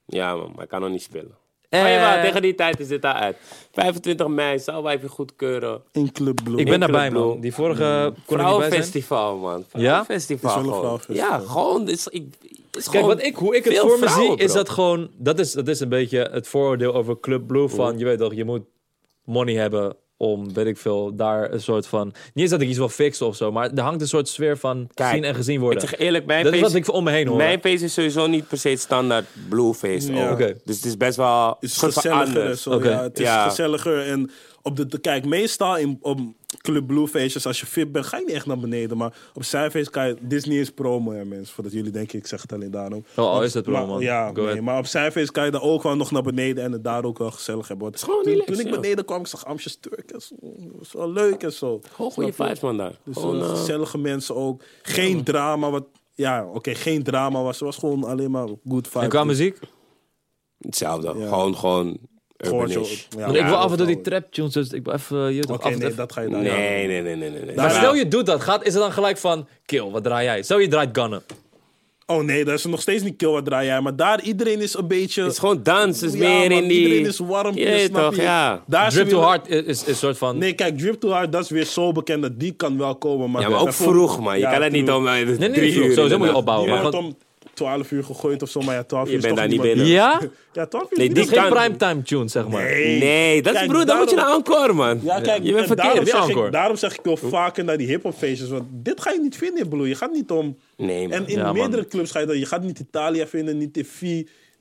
Speaker 3: Eh,
Speaker 1: Ja, man, maar ik kan nog niet spelen. Maar Oh, ja, maar Oh, tegen die tijd is dit al uit. 25 mei, zou wij even goedkeuren.
Speaker 2: In Club Blue.
Speaker 3: Ik ben daarbij,
Speaker 1: Club Blue. Mm.
Speaker 3: man. Die vorige kon ik niet bij zijn.
Speaker 1: Vrouwenfestival, man.
Speaker 2: Is
Speaker 1: Vrouwenfestival.
Speaker 2: wel een
Speaker 1: gewoon.
Speaker 2: vrouwenfestival.
Speaker 1: Ja, gewoon. Dit is, ik, dit is
Speaker 3: Kijk,
Speaker 1: gewoon
Speaker 3: wat ik, hoe ik het
Speaker 1: veel
Speaker 3: voor me
Speaker 1: vrouwen,
Speaker 3: zie, is
Speaker 1: bro.
Speaker 3: dat gewoon... Dat is, dat is een beetje het vooroordeel over Club Blue. Van, je weet toch, je moet money hebben om, weet ik veel, daar een soort van... Niet eens dat ik iets wil fixen of zo, maar er hangt een soort sfeer van
Speaker 1: Kijk,
Speaker 3: zien en gezien
Speaker 1: Ik
Speaker 3: worden.
Speaker 1: zeg eerlijk, mijn
Speaker 3: Dat is
Speaker 1: feest,
Speaker 3: wat ik om me heen hoor.
Speaker 1: mijn feest is sowieso niet per se standaard blue face.
Speaker 2: Ja.
Speaker 1: ook.
Speaker 3: Oké. dus-
Speaker 1: Dus het is best wel
Speaker 2: Het is
Speaker 1: soort van
Speaker 2: gezelliger en
Speaker 1: anders.
Speaker 2: zo.
Speaker 3: Oké.
Speaker 2: Ja, het is
Speaker 1: Ja.
Speaker 2: gezelliger. En op de, de- kijk, meestal in op Club Blue feestjes, als je fit bent, ga je niet echt naar beneden. Maar op zijn feest kan je... Dit is niet eens promo, hè, mensen. Voordat jullie denken, ik zeg het alleen daarom.
Speaker 3: Oh,
Speaker 2: Maar-
Speaker 3: is dat promo,
Speaker 2: maar-
Speaker 3: man?
Speaker 2: Ja,
Speaker 3: Go ahead.
Speaker 2: nee, maar op zijn feest kan je dan ook wel nog naar beneden en het daar ook wel gezellig hebben. Want
Speaker 1: gewoon
Speaker 2: toen,
Speaker 1: relaxed,
Speaker 2: toen ik
Speaker 1: ja.
Speaker 2: beneden kwam, ik zag Amstjes Turk. en zo. Dat was wel leuk en zo.
Speaker 1: Gewoon goede
Speaker 2: Snap je?
Speaker 1: vibes, man, daar.
Speaker 2: Dus eh,
Speaker 3: Oh,
Speaker 1: Gewoon,
Speaker 3: nou.
Speaker 1: eh,
Speaker 2: gezellige mensen ook. Geen drama, wat... Ja, oké, geen drama. Was, het was gewoon alleen maar good vibes.
Speaker 3: En qua muziek?
Speaker 1: hetzelfde.
Speaker 2: Ja.
Speaker 1: Gewoon, gewoon
Speaker 2: Gewoon zo-
Speaker 1: urbanish.
Speaker 2: ja.
Speaker 3: Want ik wil af en toe die
Speaker 2: gewoon.
Speaker 3: trap tunes, dus ik wil even... je weet toch,
Speaker 2: Oké,
Speaker 3: af en toe
Speaker 2: nee,
Speaker 3: even-
Speaker 2: dat ga je daar
Speaker 1: Nee, nee, nee, nee, nee. nee.
Speaker 3: Maar
Speaker 1: Ja.
Speaker 3: stel je doet dat, gaat, is het dan gelijk van... Kill, wat draai jij? Stel je draait Gunna.
Speaker 2: Oh nee, dat is nog steeds niet kill wat draai jij. Maar daar iedereen is een beetje.
Speaker 1: Het is gewoon dans, het is
Speaker 2: Ja,
Speaker 1: meer
Speaker 2: man,
Speaker 1: in die...
Speaker 2: Iedereen is warm.
Speaker 1: Je weet
Speaker 2: snap
Speaker 1: toch,
Speaker 2: je?
Speaker 1: ja.
Speaker 2: Daar is
Speaker 3: Drip
Speaker 2: weer-
Speaker 3: Too Hard is, is, is een soort van...
Speaker 2: Nee, kijk, Drip Too Hard, dat is weer zo bekend. dat Die kan wel komen. Maar
Speaker 1: Ja, maar ook
Speaker 2: daarvoor-
Speaker 1: vroeg, man. Je
Speaker 2: Ja,
Speaker 1: kan het niet
Speaker 2: vroeg.
Speaker 1: om eh,
Speaker 3: nee,
Speaker 1: drie
Speaker 3: vroeg.
Speaker 1: uur.
Speaker 3: Sowieso moet je
Speaker 1: inderdaad.
Speaker 3: opbouwen.
Speaker 2: Die
Speaker 3: maar
Speaker 2: werd
Speaker 3: gewoon-
Speaker 2: om 12 uur gegooid of zo. Maar ja, 12 uur
Speaker 1: Je
Speaker 2: is
Speaker 1: bent
Speaker 2: toch
Speaker 1: daar niet
Speaker 2: meer-
Speaker 1: binnen.
Speaker 3: Ja?
Speaker 2: (laughs) Ja, 12 uur.
Speaker 1: Nee,
Speaker 2: is
Speaker 1: die
Speaker 3: Het is
Speaker 2: niet-
Speaker 3: geen
Speaker 1: kan-
Speaker 3: primetime tune, zeg maar.
Speaker 1: Nee, dat is
Speaker 2: Kijk,
Speaker 1: broer, dan moet je
Speaker 2: daarom-
Speaker 1: naar encore, man.
Speaker 2: Ja,
Speaker 1: je
Speaker 2: kijk,
Speaker 1: bent
Speaker 2: en
Speaker 1: verkeerd.
Speaker 2: daarom
Speaker 3: weer
Speaker 2: zeg,
Speaker 3: encore.
Speaker 2: ik, daarom zeg ik wel vaker naar die hip-hop feestjes. Want dit ga je niet vinden in Blue. Je gaat niet om.
Speaker 1: Nee, man.
Speaker 2: En in
Speaker 3: Ja, man.
Speaker 2: meerdere clubs ga je dat. Je gaat niet Italia vinden, niet TV.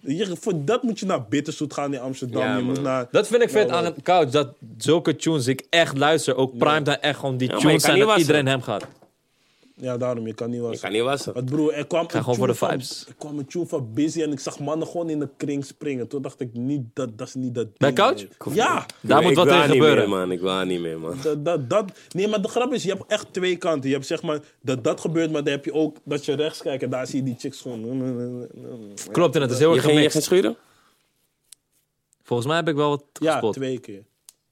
Speaker 2: Je, voor dat moet je naar Bitterzoet gaan in Amsterdam.
Speaker 1: Ja,
Speaker 2: je moet
Speaker 1: man.
Speaker 2: naar.
Speaker 3: Dat vind ik vet
Speaker 2: Nou,
Speaker 3: aan een couch, dat zulke tunes ik echt luister. Ook primetime echt gewoon die
Speaker 1: Ja, maar je
Speaker 3: tunes
Speaker 1: kan
Speaker 3: zijn
Speaker 1: niet
Speaker 3: dat
Speaker 1: wassen.
Speaker 3: iedereen hem gaat.
Speaker 2: Ja, daarom, je kan niet
Speaker 1: Je
Speaker 2: wassen.
Speaker 1: kan niet wassen.
Speaker 2: Want broer, er kwam, een
Speaker 3: gewoon voor
Speaker 2: tune
Speaker 3: de
Speaker 2: van-
Speaker 3: vibes.
Speaker 2: er kwam een tune van Busy en ik zag mannen gewoon in de kring springen. Toen dacht ik, niet, dat, dat is niet dat
Speaker 3: Bij
Speaker 2: ding,
Speaker 3: Couch?
Speaker 2: man. Ja,
Speaker 3: Daar
Speaker 1: Ik
Speaker 3: moet wat
Speaker 1: wil
Speaker 3: tegen
Speaker 1: niet
Speaker 3: gebeuren.
Speaker 1: meer, man. Ik wil niet meer, man.
Speaker 2: dat, dat, dat- Nee, maar de grap is, je hebt echt twee kanten. Je hebt zeg maar dat dat gebeurt, maar dan heb je ook dat je rechts kijkt en daar zie je die chicks gewoon...
Speaker 3: Klopt, en het is heel
Speaker 1: Je
Speaker 3: erg
Speaker 1: ging je geen
Speaker 3: gemixt.
Speaker 1: schuren?
Speaker 3: Volgens mij heb ik wel wat
Speaker 2: Ja,
Speaker 3: gespot.
Speaker 2: twee keer.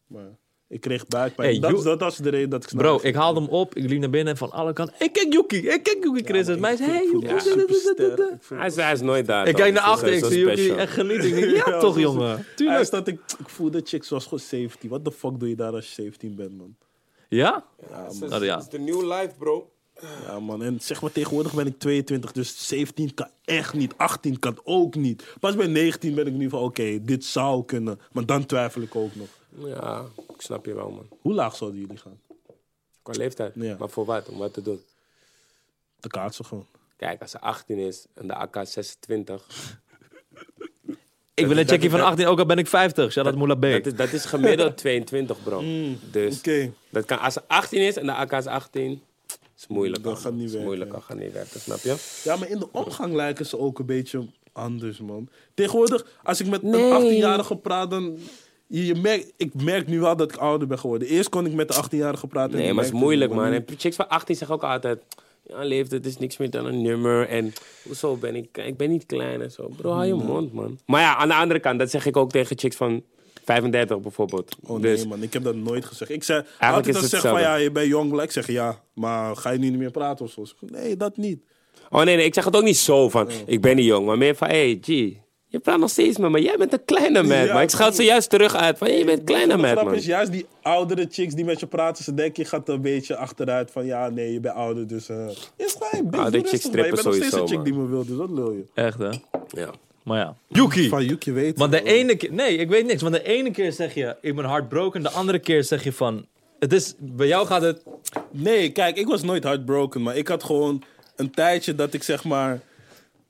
Speaker 2: Maar ik kreeg buikpijn.
Speaker 3: Hey,
Speaker 2: dat,
Speaker 3: you-
Speaker 2: dat was de reden dat ik snap.
Speaker 3: Bro, ik haalde hem op, ik liep naar binnen en van alle kanten. Ik kijk Yuki, ik kijk Yuki Chris. en het meisje, hey Yuki.
Speaker 2: Ja,
Speaker 3: (laughs)
Speaker 2: superster. Ik voel-
Speaker 1: Hij is, hij is nooit daar.
Speaker 3: Ik
Speaker 1: toch?
Speaker 3: kijk naar
Speaker 1: Dus
Speaker 3: achter,
Speaker 1: hij is
Speaker 3: ik
Speaker 1: zo
Speaker 3: zie Yuki
Speaker 1: special.
Speaker 3: echt
Speaker 1: (laughs)
Speaker 3: genieten. Ik denk, ja
Speaker 2: Ja,
Speaker 3: toch
Speaker 2: zo-
Speaker 3: jongen.
Speaker 2: Hij
Speaker 3: Tuurlijk.
Speaker 2: staat, ik, ik voel dat chicks was gewoon 17. What the fuck doe je daar als je 17 bent, man?
Speaker 3: Ja?
Speaker 2: Ja, man.
Speaker 3: Nou ja.
Speaker 1: de new life, bro.
Speaker 2: Ja, man. En zeg maar, tegenwoordig ben ik 22, dus 17 kan echt niet. 18 kan ook niet. Pas bij 19 ben ik nu van, oké, dit zou kunnen. Maar dan twijfel ik ook nog.
Speaker 1: Ja, ik snap je wel, man.
Speaker 2: Hoe laag zouden jullie gaan?
Speaker 1: Qua leeftijd.
Speaker 2: Ja.
Speaker 1: Maar voor wat? Om wat te doen?
Speaker 2: De kaatsen gewoon.
Speaker 1: Kijk, als ze 18 is en de AK 26.
Speaker 3: Ik wil een checkie van 18, ook al ben ik 50. Shout out Moula B.
Speaker 1: Dat is, dat is
Speaker 3: (laughs) Mm,
Speaker 1: gemiddeld 22, bro. Dus
Speaker 2: Oké.
Speaker 1: dat kan, als ze 18 is en de AK is 18. is moeilijk.
Speaker 2: Dat
Speaker 1: allemaal.
Speaker 2: gaat niet
Speaker 1: is
Speaker 2: werken.
Speaker 1: moeilijk, dat gaat niet werken, snap je?
Speaker 2: Ja, maar in de omgang lijken ze ook een beetje anders, man. Tegenwoordig, als ik met
Speaker 1: Nee.
Speaker 2: een 18-jarige praat, dan... Je, je merkt, ik merk nu wel dat ik ouder ben geworden. Eerst kon ik met de 18-jarige praten. en
Speaker 1: Nee,
Speaker 2: ik
Speaker 1: maar het is
Speaker 2: merkte
Speaker 1: moeilijk,
Speaker 2: nu, maar
Speaker 1: man.
Speaker 2: nu-
Speaker 1: En chicks van 18 zeggen ook altijd... Ja, leeftijd is niks meer dan een nummer. En hoezo ben ik... Ik ben niet klein en zo. Bro, hou je mond, man. Maar ja, aan de andere kant, dat zeg ik ook tegen chicks van 35 bijvoorbeeld.
Speaker 2: Oh
Speaker 1: dus,
Speaker 2: nee, man, ik heb dat nooit gezegd. Ik zei,
Speaker 1: is
Speaker 2: altijd
Speaker 1: het
Speaker 2: als ze zeggen van ja,
Speaker 1: hetzelfde.
Speaker 2: je bent jong, blijk. Ik zeg ja, maar ga je nu niet meer praten of zo? Ze zeggen, Nee, dat niet.
Speaker 1: Oh nee, nee, ik zeg het ook niet zo van... Ik ben niet jong, maar meer van... Hey, G, je praat nog steeds met me. Jij bent een kleine man.
Speaker 2: (laughs) Ja,
Speaker 1: maar ik scheld ze juist terug uit van... Je bent een kleine
Speaker 2: De
Speaker 1: man,
Speaker 2: grap
Speaker 1: man.
Speaker 2: is juist die oudere chicks die met je praten, ze denken je gaat een beetje achteruit van ja, nee, je bent ouder, dus eh is fijn. bitch,
Speaker 1: Oude
Speaker 2: doe
Speaker 1: chicks
Speaker 2: rustig, maar Je
Speaker 1: strippen
Speaker 2: bent nog steeds een
Speaker 1: sowieso,
Speaker 2: chick die me wil, dus wat lul je?
Speaker 3: Echt, hè?
Speaker 1: Ja.
Speaker 3: Maar ja. Yuki!
Speaker 2: Van Yuki weet.
Speaker 3: Want de
Speaker 2: het,
Speaker 3: ene keer... Nee, ik weet niks. Want de ene keer zeg je, ik ben heartbroken. De andere keer zeg je van... Het is... Bij jou gaat het...
Speaker 2: Nee, kijk, ik was nooit heartbroken, maar ik had gewoon een tijdje dat ik zeg maar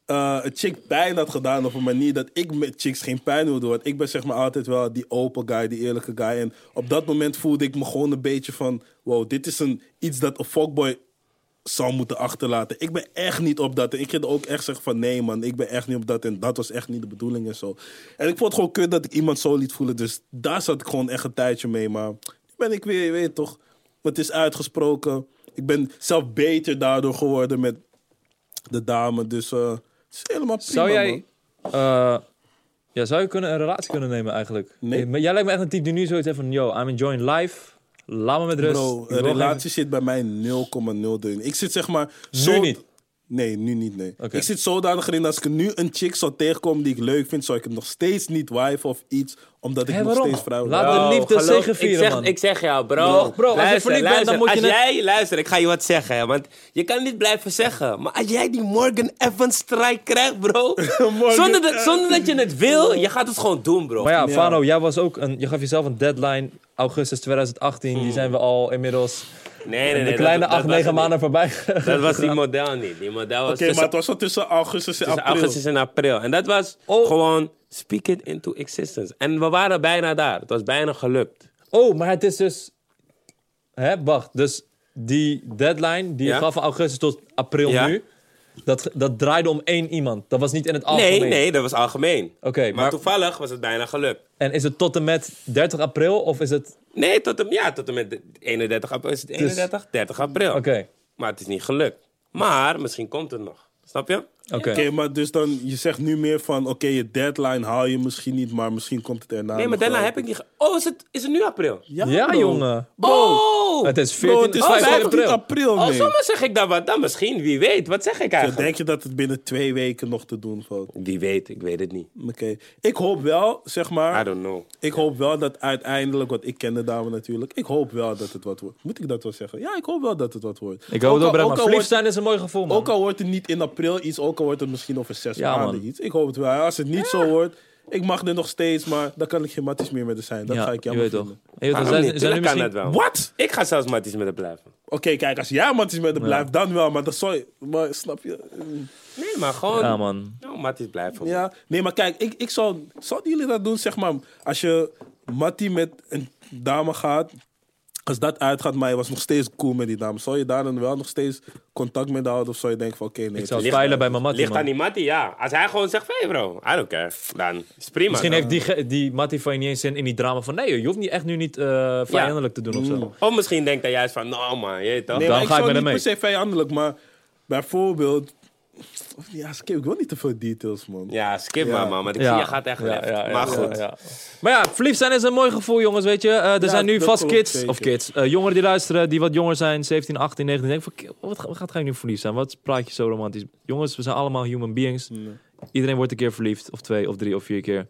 Speaker 2: eh, een chick pijn had gedaan op een manier dat ik met chicks geen pijn wilde doen. Want ik ben zeg maar altijd wel die open guy, die eerlijke guy. En op dat moment voelde ik me gewoon een beetje van, wow, dit is een, iets dat een fuckboy zou moeten achterlaten. Ik ben echt niet op dat. En ik ging ook echt zeggen van nee man, ik ben echt niet op dat. En dat was echt niet de bedoeling en zo. En ik vond het gewoon kut dat ik iemand zo liet voelen. Dus daar zat ik gewoon echt een tijdje mee. Maar nu ben ik weer, je weet toch. Het is uitgesproken. Ik ben zelf beter daardoor geworden met de dame. Dus eh, het is helemaal prima
Speaker 3: Zou
Speaker 2: man.
Speaker 3: jij... eh, ja, zou je kunnen een relatie kunnen nemen eigenlijk?
Speaker 2: Nee.
Speaker 3: Eh, maar Jij lijkt me echt een type die nu zoiets heeft van... Yo, I'm enjoying life. Laat me met rust.
Speaker 2: Bro,
Speaker 3: Ik wil
Speaker 2: een
Speaker 3: geen-
Speaker 2: relatie zit bij mij 0,0 erin. Ik zit zeg maar...
Speaker 3: Nu
Speaker 2: Zo...
Speaker 3: niet?
Speaker 2: Nee, nu niet, nee.
Speaker 3: Oké.
Speaker 2: Ik zit zodanig erin dat als ik nu een chick zou tegenkomen die ik leuk vind, zou ik hem nog steeds niet wife of iets, omdat ik
Speaker 3: Hé,
Speaker 2: nog
Speaker 3: waarom?
Speaker 2: steeds vrouw
Speaker 3: Laat- de liefde
Speaker 1: geloof-
Speaker 3: zegevieren,
Speaker 1: ik zeg,
Speaker 3: man.
Speaker 1: Ik zeg jou, bro.
Speaker 3: Bro, bro, als je verliefd bent, dan moet je
Speaker 1: Als
Speaker 3: het-
Speaker 1: jij, luister, ik ga je wat zeggen. hè, Want je kan niet blijven zeggen. Maar als jij die Morgan Evans strijk krijgt,
Speaker 3: (laughs)
Speaker 1: bro.
Speaker 2: Morgan
Speaker 1: zonder, dat, zonder dat je het wil, je gaat het gewoon doen, bro.
Speaker 3: Maar ja,
Speaker 2: Ja.
Speaker 3: Fano, jij was ook een... Je gaf jezelf een deadline. Augustus 2018. Die zijn we al inmiddels...
Speaker 1: Hmm. nee, nee, nee.
Speaker 3: de kleine
Speaker 1: dat- dat
Speaker 3: 8,
Speaker 1: was
Speaker 3: 9
Speaker 1: het
Speaker 3: maanden voorbij.
Speaker 1: niet. Dat
Speaker 3: (laughs)
Speaker 1: was die model niet. Die model was
Speaker 2: Oké, maar
Speaker 1: tussen
Speaker 2: het was wel tussen augustus en
Speaker 1: tussen
Speaker 2: april.
Speaker 1: augustus en april. En dat was
Speaker 3: Oh.
Speaker 1: gewoon speak it into existence. En we waren bijna daar. Het was bijna gelukt.
Speaker 3: Oh, maar het is dus. Hè, wacht. Dus die deadline die
Speaker 1: Ja.
Speaker 3: je gaf van augustus tot april
Speaker 1: Ja.
Speaker 3: nu. Dat, dat draaide om één iemand. Dat was niet in het algemeen.
Speaker 1: Nee, nee, dat was algemeen.
Speaker 3: Oké,
Speaker 1: maar,
Speaker 3: maar-
Speaker 1: toevallig was het bijna gelukt.
Speaker 3: En is het tot en met 30 april of is het.
Speaker 1: Nee, tot en, ja, tot en met de- 31 april. Is het 31? 30 april.
Speaker 3: Oké.
Speaker 1: Maar het is niet gelukt. Maar misschien komt het nog. Snap je?
Speaker 3: Oké.
Speaker 2: Oké, maar dus dan, je zegt nu meer van, oké, je deadline haal je misschien niet, maar misschien komt het erna.
Speaker 1: Nee, maar
Speaker 2: nog
Speaker 1: daarna
Speaker 2: wel.
Speaker 1: heb ik niet... ge- Oh, is het, is het nu april?
Speaker 2: Ja,
Speaker 3: Ja,
Speaker 2: bro.
Speaker 3: jongen.
Speaker 1: Oh!
Speaker 3: Het is
Speaker 2: Bro,
Speaker 3: 14
Speaker 2: het is
Speaker 1: Oh,
Speaker 3: 15
Speaker 1: 15
Speaker 2: 15
Speaker 3: april.
Speaker 2: april,
Speaker 1: Oh,
Speaker 2: nee.
Speaker 1: soms zeg ik dan wat. Dan misschien, wie weet. Wat zeg ik
Speaker 2: Dan
Speaker 1: eigenlijk?
Speaker 2: Denk je dat het binnen twee weken nog te doen valt?
Speaker 1: Wie weet, ik weet het niet.
Speaker 2: Oké. Ik hoop wel, zeg maar...
Speaker 1: I don't know.
Speaker 2: Ik hoop wel dat uiteindelijk, want ik ken de dame natuurlijk, ik hoop wel dat het wat wordt. Moet ik dat wel zeggen? Ja, ik hoop wel dat het wat wordt.
Speaker 3: Ik hoop het
Speaker 2: al-
Speaker 3: ook, Bram, maar
Speaker 2: al
Speaker 3: verliefd
Speaker 2: wordt-
Speaker 3: zijn is een mooi gevoel, man.
Speaker 2: Ook al wordt het niet in april iets, ook al wordt het misschien over zes
Speaker 3: Ja,
Speaker 2: maanden
Speaker 3: man.
Speaker 2: iets. Ik hoop het wel. Als het niet zo wordt, ik mag er nog steeds, maar dan kan ik geen matties meer met haar zijn. Dat
Speaker 3: ja,
Speaker 2: ga ik
Speaker 3: je
Speaker 2: jammer
Speaker 3: weet toch.
Speaker 2: vinden.
Speaker 3: En je weet toch,
Speaker 1: Waarom
Speaker 3: zijn-
Speaker 1: Ah, niet?
Speaker 3: zijn nu
Speaker 1: Tuurlijk kan het
Speaker 3: misschien-
Speaker 1: wel.
Speaker 2: Wat?
Speaker 1: Ik ga zelfs matties met hem blijven.
Speaker 2: Oké, kijk, als jij matties met haar blijft, dan wel, maar dat zou Maar snap je?
Speaker 1: Nee, maar gewoon...
Speaker 3: Ja, man.
Speaker 1: Nou, matties blijven.
Speaker 2: Ja, nee, maar kijk, ik, ik zou, zouden jullie dat doen, zeg maar, als je Mattie met een dame gaat, als dat uitgaat, maar je was nog steeds cool met die dame, zou je daar dan wel nog steeds contact mee houden of zou je denken van, oké, nee,
Speaker 3: Ik zou
Speaker 2: het is-
Speaker 3: spijlen bij mijn mattie,
Speaker 1: Ligt aan
Speaker 3: man.
Speaker 1: die mattie, ja. Als hij gewoon zegt, hey bro, I don't care. Dan is prima.
Speaker 3: Misschien
Speaker 1: toch?
Speaker 3: heeft die, ge- die mattie van je niet eens zin in die drama van... Nee, joh, je hoeft niet echt nu niet eh, vijandelijk te doen of zo.
Speaker 1: Of misschien denkt hij juist van, nou man, je weet toch.
Speaker 2: nee,
Speaker 3: dan
Speaker 2: maar ik
Speaker 3: ga ik
Speaker 2: zou
Speaker 3: met
Speaker 2: niet
Speaker 3: hem
Speaker 2: per se vijandelijk, maar bijvoorbeeld, ja, skip, ik wil niet te veel details, man.
Speaker 1: Ja, skip maar man, want ik zie je gaat echt left.
Speaker 3: ja, ja,
Speaker 1: maar
Speaker 3: ja,
Speaker 1: goed.
Speaker 3: ja. Maar ja, verliefd zijn is een mooi gevoel, jongens, weet je. Eh, er zijn nu
Speaker 2: dat
Speaker 3: vast
Speaker 2: klopt,
Speaker 3: kids,
Speaker 2: zeker.
Speaker 3: of kids, eh, jongeren die luisteren, die wat jonger zijn, 17, 18, 19, denken van, "Kill, wat, ga- wat gaat ga ik nu verliefd zijn? Wat praat je zo romantisch? Jongens, we zijn allemaal human beings. Iedereen wordt een keer verliefd, of twee, of drie, of vier keer.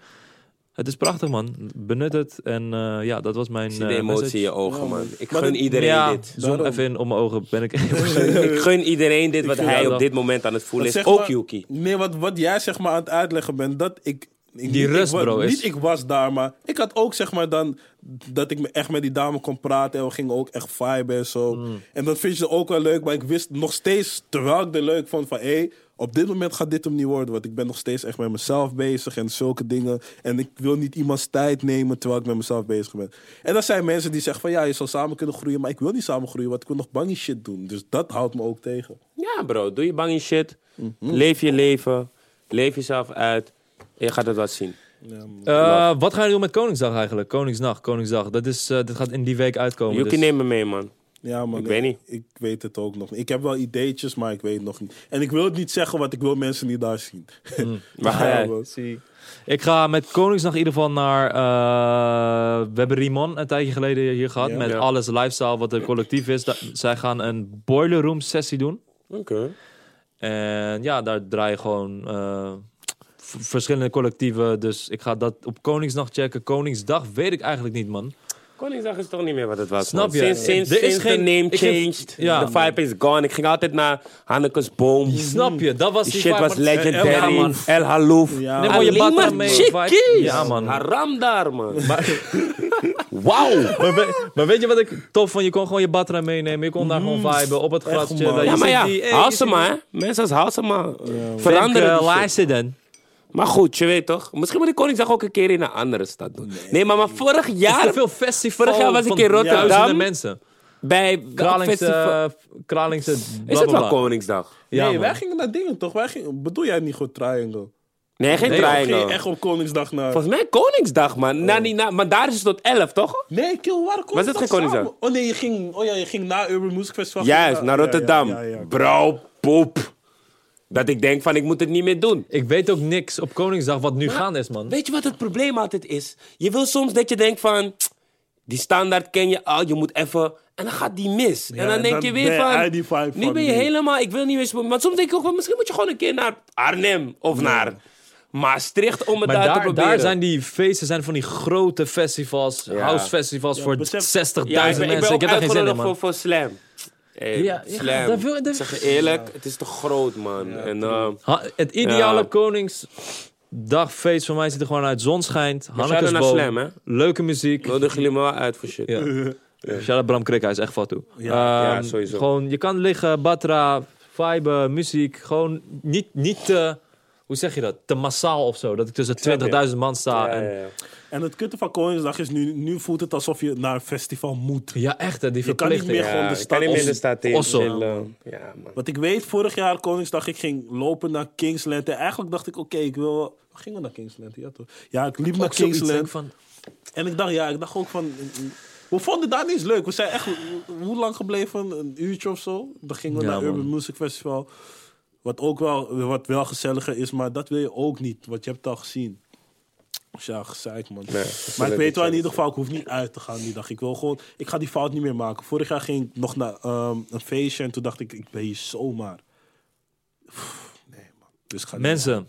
Speaker 3: Het is prachtig, man. Benut het. En eh, ja, dat was mijn...
Speaker 1: Ik zie de
Speaker 3: eh,
Speaker 1: emotie in
Speaker 3: message.
Speaker 1: je ogen, man. Ik
Speaker 2: Maar
Speaker 1: gun
Speaker 2: dat-
Speaker 1: iedereen
Speaker 3: ja,
Speaker 1: dit. (laughs)
Speaker 3: zoom
Speaker 2: Daarom.
Speaker 3: even in om mijn ogen. Ben ik...
Speaker 1: Ik gun iedereen dit wat
Speaker 2: vind
Speaker 1: hij
Speaker 3: dat
Speaker 1: op
Speaker 3: wel.
Speaker 1: dit moment aan het voelen
Speaker 2: Want
Speaker 1: is.
Speaker 2: zeg
Speaker 1: Ook
Speaker 2: maar-
Speaker 1: Yuki.
Speaker 2: Nee, wat, wat jij zeg maar aan het uitleggen bent, dat ik ik-
Speaker 3: Die
Speaker 2: niet-
Speaker 3: rust,
Speaker 2: ik, wa-
Speaker 3: bro, is-
Speaker 2: Niet ik was daar, maar ik had ook zeg maar dan... dat ik me echt met die dame kon praten en we gingen ook echt vibe en zo.
Speaker 3: Mm.
Speaker 2: En dat vind je ook wel leuk, maar ik wist nog steeds, terwijl ik er leuk vond van... hé, op dit moment gaat dit hem niet worden, want ik ben nog steeds echt met mezelf bezig en zulke dingen. En ik wil niet iemands tijd nemen terwijl ik met mezelf bezig ben. En dan zijn mensen die zeggen van ja, je zal samen kunnen groeien, maar ik wil niet samen groeien, want ik wil nog bangie shit doen. Dus dat houdt me ook tegen.
Speaker 3: Mhm.
Speaker 1: Ja, bro. Doe je bang in shit. Leef je leven. Leef jezelf uit. En je gaat het wat zien.
Speaker 3: Eh, wat gaan jullie doen met Koningsdag eigenlijk? Koningsnacht, Koningsdag. Dat is, eh, dit gaat in die week uitkomen.
Speaker 1: Yuki,
Speaker 3: dus-
Speaker 1: neem me mee, man.
Speaker 2: Ja, man,
Speaker 1: Ik weet niet.
Speaker 2: Ik weet het ook nog niet. Ik heb wel ideetjes, maar ik weet het nog niet. En ik wil het niet zeggen, want ik wil mensen niet daar zien.
Speaker 3: Hmm.
Speaker 2: (laughs)
Speaker 1: Waar ga
Speaker 3: eh,
Speaker 1: jij?
Speaker 2: man.
Speaker 3: Ik ga met Koningsdag in ieder geval naar... eh, we hebben Rimon een tijdje geleden hier gehad.
Speaker 2: Ja.
Speaker 3: met
Speaker 1: Ja.
Speaker 3: alles lifestyle wat er collectief is. Da- zij gaan een boiler room sessie doen.
Speaker 1: Oké.
Speaker 3: En ja, daar draai je gewoon eh, v- verschillende collectieven. Dus ik ga dat op Koningsnacht checken. Koningsdag weet ik eigenlijk niet, man.
Speaker 1: Koningsdag is toch niet meer wat het was.
Speaker 3: Snap
Speaker 1: man.
Speaker 3: je?
Speaker 1: Sinds, sinds,
Speaker 3: Er is
Speaker 1: sinds
Speaker 3: geen-
Speaker 1: de name
Speaker 3: ik heb-
Speaker 1: changed,
Speaker 3: ja.
Speaker 1: de vibe is gone. Ik ging altijd naar Hanneke's boom.
Speaker 3: Snap je? Dat was
Speaker 1: Die
Speaker 3: die
Speaker 1: shit
Speaker 3: vibe,
Speaker 1: was
Speaker 3: maar dat-
Speaker 1: legendary.
Speaker 3: Ja, man.
Speaker 1: El Halouf.
Speaker 2: Ja,
Speaker 3: Neem
Speaker 2: man.
Speaker 3: al je
Speaker 1: Alleen
Speaker 3: batra
Speaker 1: maar
Speaker 3: mee.
Speaker 1: chickies.
Speaker 3: Ja, man.
Speaker 1: Haram daar, (laughs) man. Wauw.
Speaker 3: Maar, we- maar weet je wat ik tof vond? Je kon gewoon je batra meenemen. Je kon daar gewoon viben op het
Speaker 2: Mhm. echt,
Speaker 3: grasje.
Speaker 2: man.
Speaker 3: dat je
Speaker 1: Ja, maar
Speaker 3: ziet
Speaker 1: ja,
Speaker 3: die- hey, je ziet
Speaker 1: Halsema, hè. Mensen als Halsema veranderen
Speaker 3: Femke
Speaker 1: die shit.
Speaker 3: Laarzen.
Speaker 1: Maar goed, je weet toch. Misschien moet ik Koningsdag ook een keer in een andere stad doen. Nee, maar, maar vorig
Speaker 3: Er
Speaker 1: jaar
Speaker 3: is veel festival
Speaker 1: Vorig jaar was ik
Speaker 3: van
Speaker 1: in Rotterdam.
Speaker 3: Duizenden mensen.
Speaker 1: bij welk
Speaker 3: Kralingse,
Speaker 1: festival...
Speaker 3: eh, Kralingse
Speaker 1: Is het
Speaker 3: blablabla.
Speaker 1: wel Koningsdag?
Speaker 3: Ja,
Speaker 2: nee,
Speaker 3: man.
Speaker 2: wij gingen naar dingen, toch? Wij gingen, bedoel jij niet goed Triangle?
Speaker 1: Nee, geen
Speaker 3: Nee,
Speaker 1: trein.
Speaker 2: Ging je
Speaker 1: hoor.
Speaker 2: echt op Koningsdag naar...
Speaker 1: Volgens mij Koningsdag, man. Na, niet na, maar daar is het tot 11, toch?
Speaker 2: Nee, kill, waar
Speaker 1: Was het geen Koningsdag?
Speaker 2: samen? Oh nee, je ging, oh, ja, je ging naar Urban Music Festival.
Speaker 1: Juist,
Speaker 2: Ja,
Speaker 1: naar
Speaker 2: ja,
Speaker 1: Rotterdam.
Speaker 2: ja, ja, ja.
Speaker 1: Bro, poep. Dat ik denk van, ik moet het niet meer doen.
Speaker 3: Ik weet ook niks op Koningsdag wat nu gaande is, man.
Speaker 1: Weet je wat het probleem altijd is? Je wil soms dat je denkt van... Die standaard ken je al, je moet even... En dan gaat die mis. en dan
Speaker 2: en
Speaker 1: denk
Speaker 2: dan
Speaker 1: je
Speaker 2: ben
Speaker 1: weer
Speaker 2: je uit die
Speaker 1: van...
Speaker 2: vibe
Speaker 1: Nu
Speaker 2: van
Speaker 1: ben je
Speaker 2: die-
Speaker 1: helemaal... Ik wil niet meer... Maar soms denk ik ook van... Misschien moet je gewoon een keer naar Arnhem of naar Maastricht om het
Speaker 3: Maar
Speaker 1: daar, te
Speaker 3: daar,
Speaker 1: proberen.
Speaker 3: daar zijn die feesten zijn van die grote festivals, house festivals voor
Speaker 2: besef-
Speaker 1: ja,
Speaker 3: 60.000
Speaker 1: ik ben, ik ben
Speaker 3: mensen. Ik
Speaker 1: ook
Speaker 3: heb daar geen zin in,
Speaker 1: uitgenodigd
Speaker 3: man.
Speaker 1: voor, voor Slam. Hey,
Speaker 3: Ja, ja,
Speaker 1: slam.
Speaker 3: daar wil- daar-
Speaker 1: Ik zeg je eerlijk, het is te groot, man. en, ehm,
Speaker 3: Ha- het ideale
Speaker 1: Ja.
Speaker 3: Koningsdagfeest voor mij ziet er gewoon uit. Zon schijnt, Hannekes
Speaker 1: naar
Speaker 3: boom,
Speaker 1: Slam, hè?
Speaker 3: leuke muziek.
Speaker 1: Nodig jullie me wel uit voor shit. (laughs)
Speaker 3: Ja. Shout-out Bram Krik, hij is echt wat toe.
Speaker 1: ja,
Speaker 3: Ehm,
Speaker 1: sowieso.
Speaker 3: Gewoon, je kan liggen, batra, vibe, muziek. Gewoon niet, niet te, hoe zeg je dat, te massaal of zo. Dat ik tussen 20.000 man sta.
Speaker 1: Ja,
Speaker 3: en,
Speaker 1: ja,
Speaker 3: ja.
Speaker 1: ja.
Speaker 2: En het kutte van Koningsdag is nu, nu voelt het alsof je naar een festival moet.
Speaker 3: echt hè, die
Speaker 2: Je kan niet
Speaker 3: verplichting.
Speaker 2: meer gewoon de
Speaker 1: ik
Speaker 2: stad
Speaker 1: kan niet meer
Speaker 2: op-
Speaker 1: de stad in.
Speaker 3: Osso.
Speaker 1: chillen. Ja, man.
Speaker 2: Want ik weet, vorig jaar Koningsdag, ik ging lopen naar Kingsland. En eigenlijk dacht ik, oké, ik wil... Gingen we naar Kingsland? Ja, toch? Ja, ik liep naar
Speaker 3: Ook zoiets,
Speaker 2: Kingsland.
Speaker 3: denk van,
Speaker 2: En ik dacht, ja, ik dacht ook van... We vonden daar niet eens leuk. We zijn echt, hoe lang gebleven? Een uurtje of zo. Dan gingen we
Speaker 3: Ja,
Speaker 2: naar
Speaker 3: man.
Speaker 2: Urban Music Festival. Wat ook wel, wat wel gezelliger is, maar dat wil je ook niet. Want je hebt het al gezien. Dus ja, gezeik man. maar ik weet wel in ieder geval, ik hoef niet uit te gaan die dag. Ik wil gewoon, ik ga die fout niet meer maken. Vorig jaar ging ik nog naar ehm, een feestje en toen dacht ik, ik ben hier zomaar. Pff, nee man, dus ik ga niet.
Speaker 3: mensen,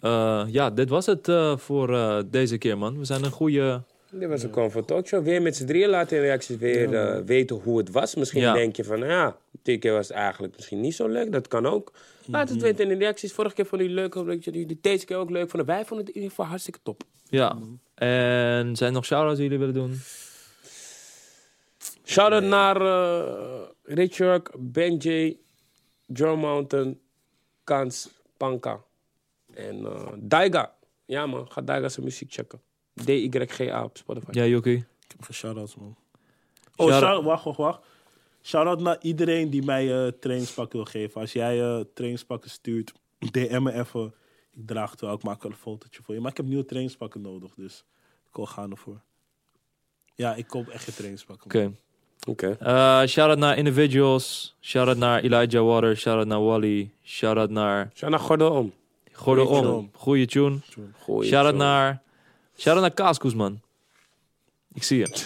Speaker 3: eh, ja, dit was het eh, voor eh, deze keer, man. We zijn een goede...
Speaker 1: Dit was een comfort talkshow. Weer met z'n drieën laten in reacties weer eh, weten hoe het was. Misschien
Speaker 3: Ja.
Speaker 1: denk je van, ja, dit keer was het eigenlijk misschien niet zo leuk. Dat kan ook. Laat het weten in de reacties. Vorige keer vonden jullie het leuk. Hopelijk dat jullie het deze keer ook leuk vonden. Wij vonden het in ieder geval hartstikke top.
Speaker 3: Ja. En zijn er nog shout-outs die jullie willen doen?
Speaker 1: Shout-out naar eh Richard, Benji, Joe Mountain, Kans, Panka en eh, Daiga. Ja man, ga Daiga zijn muziek checken. D-Y-G-A op Spotify.
Speaker 3: Ja, Yuki.
Speaker 2: Ik heb geen shout-outs, man. Oh,
Speaker 3: Shout-
Speaker 2: shout wacht, wacht, wacht. Shout-out naar iedereen die mij eh trainingspakken wil geven. Als jij eh trainingspakken stuurt, DM me even. Ik draag het wel, ik maak wel een fotootje voor je. Maar ik heb nieuwe trainingspakken nodig, dus ik wil gaan ervoor. Ja, ik koop echt geen trainingspakken.
Speaker 3: Oké.
Speaker 2: man.
Speaker 1: Oké.
Speaker 3: Eh, shout-out naar individuals. Shout-out naar Elijah Waters. Shout-out naar Wally. Shout-out naar
Speaker 1: Shout naar Gordo om.
Speaker 3: Gordo
Speaker 2: Goeie
Speaker 3: Om.
Speaker 2: tune.
Speaker 3: Goeie tune.
Speaker 1: Goeie
Speaker 3: Shout-out
Speaker 1: zo.
Speaker 3: naar... Shout-out naar Kaaskoes, man. Ik zie (laughs) je.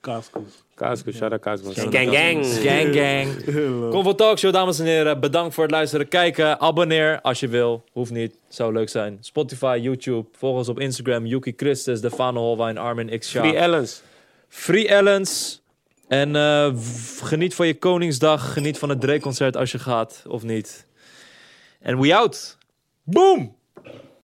Speaker 2: Kaaskoes.
Speaker 1: Kaasko, shout out Kaasko.
Speaker 3: Shout-out
Speaker 1: Gang
Speaker 3: naar
Speaker 1: gang.
Speaker 3: Kaaskoes. Gang, gang.
Speaker 2: (laughs)
Speaker 3: Kom voor Talkshow, dames en heren. Bedankt voor het luisteren, kijken. Abonneer als je wil. Hoeft niet. Zou leuk zijn. Spotify, YouTube. Volg ons op Instagram. Yuki Christus, Defano Holwijn, Armin X. Sjaak.
Speaker 1: Free Ellens.
Speaker 3: Free Ellens. En eh, v- geniet van je Koningsdag. Geniet van het Drake-concert als je gaat, of niet. En we out. Boom!